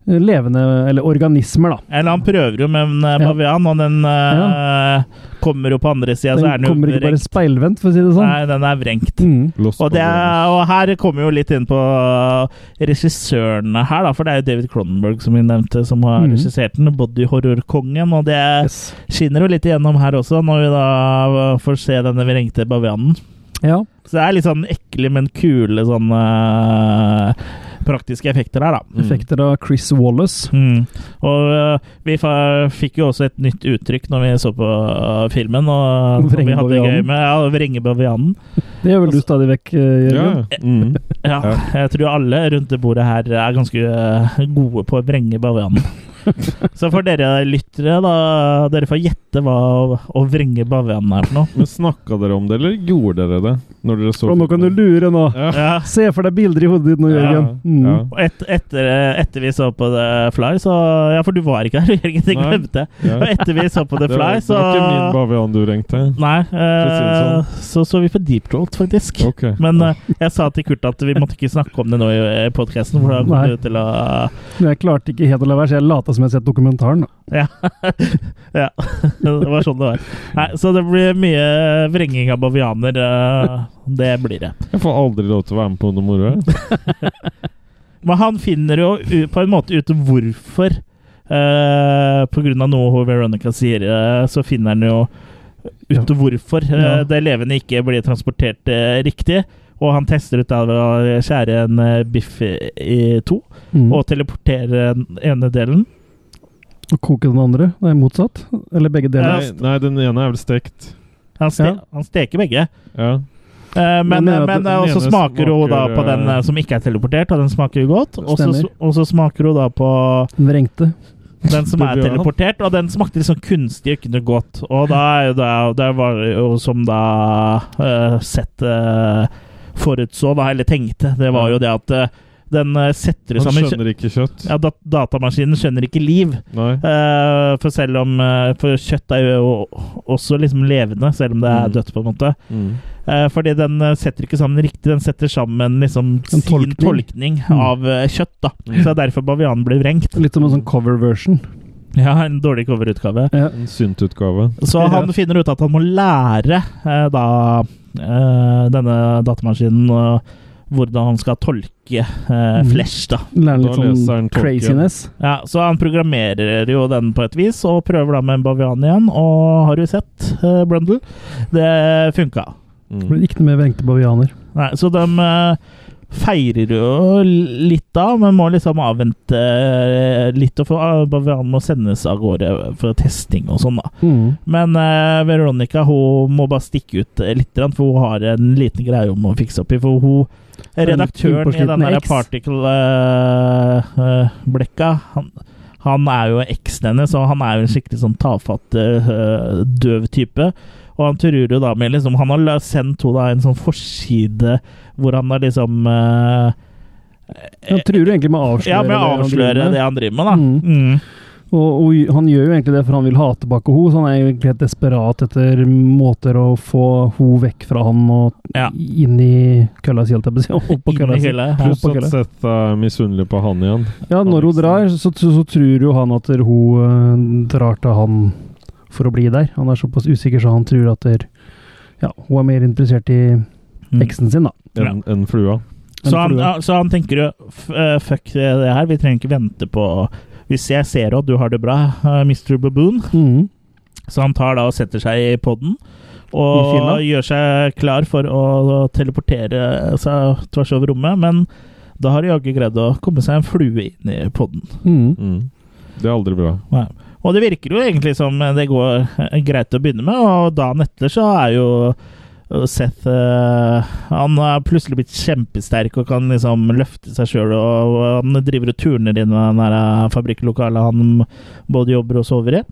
[SPEAKER 4] levende, eller organismer, da.
[SPEAKER 2] Eller han prøver jo med en eh,
[SPEAKER 4] Ja.
[SPEAKER 2] bavian, og den eh, kommer jo på andre sida, så er den
[SPEAKER 4] Den
[SPEAKER 2] jo
[SPEAKER 4] kommer ikke bare
[SPEAKER 2] vrengt.
[SPEAKER 4] speilvendt, for å si det sånn.
[SPEAKER 2] Nei, den er vrengt.
[SPEAKER 4] Mm.
[SPEAKER 3] Lost
[SPEAKER 2] Og, det er,
[SPEAKER 3] Boys.
[SPEAKER 2] og her kommer vi jo litt inn på regissørene her, da, for det er jo David Cronenberg som vi nevnte, som har
[SPEAKER 4] Mhm.
[SPEAKER 2] regissert den, bodyhorrorkongen, og det
[SPEAKER 4] Yes.
[SPEAKER 2] skinner jo litt igjennom her også, når vi da eh, får se denne vrengte bavianen.
[SPEAKER 4] Ja.
[SPEAKER 2] Så det er litt sånn ekle, men kule sånne eh, praktiske effekter her, da.
[SPEAKER 4] Effekter av Chris Wallace.
[SPEAKER 2] Mm. Og eh, vi fa fikk jo også et nytt uttrykk når vi så på eh, filmen, og som vi hadde det gøy
[SPEAKER 4] Vrengebavianen.
[SPEAKER 2] med ja, vrengebavianen.
[SPEAKER 4] Det gjør
[SPEAKER 2] Altså-
[SPEAKER 4] vel du stadig vekk, eh,
[SPEAKER 3] Ja.
[SPEAKER 4] Jørgen?
[SPEAKER 3] Mm.
[SPEAKER 2] Ja, jeg tror alle rundt det bordet her er ganske eh, gode på å vrenge bavianen. Så for dere lyttere, da Dere får gjette hva å, å vrenge bavianen er for noe.
[SPEAKER 3] Men snakka dere om det, eller gjorde dere det? Når dere så
[SPEAKER 4] Å, nå kan du
[SPEAKER 3] filmen?
[SPEAKER 4] lure, nå!
[SPEAKER 3] Ja.
[SPEAKER 2] Ja.
[SPEAKER 4] Se for deg bilder i hodet ditt nå,
[SPEAKER 3] Ja.
[SPEAKER 4] Jørgen. Mm.
[SPEAKER 3] Ja.
[SPEAKER 2] Og et, etter, eh, etter vi så på The Fly, så Ja, for du var ikke der, Jørgen. Jeg
[SPEAKER 3] Nei.
[SPEAKER 2] glemte.
[SPEAKER 3] Ja.
[SPEAKER 2] Og etter vi så på The
[SPEAKER 3] Det var,
[SPEAKER 2] Fly,
[SPEAKER 3] det
[SPEAKER 2] så
[SPEAKER 3] var ikke min bavian du ringte.
[SPEAKER 2] Nei. eh,
[SPEAKER 3] å sånn.
[SPEAKER 2] så så vi på Deep Throat, faktisk.
[SPEAKER 3] Ok.
[SPEAKER 2] Men eh, jeg sa til Kurt at vi måtte ikke snakke om det nå i i podcasten for da
[SPEAKER 4] Nei.
[SPEAKER 2] kommer du til å
[SPEAKER 4] Men Jeg klarte ikke helt å la være, så jeg lata som jeg hadde sett dokumentaren. da.
[SPEAKER 2] Ja. ja. Det var sånn det var. Nei, så det blir mye vrenging av bavianer. eh, Det blir det.
[SPEAKER 3] Jeg får aldri lov til å være med på noe moro. jeg.
[SPEAKER 2] Men han finner jo u- på en måte ut hvorfor. Eh, på grunn av noe hun Veronica sier, eh, så finner han jo ut hvorfor eh,
[SPEAKER 4] Ja.
[SPEAKER 2] det levende ikke blir transportert eh, riktig. Og han tester ut da ved å skjære en eh, biff i i to
[SPEAKER 4] Mm.
[SPEAKER 2] og teleportere den ene delen.
[SPEAKER 4] Og koke den andre. Nei, motsatt. Eller begge
[SPEAKER 2] Ja,
[SPEAKER 4] deler.
[SPEAKER 3] Nei, nei, den ene er vel stekt.
[SPEAKER 2] Han, ste
[SPEAKER 4] Ja.
[SPEAKER 2] han steker begge.
[SPEAKER 3] Ja.
[SPEAKER 2] Eh, Men,
[SPEAKER 4] Men mener at
[SPEAKER 2] men
[SPEAKER 4] den
[SPEAKER 2] eh, også
[SPEAKER 3] ene
[SPEAKER 2] smaker hun da
[SPEAKER 3] smaker,
[SPEAKER 2] på den
[SPEAKER 3] eh,
[SPEAKER 2] eh, som ikke er teleportert, og den smaker jo godt. Og så-
[SPEAKER 4] Stemmer.
[SPEAKER 2] og så smaker hun da på
[SPEAKER 4] Den vrengte.
[SPEAKER 2] den som er
[SPEAKER 3] Bavian.
[SPEAKER 2] teleportert, og den smakte litt sånn kunstig og ikke noe godt. Og da er jo det, det var jo som da eh, sett eh, forutså, da, eller tenkte, det var jo det at eh, den eh, setter
[SPEAKER 3] Han
[SPEAKER 2] sammen
[SPEAKER 3] skjønner ikke kjøtt.
[SPEAKER 2] ja, dat Datamaskinen skjønner ikke liv.
[SPEAKER 3] Nei.
[SPEAKER 2] Eh, for selv om eh, For kjøtt er jo også liksom levende, selv om det er
[SPEAKER 3] Mm.
[SPEAKER 2] dødt, på en måte.
[SPEAKER 3] Mm.
[SPEAKER 2] Eh, fordi den eh, setter ikke sammen riktig, den setter sammen liksom
[SPEAKER 4] En
[SPEAKER 2] sin tolkning,
[SPEAKER 4] tolkning.
[SPEAKER 2] av eh, kjøtt. da Så det er derfor bavianen blir vrengt.
[SPEAKER 4] Litt som en sånn cover version.
[SPEAKER 2] Ja, en dårlig coverutgave.
[SPEAKER 3] En syntutgave.
[SPEAKER 2] Så han finner ut at han må lære eh, da eh, denne datamaskinen eh, hvordan han skal tolke eh,
[SPEAKER 4] Mm.
[SPEAKER 2] Flash, da.
[SPEAKER 4] Lærer
[SPEAKER 3] Da
[SPEAKER 4] litt
[SPEAKER 3] leser
[SPEAKER 4] sånn
[SPEAKER 3] han tolken.
[SPEAKER 4] craziness.
[SPEAKER 2] Ja, så han programmerer jo den på et vis, og prøver da med en bavian igjen. Og har du sett, eh, Brundle? Det funka.
[SPEAKER 3] Mm.
[SPEAKER 4] Det blir Ikke noe mer Wenche Bavianer.
[SPEAKER 2] Nei, så de eh, feirer jo litt da, men må liksom avvente eh, litt, og få, ah, bavianen må sendes av gårde for testing og sånn, da.
[SPEAKER 4] Mm.
[SPEAKER 2] Men eh, Veronica hun må bare stikke ut eh, litt, grann, for hun har en liten greie hun må fikse opp i. For hun redaktøren i den
[SPEAKER 4] innpåsliten
[SPEAKER 2] der
[SPEAKER 4] eks.
[SPEAKER 2] particle-blekka han, han er jo eksen hennes, og han er jo en skikkelig sånn tafatt, eh, døv type. Og han truer jo da med liksom Han har la- sendt henne da en sånn forside hvor han har liksom eh,
[SPEAKER 4] Han truer jo egentlig med å avsløre,
[SPEAKER 2] Ja, med å avsløre det
[SPEAKER 4] det. han driver med.
[SPEAKER 2] han driver med, da.
[SPEAKER 4] Mm.
[SPEAKER 2] Mm.
[SPEAKER 4] Og, og han gjør jo egentlig det for han vil ha tilbake henne, så han er jo egentlig helt desperat etter måter å få henne vekk fra han og
[SPEAKER 2] Ja.
[SPEAKER 4] inn i kølla si, holdt jeg på å si. Opp på
[SPEAKER 2] Inn i
[SPEAKER 4] kølla si.
[SPEAKER 2] hylla.
[SPEAKER 4] Opp
[SPEAKER 3] Pluss
[SPEAKER 4] på
[SPEAKER 3] at
[SPEAKER 4] kølla.
[SPEAKER 3] Seth er misunnelig på han igjen.
[SPEAKER 4] Ja, når hun drar, så, så, så tror jo han at hun eh, drar til han for å bli der. Han er såpass usikker, så han tror at der, ja, hun er mer interessert i
[SPEAKER 2] Mm.
[SPEAKER 4] eksen sin, da.
[SPEAKER 3] Enn enn flua.
[SPEAKER 4] enn
[SPEAKER 2] Så han,
[SPEAKER 4] flua.
[SPEAKER 2] ja, så han tenker jo f- eh, Fuck det det her, vi trenger ikke vente på Hvis jeg ser at du har det bra, eh, Mr. Baboon
[SPEAKER 4] Mhm.
[SPEAKER 2] Så han tar da og setter seg i podden
[SPEAKER 4] I fylla?
[SPEAKER 2] Og gjør seg klar for å teleportere seg tvers over rommet Men da har de jaggu greid å komme seg en flue inn i podden
[SPEAKER 4] Mhm.
[SPEAKER 3] Mm. Det er aldri bra.
[SPEAKER 2] Nei. Og det virker jo egentlig som det går eh, greit å begynne med, og dagen etter så er jo eh, Seth eh, Han har plutselig blitt kjempesterk og kan liksom løfte seg sjøl. Og og han driver og turner inn i den der eh, fabrikklokalet han både jobber og sover i.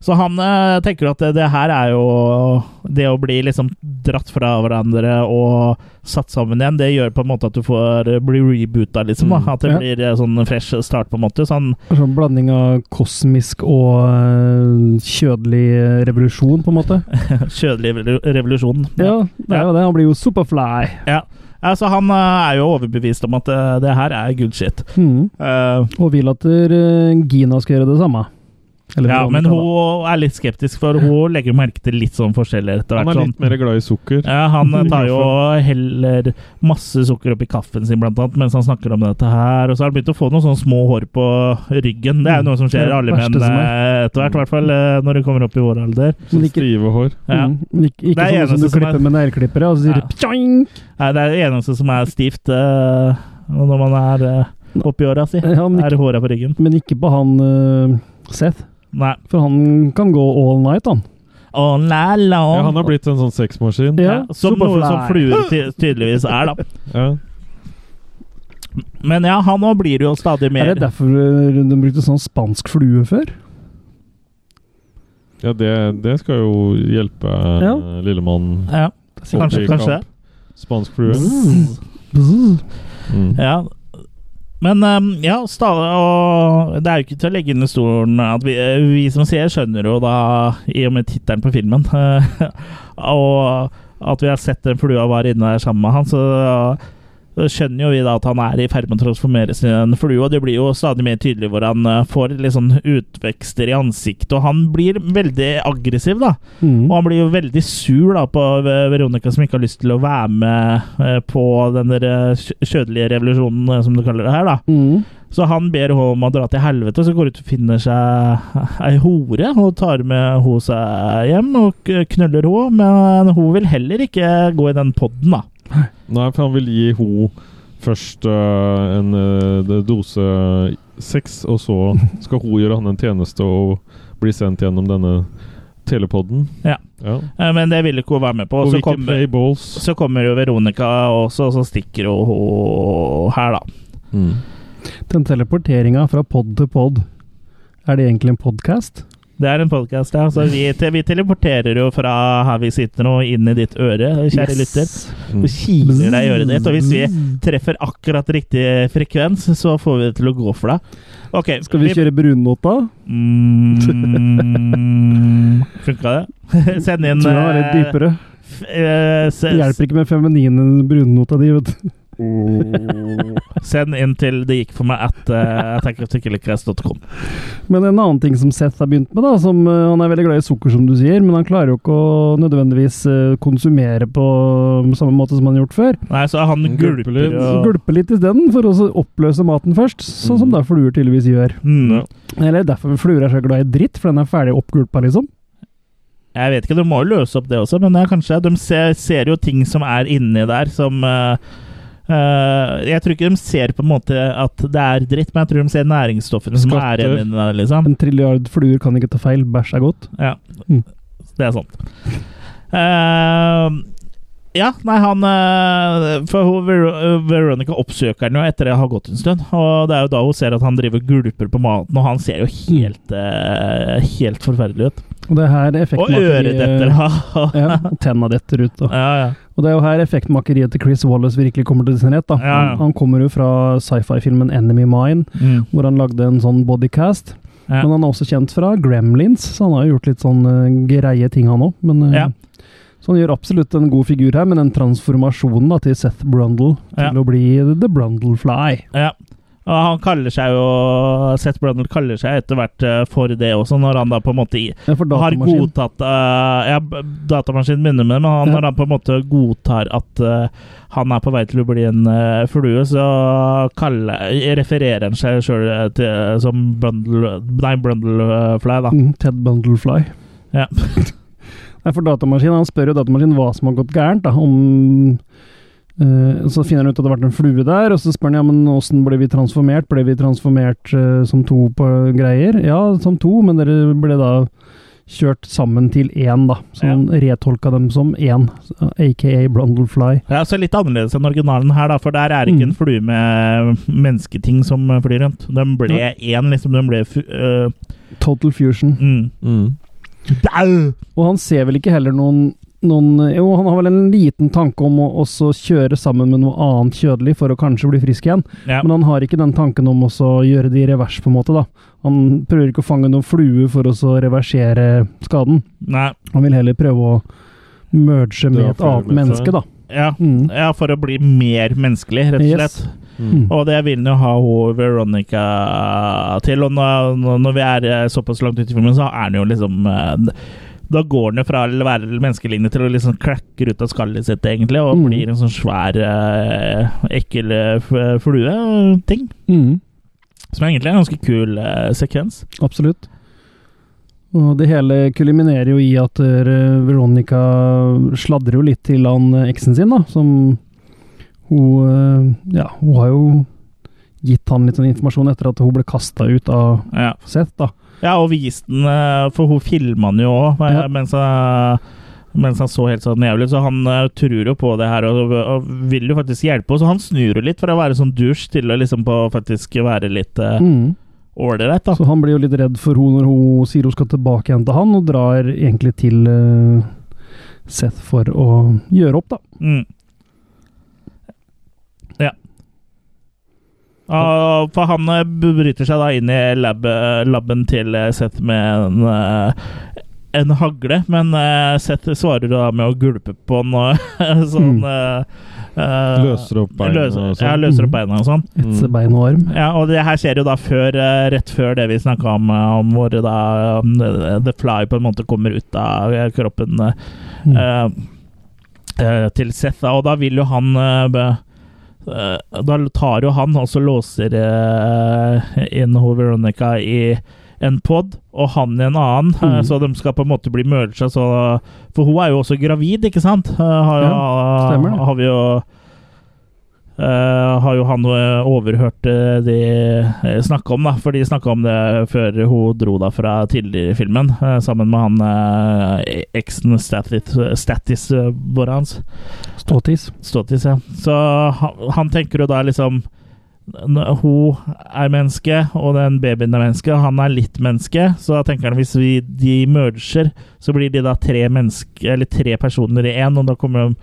[SPEAKER 2] Så han eh, tenker at det, det her er jo Det å bli liksom dratt fra hverandre og satt sammen igjen, det gjør på en måte at du får eh, bli reboota, liksom. Da. At det
[SPEAKER 4] Mm, Ja.
[SPEAKER 2] blir eh, sånn fresh start, på en måte. Så han
[SPEAKER 4] Sånn blanding av kosmisk og eh, kjødelig eh, revolusjon, på en måte.
[SPEAKER 2] Kjødelig revol- revolusjon.
[SPEAKER 4] Ja, det er jo det. Han blir jo superfly.
[SPEAKER 2] Ja. Altså, han eh, er jo overbevist om at eh, det her er good shit.
[SPEAKER 4] Mhm.
[SPEAKER 2] Eh,
[SPEAKER 4] Og vil at eh, Gina skal gjøre det samme. Eller
[SPEAKER 2] ja, men
[SPEAKER 4] Veronica,
[SPEAKER 2] hun er litt skeptisk, for hun legger merke til litt sånn forskjeller etter
[SPEAKER 3] Han
[SPEAKER 2] hvert.
[SPEAKER 3] er
[SPEAKER 2] Sånn.
[SPEAKER 3] litt mer glad i sukker.
[SPEAKER 2] Ja, han eh, tar jo og heller masse sukker oppi kaffen sin, blant annet, mens han snakker om dette her. Og så har han begynt å få noen sånne små hår på ryggen. Det er jo noe som
[SPEAKER 4] Det
[SPEAKER 2] skjer
[SPEAKER 4] er Mm. det
[SPEAKER 2] alle
[SPEAKER 4] verste
[SPEAKER 2] menn
[SPEAKER 4] som
[SPEAKER 2] eh, etter hvert, i hvert fall eh, når du kommer opp i vår alder.
[SPEAKER 4] da.
[SPEAKER 3] Sånn
[SPEAKER 4] Men ikke,
[SPEAKER 3] stive hår.
[SPEAKER 2] Ja.
[SPEAKER 4] mm, men ikke,
[SPEAKER 2] Det
[SPEAKER 4] ikke
[SPEAKER 2] er
[SPEAKER 4] sånn
[SPEAKER 2] eneste
[SPEAKER 4] som du
[SPEAKER 2] som er-
[SPEAKER 4] klipper med negleklipper, ja, og så sier
[SPEAKER 2] Ja.
[SPEAKER 4] det pjoing!
[SPEAKER 2] Nei, det er det eneste som er stivt eh, når man er eh, oppi åra si.
[SPEAKER 4] Ja, men,
[SPEAKER 2] Er
[SPEAKER 4] ikke,
[SPEAKER 2] håra på ryggen.
[SPEAKER 4] men ikke på han eh, Seth.
[SPEAKER 2] Nei.
[SPEAKER 4] For han kan gå all night, han.
[SPEAKER 2] Oh, la, la.
[SPEAKER 3] Ja, han har blitt en sånn sexmaskin.
[SPEAKER 4] Ja,
[SPEAKER 2] Ja, som noe
[SPEAKER 4] Superfly.
[SPEAKER 2] som fluer ty tydeligvis er, da.
[SPEAKER 3] Ja.
[SPEAKER 2] Men ja, han nå blir jo stadig mer
[SPEAKER 4] Er det derfor eh, de brukte sånn spansk flue før?
[SPEAKER 3] Ja, det, det skal jo hjelpe eh,
[SPEAKER 4] Ja.
[SPEAKER 3] lillemannen.
[SPEAKER 2] Ja, kanskje,
[SPEAKER 3] Opp i
[SPEAKER 2] kanskje.
[SPEAKER 3] kamp. Spansk flue.
[SPEAKER 4] Bzz.
[SPEAKER 3] Mm.
[SPEAKER 2] Ja. Men ehm, ja, stadig og Det er jo ikke til å legge under stolen at vi, eh, vi som ser, skjønner jo da, i og med tittelen på filmen Og at vi har sett den flua var inne der sammen med han, så så skjønner jo vi da at han er i ferd med å transformeres i en flue, og det blir jo stadig mer tydelig hvor han eh, får litt sånn utvekster i ansiktet, og han blir veldig aggressiv, da.
[SPEAKER 4] Mm.
[SPEAKER 2] Og han blir jo veldig sur da på Ve- Veronica, som ikke har lyst til å være med eh, på den der eh, kj- kjødelige revolusjonen, eh, som du kaller det her. da.
[SPEAKER 4] Mm.
[SPEAKER 2] Så han ber henne om å dra til helvete, og så går hun ut og finner seg ei hore. Og tar med henne seg hjem og k- knuller henne, men hun vil heller ikke gå i den podden, da.
[SPEAKER 3] Nei, for han vil gi ho først eh, en eh, det- dose sex, og så skal ho gjøre han en tjeneste og bli sendt gjennom denne telepodden.
[SPEAKER 2] Ja. Eh, Men det vil ikke hun være med på.
[SPEAKER 3] Og
[SPEAKER 2] Og så
[SPEAKER 3] hvilke
[SPEAKER 2] kommer,
[SPEAKER 3] playballs.
[SPEAKER 2] så kommer jo Veronica også, og så stikker hun hun her, da.
[SPEAKER 3] Mm.
[SPEAKER 4] Den teleporteringa fra pod til pod, er det egentlig en podkast?
[SPEAKER 2] Det er en podkast, ja. Så vi, te, vi teleporterer jo fra her vi sitter nå, inn i ditt øre, kjære lytter.
[SPEAKER 3] Mm.
[SPEAKER 2] Du kiler deg i øret ditt, og hvis vi
[SPEAKER 4] Mm.
[SPEAKER 2] treffer akkurat riktig frekvens, så får vi det til å gå for deg. Ok,
[SPEAKER 4] Skal vi kjøre brunnota?
[SPEAKER 2] Mm, Funka det? Send inn
[SPEAKER 4] Tror jeg var litt
[SPEAKER 2] eh,
[SPEAKER 4] dypere.
[SPEAKER 2] f- eh, se-
[SPEAKER 4] Det hjelper ikke med feminine brunnota di, vet du.
[SPEAKER 3] Mm.
[SPEAKER 2] Send inn til det gikk for meg at uh, attackofthekillercast.com.
[SPEAKER 4] Men en annen ting som Seth har begynt med, da, som eh, han er veldig glad i sukker, som du sier, men han klarer jo ikke å nødvendigvis eh, konsumere på um, samme måte som han har gjort før.
[SPEAKER 2] Nei, så han
[SPEAKER 3] Gulper
[SPEAKER 2] gulper
[SPEAKER 3] litt.
[SPEAKER 4] Så
[SPEAKER 2] og
[SPEAKER 4] Gulpe litt isteden, for å så oppløse maten først, sånn som
[SPEAKER 3] Mhm.
[SPEAKER 4] da fluer tydeligvis gjør.
[SPEAKER 2] mm.
[SPEAKER 4] Eller derfor fluer er så glad i dritt, for den er ferdig oppgulpa, liksom.
[SPEAKER 2] Jeg vet ikke, du må jo løse opp det også, men det er kanskje De ser, ser jo ting som er inni der, som eh, eh, Jeg tror ikke de ser på en måte at det er dritt, men jeg tror de ser næringsstoffene som er
[SPEAKER 3] Skatter.
[SPEAKER 2] inni der, liksom.
[SPEAKER 4] En trilliard fluer kan ikke ta feil, bæsj er godt.
[SPEAKER 2] Ja,
[SPEAKER 4] Mm.
[SPEAKER 2] det er sant. Eh, ja, nei, han eh, For hun, Ver- Veronica oppsøker han jo etter det har gått en stund. Og det er jo da hun ser at han driver og gulper på maten, og han ser jo helt, eh, helt forferdelig ut.
[SPEAKER 4] Og det er her
[SPEAKER 2] Og
[SPEAKER 4] effektmakeri-
[SPEAKER 2] øredetter han.
[SPEAKER 4] Ja, og tenna detter ut. Og.
[SPEAKER 2] ja, ja.
[SPEAKER 4] og det er jo her effektmakeriet til Chris Wallace virkelig kommer til sin rett. Da.
[SPEAKER 2] Ja, ja.
[SPEAKER 4] Han, han kommer jo fra sci-fi-filmen Enemy Mine,
[SPEAKER 2] Mm.
[SPEAKER 4] hvor han lagde en sånn bodycast.
[SPEAKER 2] Ja.
[SPEAKER 4] Men han er også kjent fra Gremlins, så han har jo gjort litt sånn eh, greie ting, han òg. Men eh,
[SPEAKER 2] Ja.
[SPEAKER 4] Så han gjør absolutt en god figur her, men den transformasjonen da, til Seth Brundle til
[SPEAKER 2] Ja.
[SPEAKER 4] å bli The Brundle Fly
[SPEAKER 2] Ja. Og han kaller seg jo Seth Brundle kaller seg etter hvert eh, for det også, når han da på en måte i-
[SPEAKER 4] Ja, For
[SPEAKER 2] har
[SPEAKER 4] datamaskin.
[SPEAKER 2] godtatt eh, Ja, b- datamaskinen begynner med det, men han,
[SPEAKER 4] Ja.
[SPEAKER 2] når han på en måte godtar at eh, han er på vei til å bli en eh, flue, så kaller, refererer han seg sjøl som Brundle Nei, Brundlefly, da.
[SPEAKER 4] Mm, Ted Bundlefly.
[SPEAKER 2] Ja.
[SPEAKER 4] Nei, for datamaskinen, Han spør jo datamaskinen hva som har gått gærent. da, om... eh, så finner han ut at det har vært en flue der, og så spør han ja, men åssen ble vi transformert. Ble vi transformert eh, som to på greier? Ja, som to, men dere ble da kjørt sammen til én, da. Så
[SPEAKER 2] Ja.
[SPEAKER 4] han retolka dem som én, aka Brundlefly.
[SPEAKER 2] Ja, så Litt annerledes enn originalen her, da, for der er det ikke
[SPEAKER 4] Mm.
[SPEAKER 2] en flue med mennesketing som flyr rundt. De ble
[SPEAKER 4] Ja.
[SPEAKER 2] én, liksom. De ble fu... øh,
[SPEAKER 4] Total Fusion.
[SPEAKER 2] mm. Dau!
[SPEAKER 4] Og han ser vel ikke heller noen, noen Jo, han har vel en liten tanke om å også kjøre sammen med noe annet kjødelig for å kanskje bli frisk igjen,
[SPEAKER 2] Ja.
[SPEAKER 4] men han har ikke den tanken om også å gjøre det i revers, på en måte, da. Han prøver ikke å fange noen flue for å så reversere skaden.
[SPEAKER 2] Nei.
[SPEAKER 4] Han vil heller prøve å merge med
[SPEAKER 3] Dra
[SPEAKER 4] et
[SPEAKER 3] flere
[SPEAKER 4] annet
[SPEAKER 3] med seg.
[SPEAKER 4] menneske, da.
[SPEAKER 2] Ja.
[SPEAKER 4] Mm.
[SPEAKER 2] ja, for å bli mer menneskelig, rett og slett.
[SPEAKER 4] Yes. Mm.
[SPEAKER 2] Og det vil han jo ha hun Veronica til. Og når, når vi er eh, såpass langt ute i filmen, så er han jo liksom eh, Da går han jo fra å være menneskelignende til å liksom klakke ut av skallet sitt, egentlig, og
[SPEAKER 4] Mm.
[SPEAKER 2] blir en sånn svær, eh, ekkel eh, f- flue-ting.
[SPEAKER 4] Mm.
[SPEAKER 2] Som egentlig er en ganske kul eh, sekvens.
[SPEAKER 4] Absolutt. Og det hele kuliminerer jo i at eh, Veronica sladrer jo litt til han eh, eksen sin, da, som hun eh, Ja, hun har jo gitt han litt sånn informasjon etter at hun ble kasta ut av
[SPEAKER 2] Ja.
[SPEAKER 4] Seth, da.
[SPEAKER 2] Ja, og viste den, eh, for hun filma den jo òg
[SPEAKER 4] Ja.
[SPEAKER 2] mens, han- mens han så helt sånn jævlig ut. Så han eh, tror jo på det her og, og vil jo faktisk hjelpe oss. Så han snur jo litt fra å være sånn dusj til å liksom på å faktisk være litt eh,
[SPEAKER 4] Mm.
[SPEAKER 2] ålreit, da.
[SPEAKER 4] Så han blir jo litt redd for hun når hun sier hun skal tilbake igjen til han, og drar egentlig til eh, Seth for å gjøre opp, da.
[SPEAKER 2] Mm. Ja. Ja, for han eh, bryter seg da inn i lab, labben til eh, Seth med en eh, en hagle, men eh, Seth svarer da med å gulpe på den og sånn eh, eh,
[SPEAKER 3] Mm. Løser opp beina
[SPEAKER 2] løser,
[SPEAKER 3] og sånn.
[SPEAKER 2] Ja, løser
[SPEAKER 4] Mhm.
[SPEAKER 2] opp beina og sånn.
[SPEAKER 4] Etse
[SPEAKER 3] Mm.
[SPEAKER 4] bein og arm.
[SPEAKER 2] Ja, og det her skjer jo da før, eh, rett før det vi snakka om, eh, om hvor da um, The Fly på en måte kommer ut av eh, kroppen eh,
[SPEAKER 4] Mm.
[SPEAKER 2] eh, eh, til Seth, da, og da vil jo han eh, be, eh, Da tar jo han og så låser eh, inn hun Veronica i en pod, og han i en annen, eh,
[SPEAKER 4] Mm.
[SPEAKER 2] så de skal på en måte bli merga. For hun er jo også gravid, ikke sant? Eh, har, jo-
[SPEAKER 4] Ja, stemmer det.
[SPEAKER 2] Har vi jo eh, har jo han eh, overhørt eh, de eh, snakke om, da. For de snakka om det før hun dro da fra tidligere i filmen, eh, sammen med han eh, eksen Statis, Statis eh, Borans.
[SPEAKER 4] Ståtiss.
[SPEAKER 2] Ståtis, ja. Så han, han tenker jo da liksom n- Hun er menneske, og den babyen er menneske. og Han er litt menneske, så da tenker han hvis vi, de merger, så blir de da tre menneske, eller tre personer i én, og da kommer de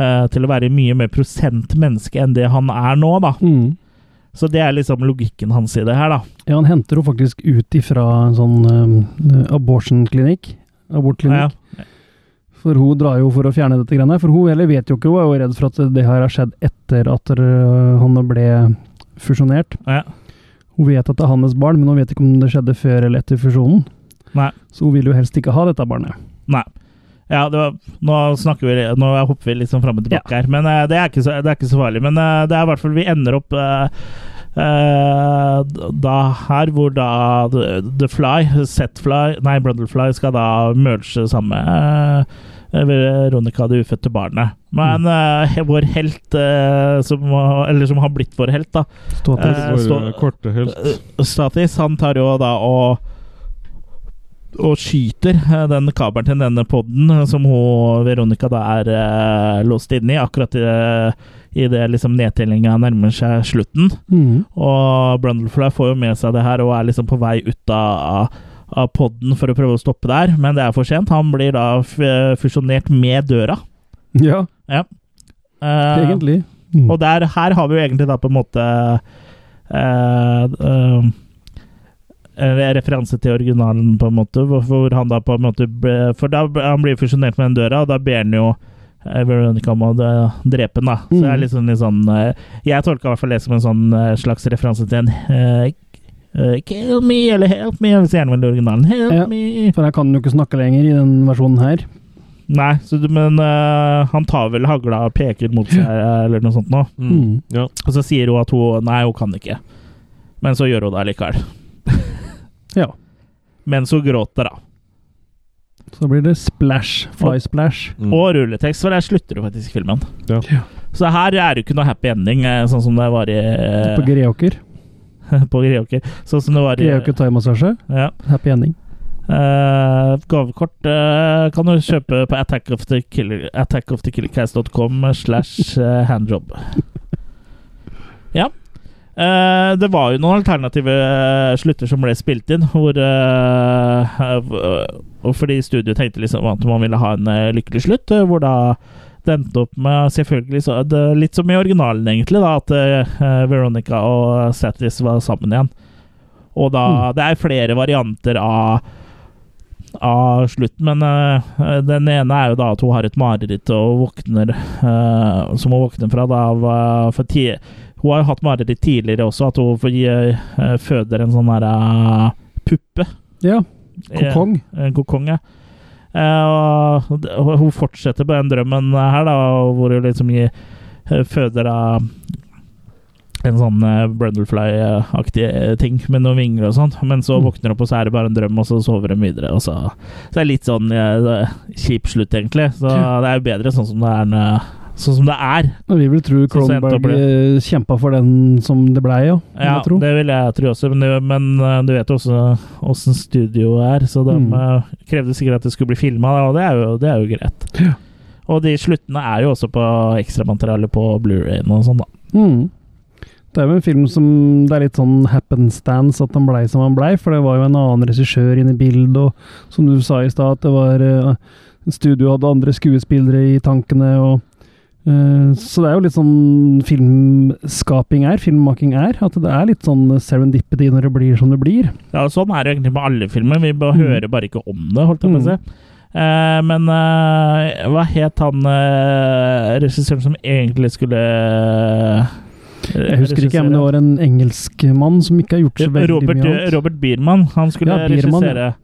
[SPEAKER 2] eh, til å være mye mer prosent menneske enn det han er nå, da.
[SPEAKER 4] Mm.
[SPEAKER 2] Så det er liksom logikken hans i det her, da.
[SPEAKER 4] Ja, han henter henne faktisk eh, ut ifra en sånn um, abortion-klinikk. Abortklinikk.
[SPEAKER 2] Ja,
[SPEAKER 4] For hun drar jo for å fjerne dette greiene. For hun heller vet jo ikke, hun er jo redd for at det her har skjedd etter at øh, han ble fusjonert.
[SPEAKER 2] Ja.
[SPEAKER 4] Hun vet at det er hans barn, men hun vet ikke om det skjedde før eller etter fusjonen.
[SPEAKER 2] Nei.
[SPEAKER 4] Så hun vil jo helst ikke ha dette barnet.
[SPEAKER 2] Nei. Ja, det var, nå snakker vi Nå hopper vi litt sånn fram og tilbake her, men eh, det, er ikke så, det er ikke så farlig. Men eh, det er i hvert fall Vi ender opp eh, eh, da her hvor da The, the Fly, Setfly, nei, Brundlefly skal da merge sammen med eh, Veronica, det ufødte barnet. Men eh, vår helt, eh, som, eller som har blitt vår helt, da,
[SPEAKER 4] Stå til.
[SPEAKER 2] Eh,
[SPEAKER 3] Vår
[SPEAKER 2] stå-
[SPEAKER 3] korte helt.
[SPEAKER 2] Eh, Statis, han tar jo da og og skyter eh, den kabelen til denne podden eh, som hun, Veronica da er eh, låst inne i, akkurat idet i det, liksom, nedtellinga nærmer seg slutten.
[SPEAKER 4] Mhm.
[SPEAKER 2] Og Brundlefly får jo med seg det her og er liksom på vei ut av, av podden for å prøve å stoppe det her, men det er for sent. Han blir da f fusjonert med døra.
[SPEAKER 4] Ja,
[SPEAKER 2] Ja. Eh,
[SPEAKER 4] egentlig. Mhm.
[SPEAKER 2] og der, her har vi jo egentlig da på en måte eh, eh, en referanse til originalen, på en måte, hvor, hvor han da på en måte ble, For da ble- han blir fusjonert med den døra, og da ber han jo eh, Veronica om å dø- drepe den, da. Så det er litt sånn, litt sånn eh, Jeg tolka i hvert fall det som en sånn eh, slags referanse til en eh, eh, Kill me, eller help me, hvis gjerne vel originalen. Help
[SPEAKER 4] Ja.
[SPEAKER 2] me.
[SPEAKER 4] For jeg kan jo ikke snakke lenger i den versjonen her.
[SPEAKER 2] Nei, så, du- men eh, han tar vel hagla og peker mot seg, eh, eller noe sånt nå.
[SPEAKER 4] Mhm.
[SPEAKER 3] Ja.
[SPEAKER 2] Og så sier hun at hun Nei, hun kan ikke. Men så gjør hun det likevel.
[SPEAKER 4] Ja.
[SPEAKER 2] Mens hun gråter, da.
[SPEAKER 4] Så blir det splash. Fly splash.
[SPEAKER 3] Mm.
[SPEAKER 2] Og rulletekst, for der slutter jo faktisk filmen.
[SPEAKER 3] Ja.
[SPEAKER 4] Ja.
[SPEAKER 2] Så her er det jo ikke noe happy ending, eh, sånn som det var i eh,
[SPEAKER 4] På Greåker.
[SPEAKER 2] På Greåker. Sånn som det var i
[SPEAKER 4] Greåker thaimassasje.
[SPEAKER 2] Ja.
[SPEAKER 4] Happy ending.
[SPEAKER 2] Eh, gavekort eh, kan du kjøpe på attackofthekiller- attackofthekillercast.com slash eh, handjob. Ja. Eh, det var jo noen alternative eh, slutter som ble spilt inn, hvor eh, eh, hvor- og Fordi studio tenkte liksom at man ville ha en eh, lykkelig slutt, eh, hvor da det endte opp med selvfølgelig så, det, Litt som i originalen, egentlig, da, at eh, Veronica og Satis var sammen igjen. Og da Det er flere varianter av av slutten, men eh, den ene er jo da at hun har et mareritt og våkner eh, Som hun våkner fra da av eh, for ti, Hun har jo hatt mareritt tidligere også, at hun får, eh, føder en sånn derre puppe.
[SPEAKER 4] Ja. Kokong.
[SPEAKER 2] Eh, en kokong, ja. Eh, og d- og hun fortsetter på den drømmen her, da, hvor hun liksom i- eh, føder av en sånn eh, Brundlefly-aktig eh, ting med noen vinger og sånn. Men så
[SPEAKER 4] Mm.
[SPEAKER 2] våkner hun opp, og så er det bare en drøm, og så sover hun videre. Og så, så det er litt sånn eh, det- kjip slutt, egentlig. Så
[SPEAKER 4] Ja.
[SPEAKER 2] det er jo bedre sånn som det er. nå- Sånn som det er.
[SPEAKER 4] Og vi vil tro
[SPEAKER 2] Så sent
[SPEAKER 4] Cronenberg
[SPEAKER 2] opp
[SPEAKER 4] eh, kjempa for den som det blei, ja. vil
[SPEAKER 2] Ja,
[SPEAKER 4] jeg tro.
[SPEAKER 2] det vil jeg tro også, men, det, men eh, du vet jo også åssen studio er, så de
[SPEAKER 4] Mm.
[SPEAKER 2] eh, krevde sikkert at det skulle bli filma, og det er jo, det er jo greit.
[SPEAKER 4] Ja.
[SPEAKER 2] Og de sluttene er jo også på ekstramateriale på Blu-rayen og sånn, da.
[SPEAKER 4] Mm. Det er jo en film som det er litt sånn happenstance at han blei som han blei, for det var jo en annen regissør inne i bildet, og som du sa i stad, at det var eh, Studio hadde andre skuespillere i tankene, og eh, Så det er jo litt sånn filmskaping er, filmmaking er, at det er litt sånn serendipity når det blir som det blir.
[SPEAKER 2] Ja, og sånn er det egentlig med alle filmer. Vi bare
[SPEAKER 4] Mm.
[SPEAKER 2] hører bare ikke om det, holdt jeg på å si. Eh, men eh, hva het han eh, regissøren som egentlig skulle eh,
[SPEAKER 4] Jeg husker ikke, men det var en engelskmann som ikke har gjort så veldig
[SPEAKER 2] Robert, eh,
[SPEAKER 4] mye annet.
[SPEAKER 2] Robert Biermann. Han skulle
[SPEAKER 4] Ja, Biermann, ja.
[SPEAKER 2] regissere.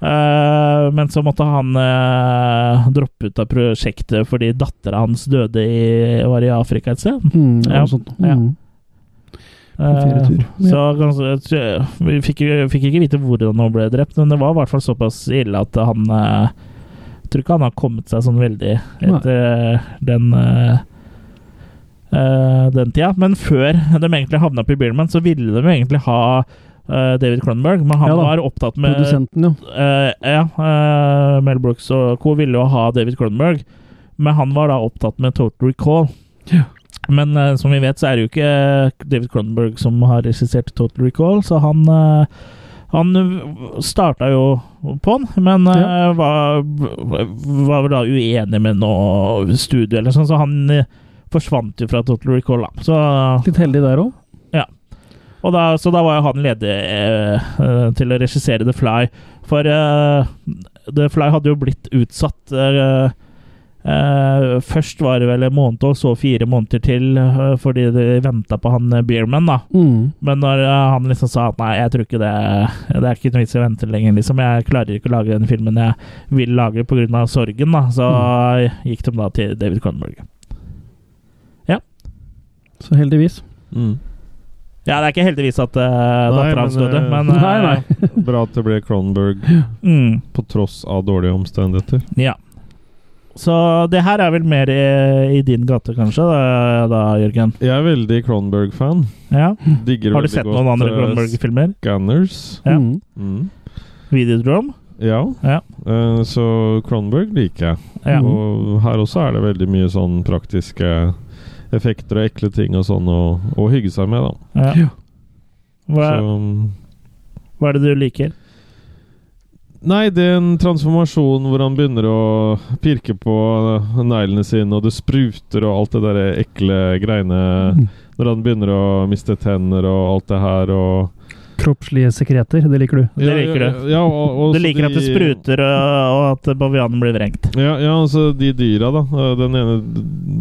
[SPEAKER 2] Eh, men så måtte han eh, droppe ut av prosjektet fordi dattera hans døde i, var i Afrika et sted.
[SPEAKER 4] Mm,
[SPEAKER 2] Ja,
[SPEAKER 4] noe sånt.
[SPEAKER 2] ja.
[SPEAKER 4] Mm.
[SPEAKER 2] Eh,
[SPEAKER 4] ferietur.
[SPEAKER 2] Så kanskje- vi fikk, jo- fikk ikke vite hvordan hun ble drept, men det var i hvert fall såpass ille at han eh, Tror ikke han har kommet seg sånn veldig etter den eh, eh, den tida. Men før de egentlig havna på Beerman, så ville de jo egentlig ha eh, David Cronenberg, men han
[SPEAKER 4] Ja da.
[SPEAKER 2] var opptatt med
[SPEAKER 4] Produsenten, ja.
[SPEAKER 2] Eh, ja, eh, Mel Brooks og co. ville jo ha David Cronenberg, men han var da opptatt med Total Recall.
[SPEAKER 4] Ja.
[SPEAKER 2] Men eh, som vi vet, så er det jo ikke eh, David Cronenberg som har regissert Total Recall, så han eh, han starta jo på den, men eh, var, var vel da uenig med noe studio eller sånn, så han eh, forsvant jo fra Total Recall, da. Så
[SPEAKER 4] Litt heldig der òg.
[SPEAKER 2] og da, så da var jo han ledig eh, eh, til å regissere The Fly. For eh, The Fly hadde jo blitt utsatt. eh, eh, først var det vel en måned, og så fire måneder til, eh, fordi de venta på han eh, Beerman, da.
[SPEAKER 4] Mm.
[SPEAKER 2] Men når eh, han liksom sa at nei, jeg tror ikke det Det er ikke noe vits i å vente lenger, liksom. Jeg klarer ikke å lage den filmen jeg vil lage pga. sorgen, da. Så
[SPEAKER 3] Mm.
[SPEAKER 2] gikk de da til David Cronenberg.
[SPEAKER 4] Så heldigvis.
[SPEAKER 3] Mm.
[SPEAKER 2] Ja, det er ikke heldigvis at uh,
[SPEAKER 3] Nei,
[SPEAKER 2] dattera hans
[SPEAKER 3] men,
[SPEAKER 2] døde,
[SPEAKER 3] eh,
[SPEAKER 2] men
[SPEAKER 4] Nei, nei.
[SPEAKER 3] Bra at det ble Cronenberg,
[SPEAKER 2] Mm,
[SPEAKER 3] på tross av dårlige omstendigheter.
[SPEAKER 2] ja. Så det her er vel mer eh, i, i din gate, kanskje, da, da Jørgen?
[SPEAKER 3] Jeg er veldig Cronenberg-fan.
[SPEAKER 2] Ja.
[SPEAKER 3] Digger
[SPEAKER 2] Mm. Har du
[SPEAKER 3] veldig
[SPEAKER 2] sett
[SPEAKER 3] godt,
[SPEAKER 2] noen andre
[SPEAKER 3] eh,
[SPEAKER 2] Cronenberg-filmer?
[SPEAKER 3] Scanners.
[SPEAKER 2] Ja.
[SPEAKER 4] Mm.
[SPEAKER 3] Mm.
[SPEAKER 2] Videodrome?
[SPEAKER 3] Ja.
[SPEAKER 2] Ja.
[SPEAKER 3] Eh, så Cronenberg liker jeg.
[SPEAKER 2] Ja.
[SPEAKER 3] Og her også er det veldig mye sånn praktiske effekter og ekle ting og sånn å å hygge seg med, da.
[SPEAKER 2] ja.
[SPEAKER 4] Ja.
[SPEAKER 2] Hva,
[SPEAKER 3] Så, mm.
[SPEAKER 2] hva er det du liker?
[SPEAKER 3] Nei, det er en transformasjon hvor han begynner å pirke på eh, neglene sine, og det spruter og alt det der ekle greiene
[SPEAKER 4] Mm.
[SPEAKER 3] Når han begynner å miste tenner og alt det her og
[SPEAKER 4] Kroppslige sekreter, det liker du.
[SPEAKER 2] Det liker du.
[SPEAKER 3] Ja, og, og
[SPEAKER 2] Du
[SPEAKER 3] så
[SPEAKER 2] liker at det
[SPEAKER 3] de-
[SPEAKER 2] spruter, og, og at bavianen blir vrengt.
[SPEAKER 3] Ja, ja, altså de dyra, da. Eh, Den ene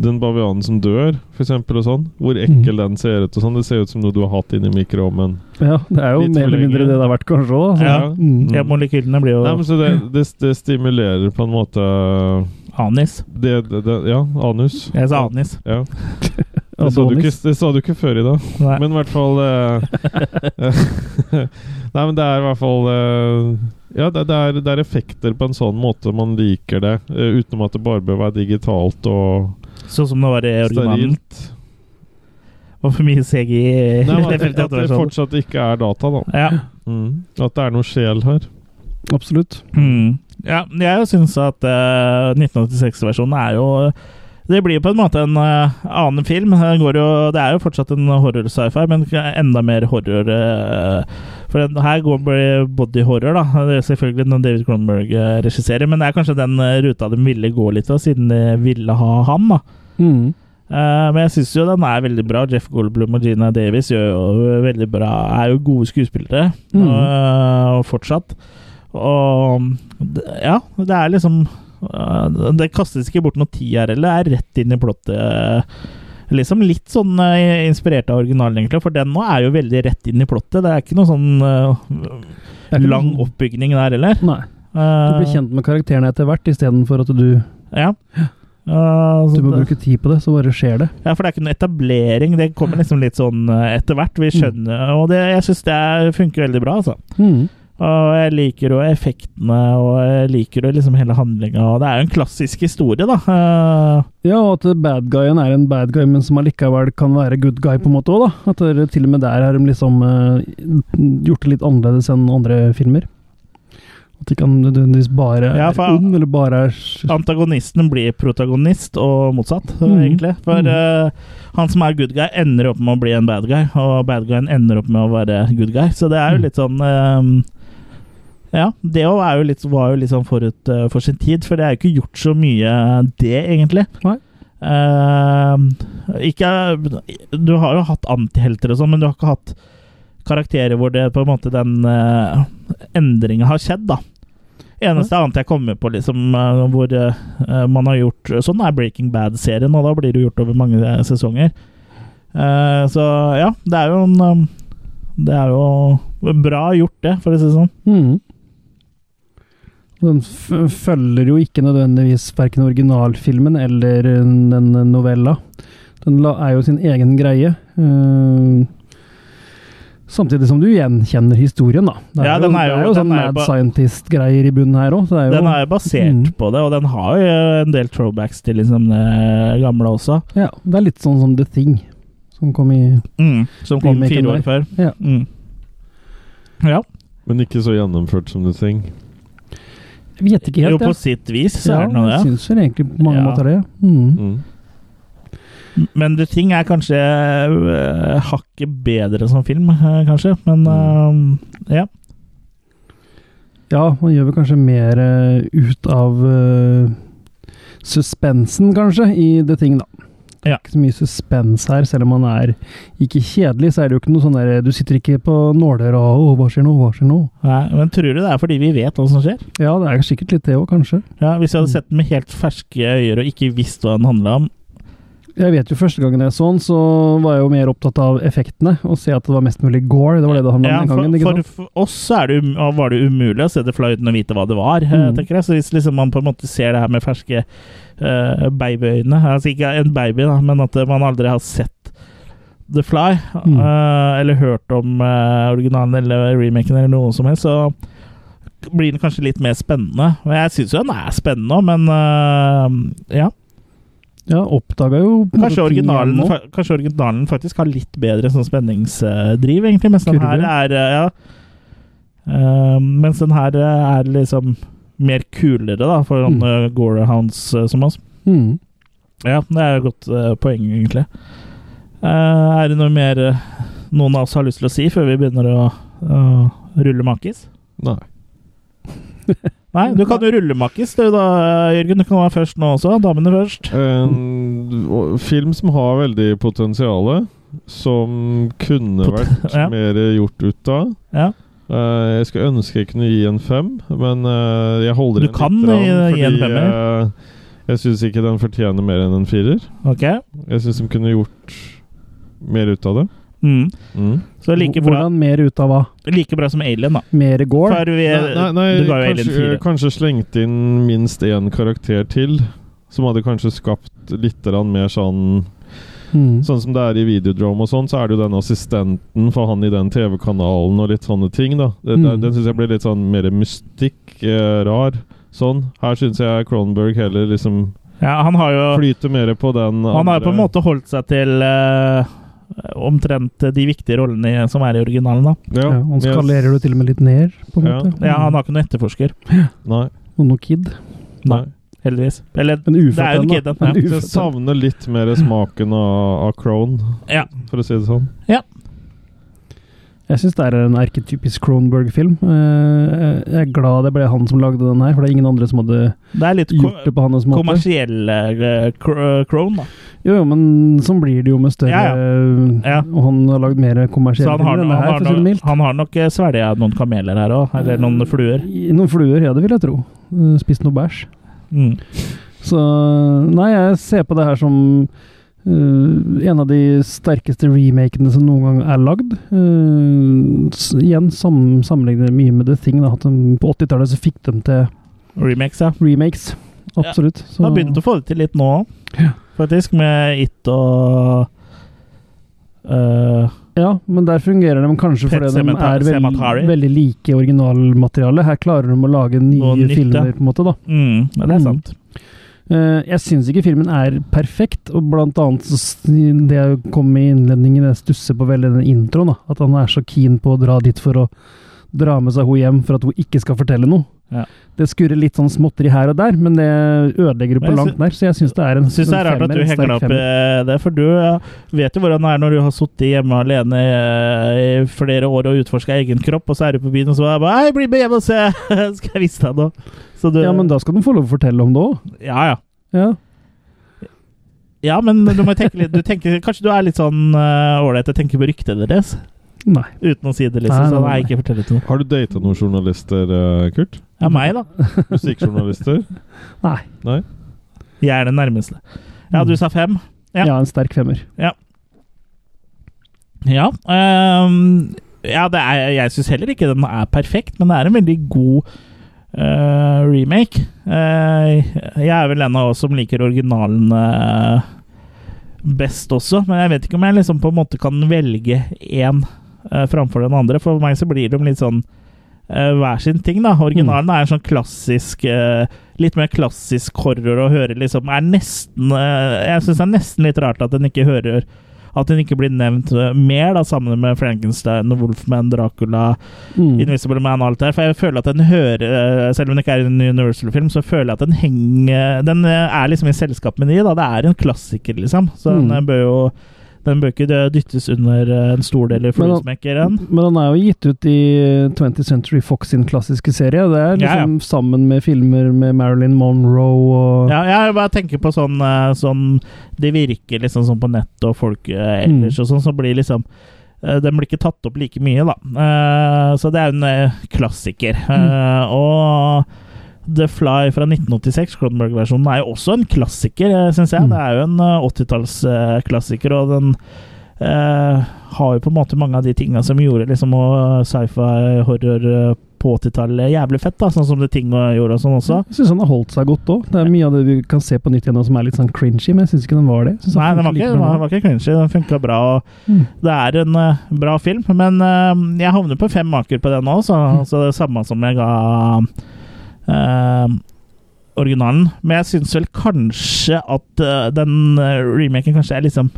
[SPEAKER 3] Den bavianen som dør, for eksempel, og sånn. Hvor
[SPEAKER 2] Mhm.
[SPEAKER 3] ekkel den ser ut og sånn. Det ser ut som noe du har hatt inni mikroovnen.
[SPEAKER 4] Ja, det er jo
[SPEAKER 3] Litt
[SPEAKER 4] mer
[SPEAKER 3] for
[SPEAKER 4] eller mindre
[SPEAKER 3] lenge.
[SPEAKER 4] det det har vært, kanskje òg.
[SPEAKER 2] Ja.
[SPEAKER 4] Mm.
[SPEAKER 2] Ja, molekylene blir
[SPEAKER 3] Nei, men
[SPEAKER 2] jo
[SPEAKER 3] så det, det, det stimulerer på en måte
[SPEAKER 2] anis.
[SPEAKER 3] det, det, det Ja, anus.
[SPEAKER 2] Jeg sa anis.
[SPEAKER 3] Ja. Det sa, du ikke, det sa du ikke før i dag.
[SPEAKER 2] Altså Nei.
[SPEAKER 3] Men i hvert fall eh, Nei, men det er i hvert fall eh, Ja, det, det, er, det er effekter på en sånn måte man liker det, eh, utenom at det bare bør være digitalt og
[SPEAKER 2] Sånn som det var i originalen.
[SPEAKER 3] sterilt.
[SPEAKER 2] Og for mye CG i
[SPEAKER 3] Nei, men
[SPEAKER 2] det sånn.
[SPEAKER 3] at, det- at det
[SPEAKER 2] 58-årsalderen.
[SPEAKER 3] fortsatt ikke er data, da.
[SPEAKER 2] Ja.
[SPEAKER 3] Mm. At det er noe sjel her.
[SPEAKER 4] Absolutt.
[SPEAKER 2] Mm. ja. Jeg syns at eh, 1986-versjonen er jo Det blir jo på en måte en eh, annen film. Den går jo, det er jo fortsatt en horror-sci-fi, men enda mer horror. eh, for den her går blir body horror, da. Det er selvfølgelig når David Cronenberg eh, regisserer, men det er kanskje den eh, ruta de ville gå litt av, siden de ville ha han, da.
[SPEAKER 4] Mm.
[SPEAKER 2] Eh, men jeg syns jo den er veldig bra. Jeff Goldblum og Gina Davis gjør jo veldig bra er jo gode skuespillere
[SPEAKER 4] Mm.
[SPEAKER 2] eh, og fortsatt. Og d- ja, det er liksom eh, Det kastes ikke bort noe tid her heller. Det er rett inn i plottet. eh, Liksom Litt sånn eh, inspirert av originalen, egentlig, for den nå er jo veldig rett inn i plottet. Det er ikke noe sånn eh,
[SPEAKER 4] Det er ikke
[SPEAKER 2] lang
[SPEAKER 4] noe-
[SPEAKER 2] oppbygning der heller.
[SPEAKER 4] Nei. Du blir
[SPEAKER 2] Eh,
[SPEAKER 4] kjent med karakterene etter hvert, istedenfor at du,
[SPEAKER 2] ja. Eh, så
[SPEAKER 4] du må
[SPEAKER 2] det-
[SPEAKER 4] bruke tid på Altså, det, så bare skjer det.
[SPEAKER 2] Ja, for det er ikke noe etablering. Det kommer liksom litt sånn eh, etter hvert. Vi skjønner Og det, jeg syns det er- funker veldig bra, altså.
[SPEAKER 4] Mm.
[SPEAKER 2] Og jeg liker jo effektene, og jeg liker jo liksom hele handlinga. Og det er jo en klassisk historie, da. Eh,
[SPEAKER 4] Ja, og at bad guyen er en bad guy, men som allikevel kan være good guy på en måte òg, da. At det, til og med der har de liksom eh, gjort det litt annerledes enn andre filmer. At de kan nødvendigvis bare er
[SPEAKER 2] Ja, for-
[SPEAKER 4] ond, eller bare er s-
[SPEAKER 2] Antagonisten blir protagonist, og motsatt, eh,
[SPEAKER 4] Mm.
[SPEAKER 2] egentlig. For
[SPEAKER 4] Mm.
[SPEAKER 2] eh, han som er good guy, ender opp med å bli en bad guy, og bad guyen ender opp med å være good guy. Så det er jo litt sånn eh, Ja, det òg er jo litt, var jo litt sånn forut eh, for sin tid, for det er jo ikke gjort så mye eh, det, egentlig.
[SPEAKER 4] Nei.
[SPEAKER 2] Eh, ikke Du har jo hatt antihelter og sånn, men du har ikke hatt karakterer hvor det på en måte den uh, endringa har skjedd, da. Eneste annet jeg kommer på liksom, eh, hvor eh, man har gjort Sånn er Breaking Bad-serien, og da blir det gjort over mange eh, sesonger. Eh, så ja, det er jo en um, Det er jo bra gjort, det, for å si det sånn.
[SPEAKER 4] Mm. Den f følger jo ikke nødvendigvis verken originalfilmen eller eh, den novella. Den la er jo sin egen greie. eh, samtidig som du gjenkjenner historien, da. Det er,
[SPEAKER 2] Ja,
[SPEAKER 4] jo,
[SPEAKER 2] den er jo-
[SPEAKER 4] det er jo
[SPEAKER 2] den
[SPEAKER 4] sånn
[SPEAKER 2] er jo
[SPEAKER 4] Mad
[SPEAKER 2] ba-
[SPEAKER 4] Scientist-greier i bunnen her òg.
[SPEAKER 2] Den er jo basert
[SPEAKER 4] Mm.
[SPEAKER 2] på det, og den har jo eh, en del throwbacks til liksom, det gamle også,
[SPEAKER 4] Ja, det er litt sånn som The Thing, som kom i
[SPEAKER 2] mm, som kom
[SPEAKER 4] Remaken
[SPEAKER 2] fire år
[SPEAKER 4] der.
[SPEAKER 2] før.
[SPEAKER 4] Ja.
[SPEAKER 2] Mm. ja.
[SPEAKER 3] Men ikke så gjennomført som du ting.
[SPEAKER 4] Jeg vet ikke
[SPEAKER 2] Jo,
[SPEAKER 4] helt,
[SPEAKER 2] på
[SPEAKER 4] jeg.
[SPEAKER 2] sitt vis så
[SPEAKER 4] Ja,
[SPEAKER 2] er det noe,
[SPEAKER 4] jeg
[SPEAKER 2] det.
[SPEAKER 4] syns vel egentlig på mange
[SPEAKER 2] Ja.
[SPEAKER 4] måter det. Mm.
[SPEAKER 3] Mm.
[SPEAKER 2] Men The Thing er kanskje øh, hakket bedre som film, øh, kanskje. Men øh,
[SPEAKER 4] Mm.
[SPEAKER 2] ja.
[SPEAKER 4] Ja, man gjør vel kanskje mer eh, ut av eh, suspensen, kanskje, i The Thing, da. Det er
[SPEAKER 2] Ja.
[SPEAKER 4] ikke så mye suspens her, selv om man er ikke kjedelig. så er det jo ikke noe sånn der, Du sitter ikke på nåler og «Åh, hva skjer nå, hva skjer nå?'
[SPEAKER 2] Nei, men tror du det er fordi vi vet hva som skjer?
[SPEAKER 4] Ja, det er sikkert litt det òg, kanskje.
[SPEAKER 2] Ja, Hvis vi
[SPEAKER 4] Mm.
[SPEAKER 2] hadde sett den med helt ferske øyne og ikke visst hva den handla om
[SPEAKER 4] Jeg vet jo første gangen jeg så den, så var jeg jo mer opptatt av effektene. Og se at det var mest mulig gore. Det var det det handla om
[SPEAKER 2] ja,
[SPEAKER 4] den
[SPEAKER 2] for,
[SPEAKER 4] gangen. ikke
[SPEAKER 2] for,
[SPEAKER 4] sant?
[SPEAKER 2] for oss så er det, um- var det umulig å se det fra uten å vite hva det var, eh,
[SPEAKER 4] Mm.
[SPEAKER 2] tenker jeg. Så hvis liksom man på en måte ser det her med ferske eh, babyøyne Altså ikke en baby, da, men at eh, man aldri har sett The Fly,
[SPEAKER 4] Mm.
[SPEAKER 2] eh, eller hørt om eh, originalen eller remaken eller noe som helst, så blir den kanskje litt mer spennende. Men jeg syns jo den er spennende òg, men eh, ja.
[SPEAKER 4] Ja, oppdaga jo på en måte
[SPEAKER 2] Kanskje
[SPEAKER 4] ting igjen
[SPEAKER 2] originalen,
[SPEAKER 4] nå.
[SPEAKER 2] fa- kanskje originalen faktisk har litt bedre sånn spenningsdriv, egentlig, mens den her
[SPEAKER 4] Kurve.
[SPEAKER 2] er eh, Ja. Eh, mens den her eh, er liksom mer kulere, da, for
[SPEAKER 4] Mm.
[SPEAKER 2] sånne gorehounds eh, som oss.
[SPEAKER 4] Mm.
[SPEAKER 2] Ja, det er et godt eh, poeng, egentlig. Eh, er det noe mer eh, noen av oss har lyst til å si før vi begynner å eh, rulle makis?
[SPEAKER 3] Nei.
[SPEAKER 2] Nei, du kan jo rulle makis, du da, Jørgen. Du kan være først nå også. Damene først.
[SPEAKER 3] En og- film som har veldig potensial, som kunne
[SPEAKER 2] Pot-
[SPEAKER 3] vært
[SPEAKER 2] ja.
[SPEAKER 3] mer gjort ut av.
[SPEAKER 2] Ja.
[SPEAKER 3] Eh, jeg skulle ønske jeg kunne gi en fem, men eh, jeg holder
[SPEAKER 2] Du
[SPEAKER 3] igjen
[SPEAKER 2] kan,
[SPEAKER 3] litt grann,
[SPEAKER 2] eh, gi en femmer.
[SPEAKER 3] eh, jeg syns ikke den fortjener mer enn en firer.
[SPEAKER 2] Ok.
[SPEAKER 3] Jeg syns de kunne gjort mer ut av det.
[SPEAKER 2] Mm.
[SPEAKER 3] Mm.
[SPEAKER 2] Så like bra,
[SPEAKER 4] Hvordan mer ut av hva?
[SPEAKER 2] like bra som Alien, da.
[SPEAKER 4] Mer gore?
[SPEAKER 2] For vi,
[SPEAKER 3] Nei, nei,
[SPEAKER 2] du ga jo Alien
[SPEAKER 3] kanskje,
[SPEAKER 2] 4.
[SPEAKER 3] kanskje slengt inn minst én karakter til, som hadde kanskje skapt litt grann mer sånn
[SPEAKER 4] Mm.
[SPEAKER 3] Sånn som det er i Videodrome og sånn, så er det jo den assistenten for han i den TV-kanalen og litt sånne ting, da. Det, det,
[SPEAKER 4] Mm.
[SPEAKER 3] Den syns jeg ble litt sånn mer mystikk, eh, rar. Sånn. Her syns jeg Cronenberg heller liksom
[SPEAKER 2] Ja, han har jo
[SPEAKER 3] flyter mer på den
[SPEAKER 2] Han har jo
[SPEAKER 3] andre-
[SPEAKER 2] på en måte holdt seg til eh, omtrent de viktige rollene i- som er i originalen. da.
[SPEAKER 3] Ja,
[SPEAKER 4] Ja, han
[SPEAKER 3] jeg-
[SPEAKER 4] skalerer det til og med litt ned, på en
[SPEAKER 3] Ja.
[SPEAKER 4] måte.
[SPEAKER 2] Ja, Han har ikke noen etterforsker,
[SPEAKER 3] Nei.
[SPEAKER 4] Og noe kid.
[SPEAKER 3] nei.
[SPEAKER 2] heldigvis. Eller
[SPEAKER 4] En
[SPEAKER 2] Det er
[SPEAKER 4] ufødt
[SPEAKER 2] jo
[SPEAKER 4] en,
[SPEAKER 2] en kid,
[SPEAKER 4] da.
[SPEAKER 2] den, ja.
[SPEAKER 3] Så
[SPEAKER 4] En
[SPEAKER 3] Jeg
[SPEAKER 4] ufødt en.
[SPEAKER 3] savner litt mer smaken av, av Crone,
[SPEAKER 2] Ja.
[SPEAKER 3] for å si det sånn.
[SPEAKER 4] Jeg syns det er en erketypisk Cronenberg-film. Eh, Jeg er glad det ble han som lagde den her, for det er ingen andre som hadde
[SPEAKER 2] det er litt ko
[SPEAKER 4] gjort det på hans måte.
[SPEAKER 2] kommersiell eh, cr- eh, crone, da.
[SPEAKER 4] Jo, jo, men sånn blir det jo med større
[SPEAKER 2] Ja, Ja.
[SPEAKER 4] Og han har lagd mer
[SPEAKER 2] Så
[SPEAKER 4] kommersielle
[SPEAKER 2] han har,
[SPEAKER 4] ting enn
[SPEAKER 2] han
[SPEAKER 4] det her,
[SPEAKER 2] har,
[SPEAKER 4] for å si det
[SPEAKER 2] nok-
[SPEAKER 4] mildt.
[SPEAKER 2] han har nok eh, svelga noen kameler her òg, eller noen fluer.
[SPEAKER 4] I Noen fluer, ja, det vil jeg tro. Eh, Spist noe bæsj.
[SPEAKER 2] Mm.
[SPEAKER 4] Så Nei, jeg ser på det her som eh, en av de sterkeste remakene som noen gang er lagd. Eh, s- igjen sam, sammenligner det mye med The Thing. Da, at de, på 80-tallet så fikk de til
[SPEAKER 2] Remakes, ja.
[SPEAKER 4] remakes. Absolutt.
[SPEAKER 2] Han har begynt å få det til litt nå òg,
[SPEAKER 4] Ja.
[SPEAKER 2] faktisk, med It og eh,
[SPEAKER 4] Ja, men der fungerer de kanskje
[SPEAKER 2] Pet
[SPEAKER 4] fordi de
[SPEAKER 2] Sematari-
[SPEAKER 4] er veld,
[SPEAKER 2] Sematari.
[SPEAKER 4] veldig like originalmaterialet. Her klarer de å lage nye
[SPEAKER 2] Noe nytt, ja.
[SPEAKER 4] filmer, på en måte. da.
[SPEAKER 2] mm, ja, Det
[SPEAKER 4] Mm.
[SPEAKER 2] er sant.
[SPEAKER 4] Eh, jeg syns ikke filmen er perfekt, og blant annet så s- det jeg kom med i innledningen, jeg stusser på veldig den introen. da, At han er så keen på å dra dit for å dra med seg hun hjem for at hun ikke skal fortelle noe.
[SPEAKER 2] Ja.
[SPEAKER 4] Det skurrer litt sånn småtteri her og der, men det ødelegger det
[SPEAKER 2] Men
[SPEAKER 4] på
[SPEAKER 2] jeg sy-
[SPEAKER 4] langt nær. Så jeg syns det er en,
[SPEAKER 2] Jeg syns det
[SPEAKER 4] en
[SPEAKER 2] er rart at du
[SPEAKER 4] femmer, en
[SPEAKER 2] henger
[SPEAKER 4] sterk
[SPEAKER 2] deg opp
[SPEAKER 4] femmer.
[SPEAKER 2] i det, for du eh, vet jo hvordan det er når du har sittet hjemme alene eh, i flere år og utforska egen kropp, og så er du på byen, og så er jeg bare Hei, bli med hjem og se! Skal jeg vise deg noe? Så du,
[SPEAKER 4] Ja, men da skal de få lov å fortelle om det òg.
[SPEAKER 2] ja, ja.
[SPEAKER 4] Ja.
[SPEAKER 2] Ja, men du må tenke litt du tenker, Kanskje du er litt sånn eh, ålreit og tenker på ryktet deres?
[SPEAKER 4] Nei.
[SPEAKER 2] Uten å si det,
[SPEAKER 4] Nei,
[SPEAKER 2] liksom. Så
[SPEAKER 4] nei,
[SPEAKER 2] nei, ikke fortell det til noen.
[SPEAKER 3] Har du data noen journalister, eh, Kurt?
[SPEAKER 2] Ja, meg, da.
[SPEAKER 3] Musikkjournalister?
[SPEAKER 4] Nei.
[SPEAKER 3] Nei?
[SPEAKER 2] Jeg er den nærmeste. Ja, du sa fem. Ja.
[SPEAKER 4] Mm. Ja, en sterk femmer.
[SPEAKER 2] Ja. ehm, ja det er, jeg syns heller ikke den er perfekt, men det er en veldig god eh, remake. Eh, jeg er vel en av oss som liker originalen eh, best også, men jeg vet ikke om jeg liksom på en måte kan velge én eh, framfor den andre. For meg så blir de litt sånn eh, hver sin ting, da. Originalen er en sånn klassisk eh, Litt mer klassisk horror å høre, liksom. Er nesten eh, Jeg syns det er nesten litt rart at den ikke hører at den ikke blir nevnt eh, mer, da, sammen med Frankenstein, Wolfman, Dracula,
[SPEAKER 4] Mm.
[SPEAKER 2] Invisible Man og alt det her. For jeg føler at den hører eh, Selv om det ikke er en Universal-film, så føler jeg at den henger Den eh, er liksom i selskap med de, da. Det er en klassiker, liksom. Så
[SPEAKER 4] Mm.
[SPEAKER 2] den eh, bør jo Den bør ikke eh, dyttes under eh, en stor del i
[SPEAKER 4] Men han-
[SPEAKER 2] fluesmekkeren.
[SPEAKER 4] Men han er jo gitt ut i 20th Century Fox sin klassiske serie. Det
[SPEAKER 2] Ja,
[SPEAKER 4] er
[SPEAKER 2] ja.
[SPEAKER 4] liksom sammen med filmer med Marilyn Monroe og
[SPEAKER 2] Ja, jeg bare tenker på sånn, eh, sånn Det virker liksom sånn på nett og folk eh,
[SPEAKER 4] Mm.
[SPEAKER 2] ellers og sånn, så blir liksom eh, Den blir ikke tatt opp like mye, da. Eh, Så det er jo en eh, klassiker. Eh,
[SPEAKER 4] Mm.
[SPEAKER 2] Og The Fly fra 1986, Cronenberg-versjonen, er jo også en klassiker, syns jeg.
[SPEAKER 4] Mm.
[SPEAKER 2] Det er jo en eh, 80-tallsklassiker, og den eh, har jo på en måte mange av de tinga som gjorde liksom og sci-fi, horror eh, på 80-tallet jævlig fett, da, sånn som The Ting gjorde og sånn også.
[SPEAKER 4] Jeg syns han har holdt seg godt òg. Det er mye av det vi kan se på nytt igjen nå som er litt sånn cringy, men jeg syns ikke den var det. Jeg synes
[SPEAKER 2] Nei,
[SPEAKER 4] han
[SPEAKER 2] den var ikke,
[SPEAKER 4] funker like
[SPEAKER 2] den
[SPEAKER 4] bra
[SPEAKER 2] var,
[SPEAKER 4] nå.
[SPEAKER 2] var ikke cringy. Den funka bra. Og
[SPEAKER 4] Mm.
[SPEAKER 2] Det er en eh, bra film, men eh, jeg havner på fem maker på den nå, så,
[SPEAKER 4] Mm.
[SPEAKER 2] så det er samme som jeg ga eh, originalen. Men jeg syns vel kanskje at eh, den eh, remaken kanskje er liksom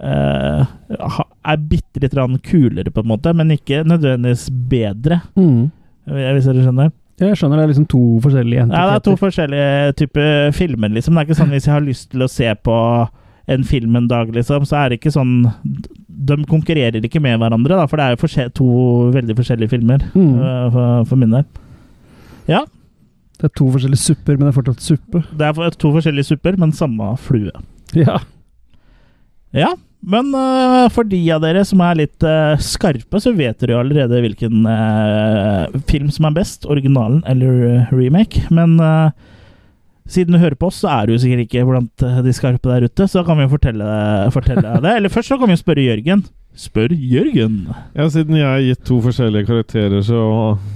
[SPEAKER 2] eh, ha- er bitte litt grann kulere, på en måte, men ikke nødvendigvis bedre,
[SPEAKER 4] Mm.
[SPEAKER 2] hvis dere skjønner.
[SPEAKER 4] Jeg skjønner det er liksom to forskjellige
[SPEAKER 2] Ja,
[SPEAKER 4] entiteter.
[SPEAKER 2] det er to forskjellige typer filmer, liksom. Det er ikke sånn hvis jeg har lyst til å se på en film en dag, liksom, så er det ikke sånn De konkurrerer ikke med hverandre, da, for det er jo forskje- to veldig forskjellige filmer,
[SPEAKER 4] Mm.
[SPEAKER 2] øh, for, for min del. Ja,
[SPEAKER 4] det er to forskjellige supper, men det er fortsatt suppe.
[SPEAKER 2] det er for- to forskjellige supper, men samme flue.
[SPEAKER 4] Ja.
[SPEAKER 2] Ja, men øh, for de av dere som er litt øh, skarpe, så vet dere jo allerede hvilken øh, film som er best, originalen eller øh, remake. Men øh, siden du hører på oss, så er du jo sikkert ikke blant øh, de skarpe der ute, så da kan vi jo fortelle, fortelle deg det. Eller først så kan vi jo spørre Jørgen. Spør Jørgen.
[SPEAKER 3] Ja, siden jeg har gitt to forskjellige karakterer, så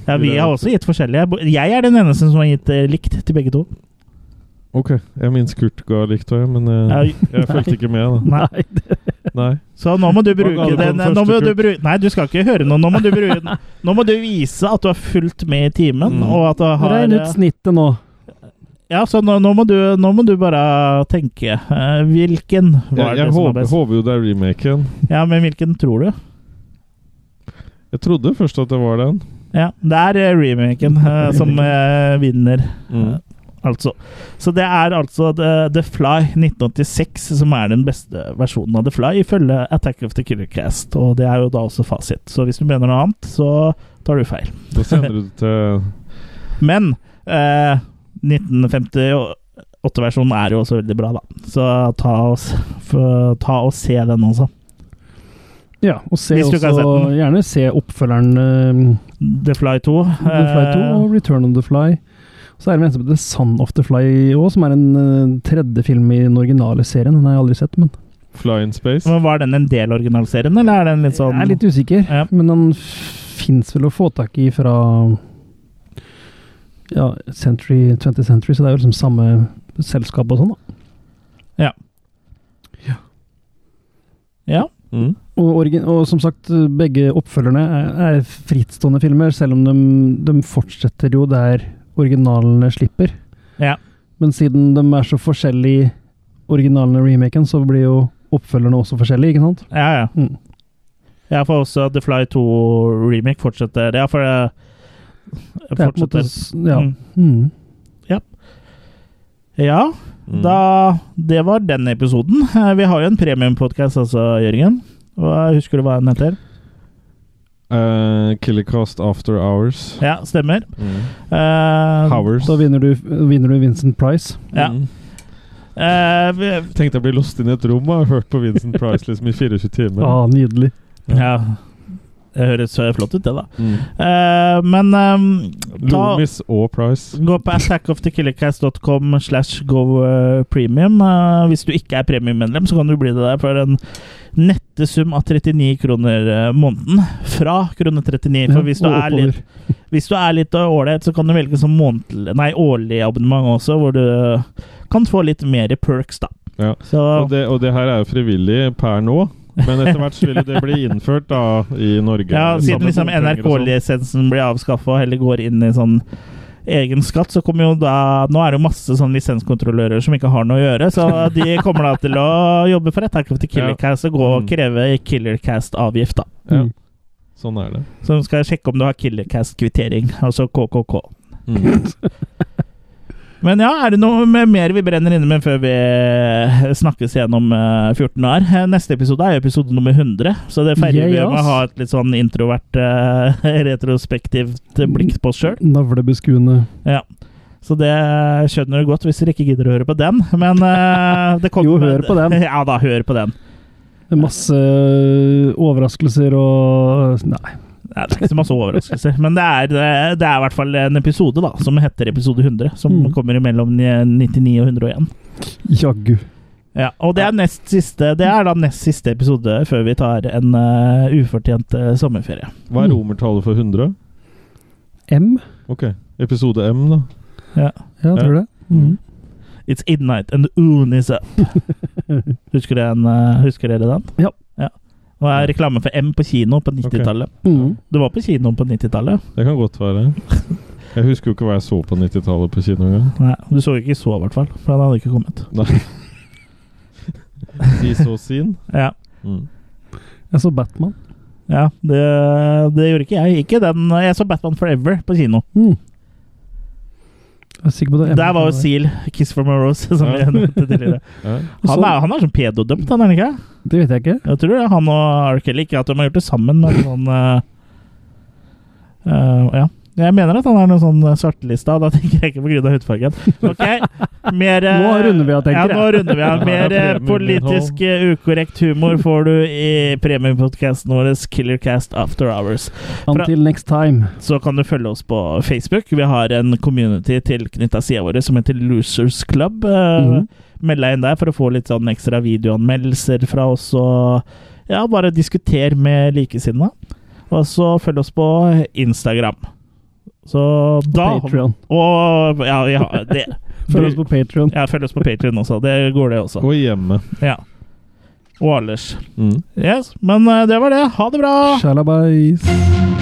[SPEAKER 2] Ja, vi har også gitt forskjellige. Bo- Jeg er den eneste som har gitt eh, likt til begge to.
[SPEAKER 3] Ok, jeg minnes Kurt ga likt òg, men
[SPEAKER 2] Ja,
[SPEAKER 3] jeg,
[SPEAKER 2] j-
[SPEAKER 3] jeg fulgte ikke med,
[SPEAKER 2] Nei.
[SPEAKER 3] da. Nei.
[SPEAKER 2] Så nå må du
[SPEAKER 3] Hva ga
[SPEAKER 2] bruke
[SPEAKER 3] du på
[SPEAKER 2] den,
[SPEAKER 3] den første,
[SPEAKER 2] nå må du
[SPEAKER 3] Kurt?
[SPEAKER 2] bruke, Nei, du skal ikke høre noe. Nå må du, bruke, nå må du vise at du har fulgt med i timen,
[SPEAKER 3] Mm.
[SPEAKER 2] og at du har eh,
[SPEAKER 4] Regn ut snittet nå.
[SPEAKER 2] Ja, så nå, nå, må du, nå må du bare tenke. eh, hvilken var
[SPEAKER 3] Jeg, jeg
[SPEAKER 2] det som var
[SPEAKER 3] håper,
[SPEAKER 2] best?
[SPEAKER 3] håper jo det er remaken.
[SPEAKER 2] Ja, men hvilken tror du?
[SPEAKER 3] Jeg trodde først at det var den.
[SPEAKER 2] Ja, det er eh, remaken eh, som eh, vinner,
[SPEAKER 3] Mm.
[SPEAKER 2] altså. Så det er altså The, The Fly 1986 som er den beste versjonen av The Fly, ifølge Attack of the Killer Cast. Og det er jo da også fasit. Så hvis du mener noe annet, så tar du feil.
[SPEAKER 3] Da sender du det til
[SPEAKER 2] Men eh, 1958-versjonen er jo også veldig bra, da. Så ta og, s- f- ta og se den også.
[SPEAKER 4] Ja, og se
[SPEAKER 2] Hvis du ikke har sett
[SPEAKER 4] også,
[SPEAKER 2] den.
[SPEAKER 4] gjerne se oppfølgeren eh,
[SPEAKER 2] The Fly Eh, 2.
[SPEAKER 4] The Fly 2 og Return of the Fly. Og så er det en som heter The Son of the Fly òg, som er en eh, tredje film i den originale serien. Den har jeg aldri sett, men
[SPEAKER 3] Fly in Space.
[SPEAKER 2] Men Var den en del av originalserien, eller er den litt sånn
[SPEAKER 4] jeg er litt usikker.
[SPEAKER 2] Ja.
[SPEAKER 4] Men den fins vel å få tak i fra ja, century, 20th Century, så det er jo liksom samme selskap og sånn, da.
[SPEAKER 2] Ja.
[SPEAKER 3] Mm.
[SPEAKER 4] Og, origi- og som sagt, begge oppfølgerne er, er frittstående filmer, selv om de, de fortsetter jo der originalene slipper.
[SPEAKER 2] Ja.
[SPEAKER 4] Men siden de er så forskjellige, originalene og remaken, så blir jo oppfølgerne også forskjellige, ikke sant?
[SPEAKER 2] ja, ja.
[SPEAKER 4] Mm.
[SPEAKER 2] Jeg får også The Fly 2-remake fortsetter. Ja, for det
[SPEAKER 4] Det er på en
[SPEAKER 2] fortsetter.
[SPEAKER 4] måte s- Ja.
[SPEAKER 2] Mm.
[SPEAKER 4] Mm.
[SPEAKER 2] ja
[SPEAKER 3] Mm.
[SPEAKER 2] da Det var den episoden. Eh, Vi har jo en premiumpodkast, altså, Jørgen. Hva, husker du hva den heter?
[SPEAKER 3] Eh, Killercast After Hours.
[SPEAKER 2] Ja, stemmer.
[SPEAKER 3] Mm.
[SPEAKER 2] Eh,
[SPEAKER 3] Hours.
[SPEAKER 4] Da vinner du, vinner du Vincent Price.
[SPEAKER 2] Ja.
[SPEAKER 3] Mm.
[SPEAKER 2] eh, vi-
[SPEAKER 3] Tenkte jeg ble låst inn i et rom og har hørt på Vincent Price liksom i 24 timer.
[SPEAKER 4] Ja, Ah, nydelig.
[SPEAKER 2] Ja. Det høres så flott ut, det, da.
[SPEAKER 3] Mm.
[SPEAKER 2] Eh, men eh, ta,
[SPEAKER 3] Loomis og Price.
[SPEAKER 2] gå på attackofthekillercast.com slash go eh, premium. Eh, hvis du ikke er premiummedlem, så kan du bli det der for en nette sum av 39 kroner eh, måneden. Fra krone 39. For hvis du
[SPEAKER 4] og
[SPEAKER 2] er litt
[SPEAKER 4] oppover.
[SPEAKER 2] Hvis du er litt eh, ålreit, så kan du velge som månedlig, nei, årlig abonnement også, hvor du eh, kan få litt mer perks, da.
[SPEAKER 3] Ja.
[SPEAKER 2] Så
[SPEAKER 3] Og det, og det her er jo frivillig per nå, men etter hvert så vil jo det bli innført da i Norge.
[SPEAKER 2] ja,
[SPEAKER 3] Sammen
[SPEAKER 2] siden
[SPEAKER 3] med
[SPEAKER 2] liksom
[SPEAKER 3] bompenger og sånn.
[SPEAKER 2] NRK-lisensen blir avskaffa og heller går inn i sånn egen skatt, så kommer jo da Nå er det jo masse sånn lisenskontrollører som ikke har noe å gjøre, så de kommer da til å jobbe for Attack of the
[SPEAKER 3] Ja.
[SPEAKER 2] Killer Cast og gå og
[SPEAKER 3] Mm.
[SPEAKER 2] kreve Killer Cast-avgift, da.
[SPEAKER 3] Ja.
[SPEAKER 4] Mm.
[SPEAKER 3] Sånn er det.
[SPEAKER 2] Så de skal sjekke om du har Killer Cast-kvittering, altså KKK.
[SPEAKER 3] Mm.
[SPEAKER 2] Men ja, er det noe med- mer vi brenner inne med før vi snakkes gjennom eh, 14 år? Eh, Neste episode er jo episode nummer 100, så det feirer vi
[SPEAKER 4] Yeah,
[SPEAKER 2] med å
[SPEAKER 4] ass.
[SPEAKER 2] ha et litt sånn introvert, eh, retrospektivt blikk på oss sjøl.
[SPEAKER 4] Navlebeskuende.
[SPEAKER 2] Ja. Så det skjønner du godt hvis dere ikke gidder å høre på den, men eh, det kommer
[SPEAKER 4] Jo, hør på den.
[SPEAKER 2] Ja da, hør på den.
[SPEAKER 4] Masse eh, overraskelser og eh, Nei.
[SPEAKER 2] Nei, det er ikke så masse overraskelser, men det er, eh, det er i hvert fall en episode da, som heter episode 100, som
[SPEAKER 4] Mm.
[SPEAKER 2] kommer mellom 99 og 101.
[SPEAKER 4] Jaggu.
[SPEAKER 2] Ja, og det er, nest siste, det er da nest siste episode før vi tar en eh, ufortjent eh, sommerferie.
[SPEAKER 3] Hva er romertallet for 100?
[SPEAKER 4] M?
[SPEAKER 3] Ok. Episode M, da.
[SPEAKER 2] Ja.
[SPEAKER 4] Ja, jeg tror det. Mm.
[SPEAKER 2] It's Idnight and the Oon is up. Husker, du den, eh, husker dere den?
[SPEAKER 4] Ja.
[SPEAKER 2] Det er reklame for M på kino på 90-tallet.
[SPEAKER 4] Mm.
[SPEAKER 2] Du var på kino på 90-tallet?
[SPEAKER 3] Det kan godt være. Jeg husker jo ikke hva jeg så på 90-tallet på kino engang.
[SPEAKER 2] Nei, du så ikke så i hvert fall, for den hadde ikke kommet.
[SPEAKER 3] Nei. De så sin.
[SPEAKER 2] Ja.
[SPEAKER 3] Mm.
[SPEAKER 4] Jeg så Batman.
[SPEAKER 2] Ja, det, det gjorde ikke jeg. Ikke den Jeg så Batman Forever på kino.
[SPEAKER 4] Mm. Jeg er sikker på det.
[SPEAKER 2] Der var jo Seal, 'Kiss from a Rose', som vi
[SPEAKER 3] Ja.
[SPEAKER 2] nevnte tidligere.
[SPEAKER 3] Ja.
[SPEAKER 2] Han er, han er sånn pedodømt, han er han ikke?
[SPEAKER 4] Det vet jeg ikke.
[SPEAKER 2] Jeg tror det er han og R. Kelly ikke at de har gjort det sammen, men sånn eh, eh, Ja. Jeg mener at han er noe sånn svartelista, og da tenker jeg ikke på grunn av hudfargen. Ok, mer eh,
[SPEAKER 4] Nå runder vi av, tenker jeg.
[SPEAKER 2] Ja, nå runder vi av. Mer eh,
[SPEAKER 3] Premieinnhold.
[SPEAKER 2] politisk eh, ukorrekt humor får du i premiepodkasten vår Killercast After Hours.
[SPEAKER 4] Until next time.
[SPEAKER 2] Så kan du følge oss på Facebook. Vi har en community tilknytta sida vår som heter Losers Club. Eh,
[SPEAKER 4] Mhm.
[SPEAKER 2] Meld deg inn der for å få litt sånn ekstra videoanmeldelser fra oss. Og ja, bare diskuter med likesinnede. Og så følg oss på Instagram. Så da
[SPEAKER 4] Patreon.
[SPEAKER 2] Og ja, ja det.
[SPEAKER 4] Følg oss på Patreon.
[SPEAKER 2] Ja, følg oss på Patreon også. Det går, det også.
[SPEAKER 3] Og hjemme.
[SPEAKER 2] Ja. Og ellers.
[SPEAKER 3] Mm.
[SPEAKER 2] Yes, men eh, det var det. Ha det bra!
[SPEAKER 4] Shalabais.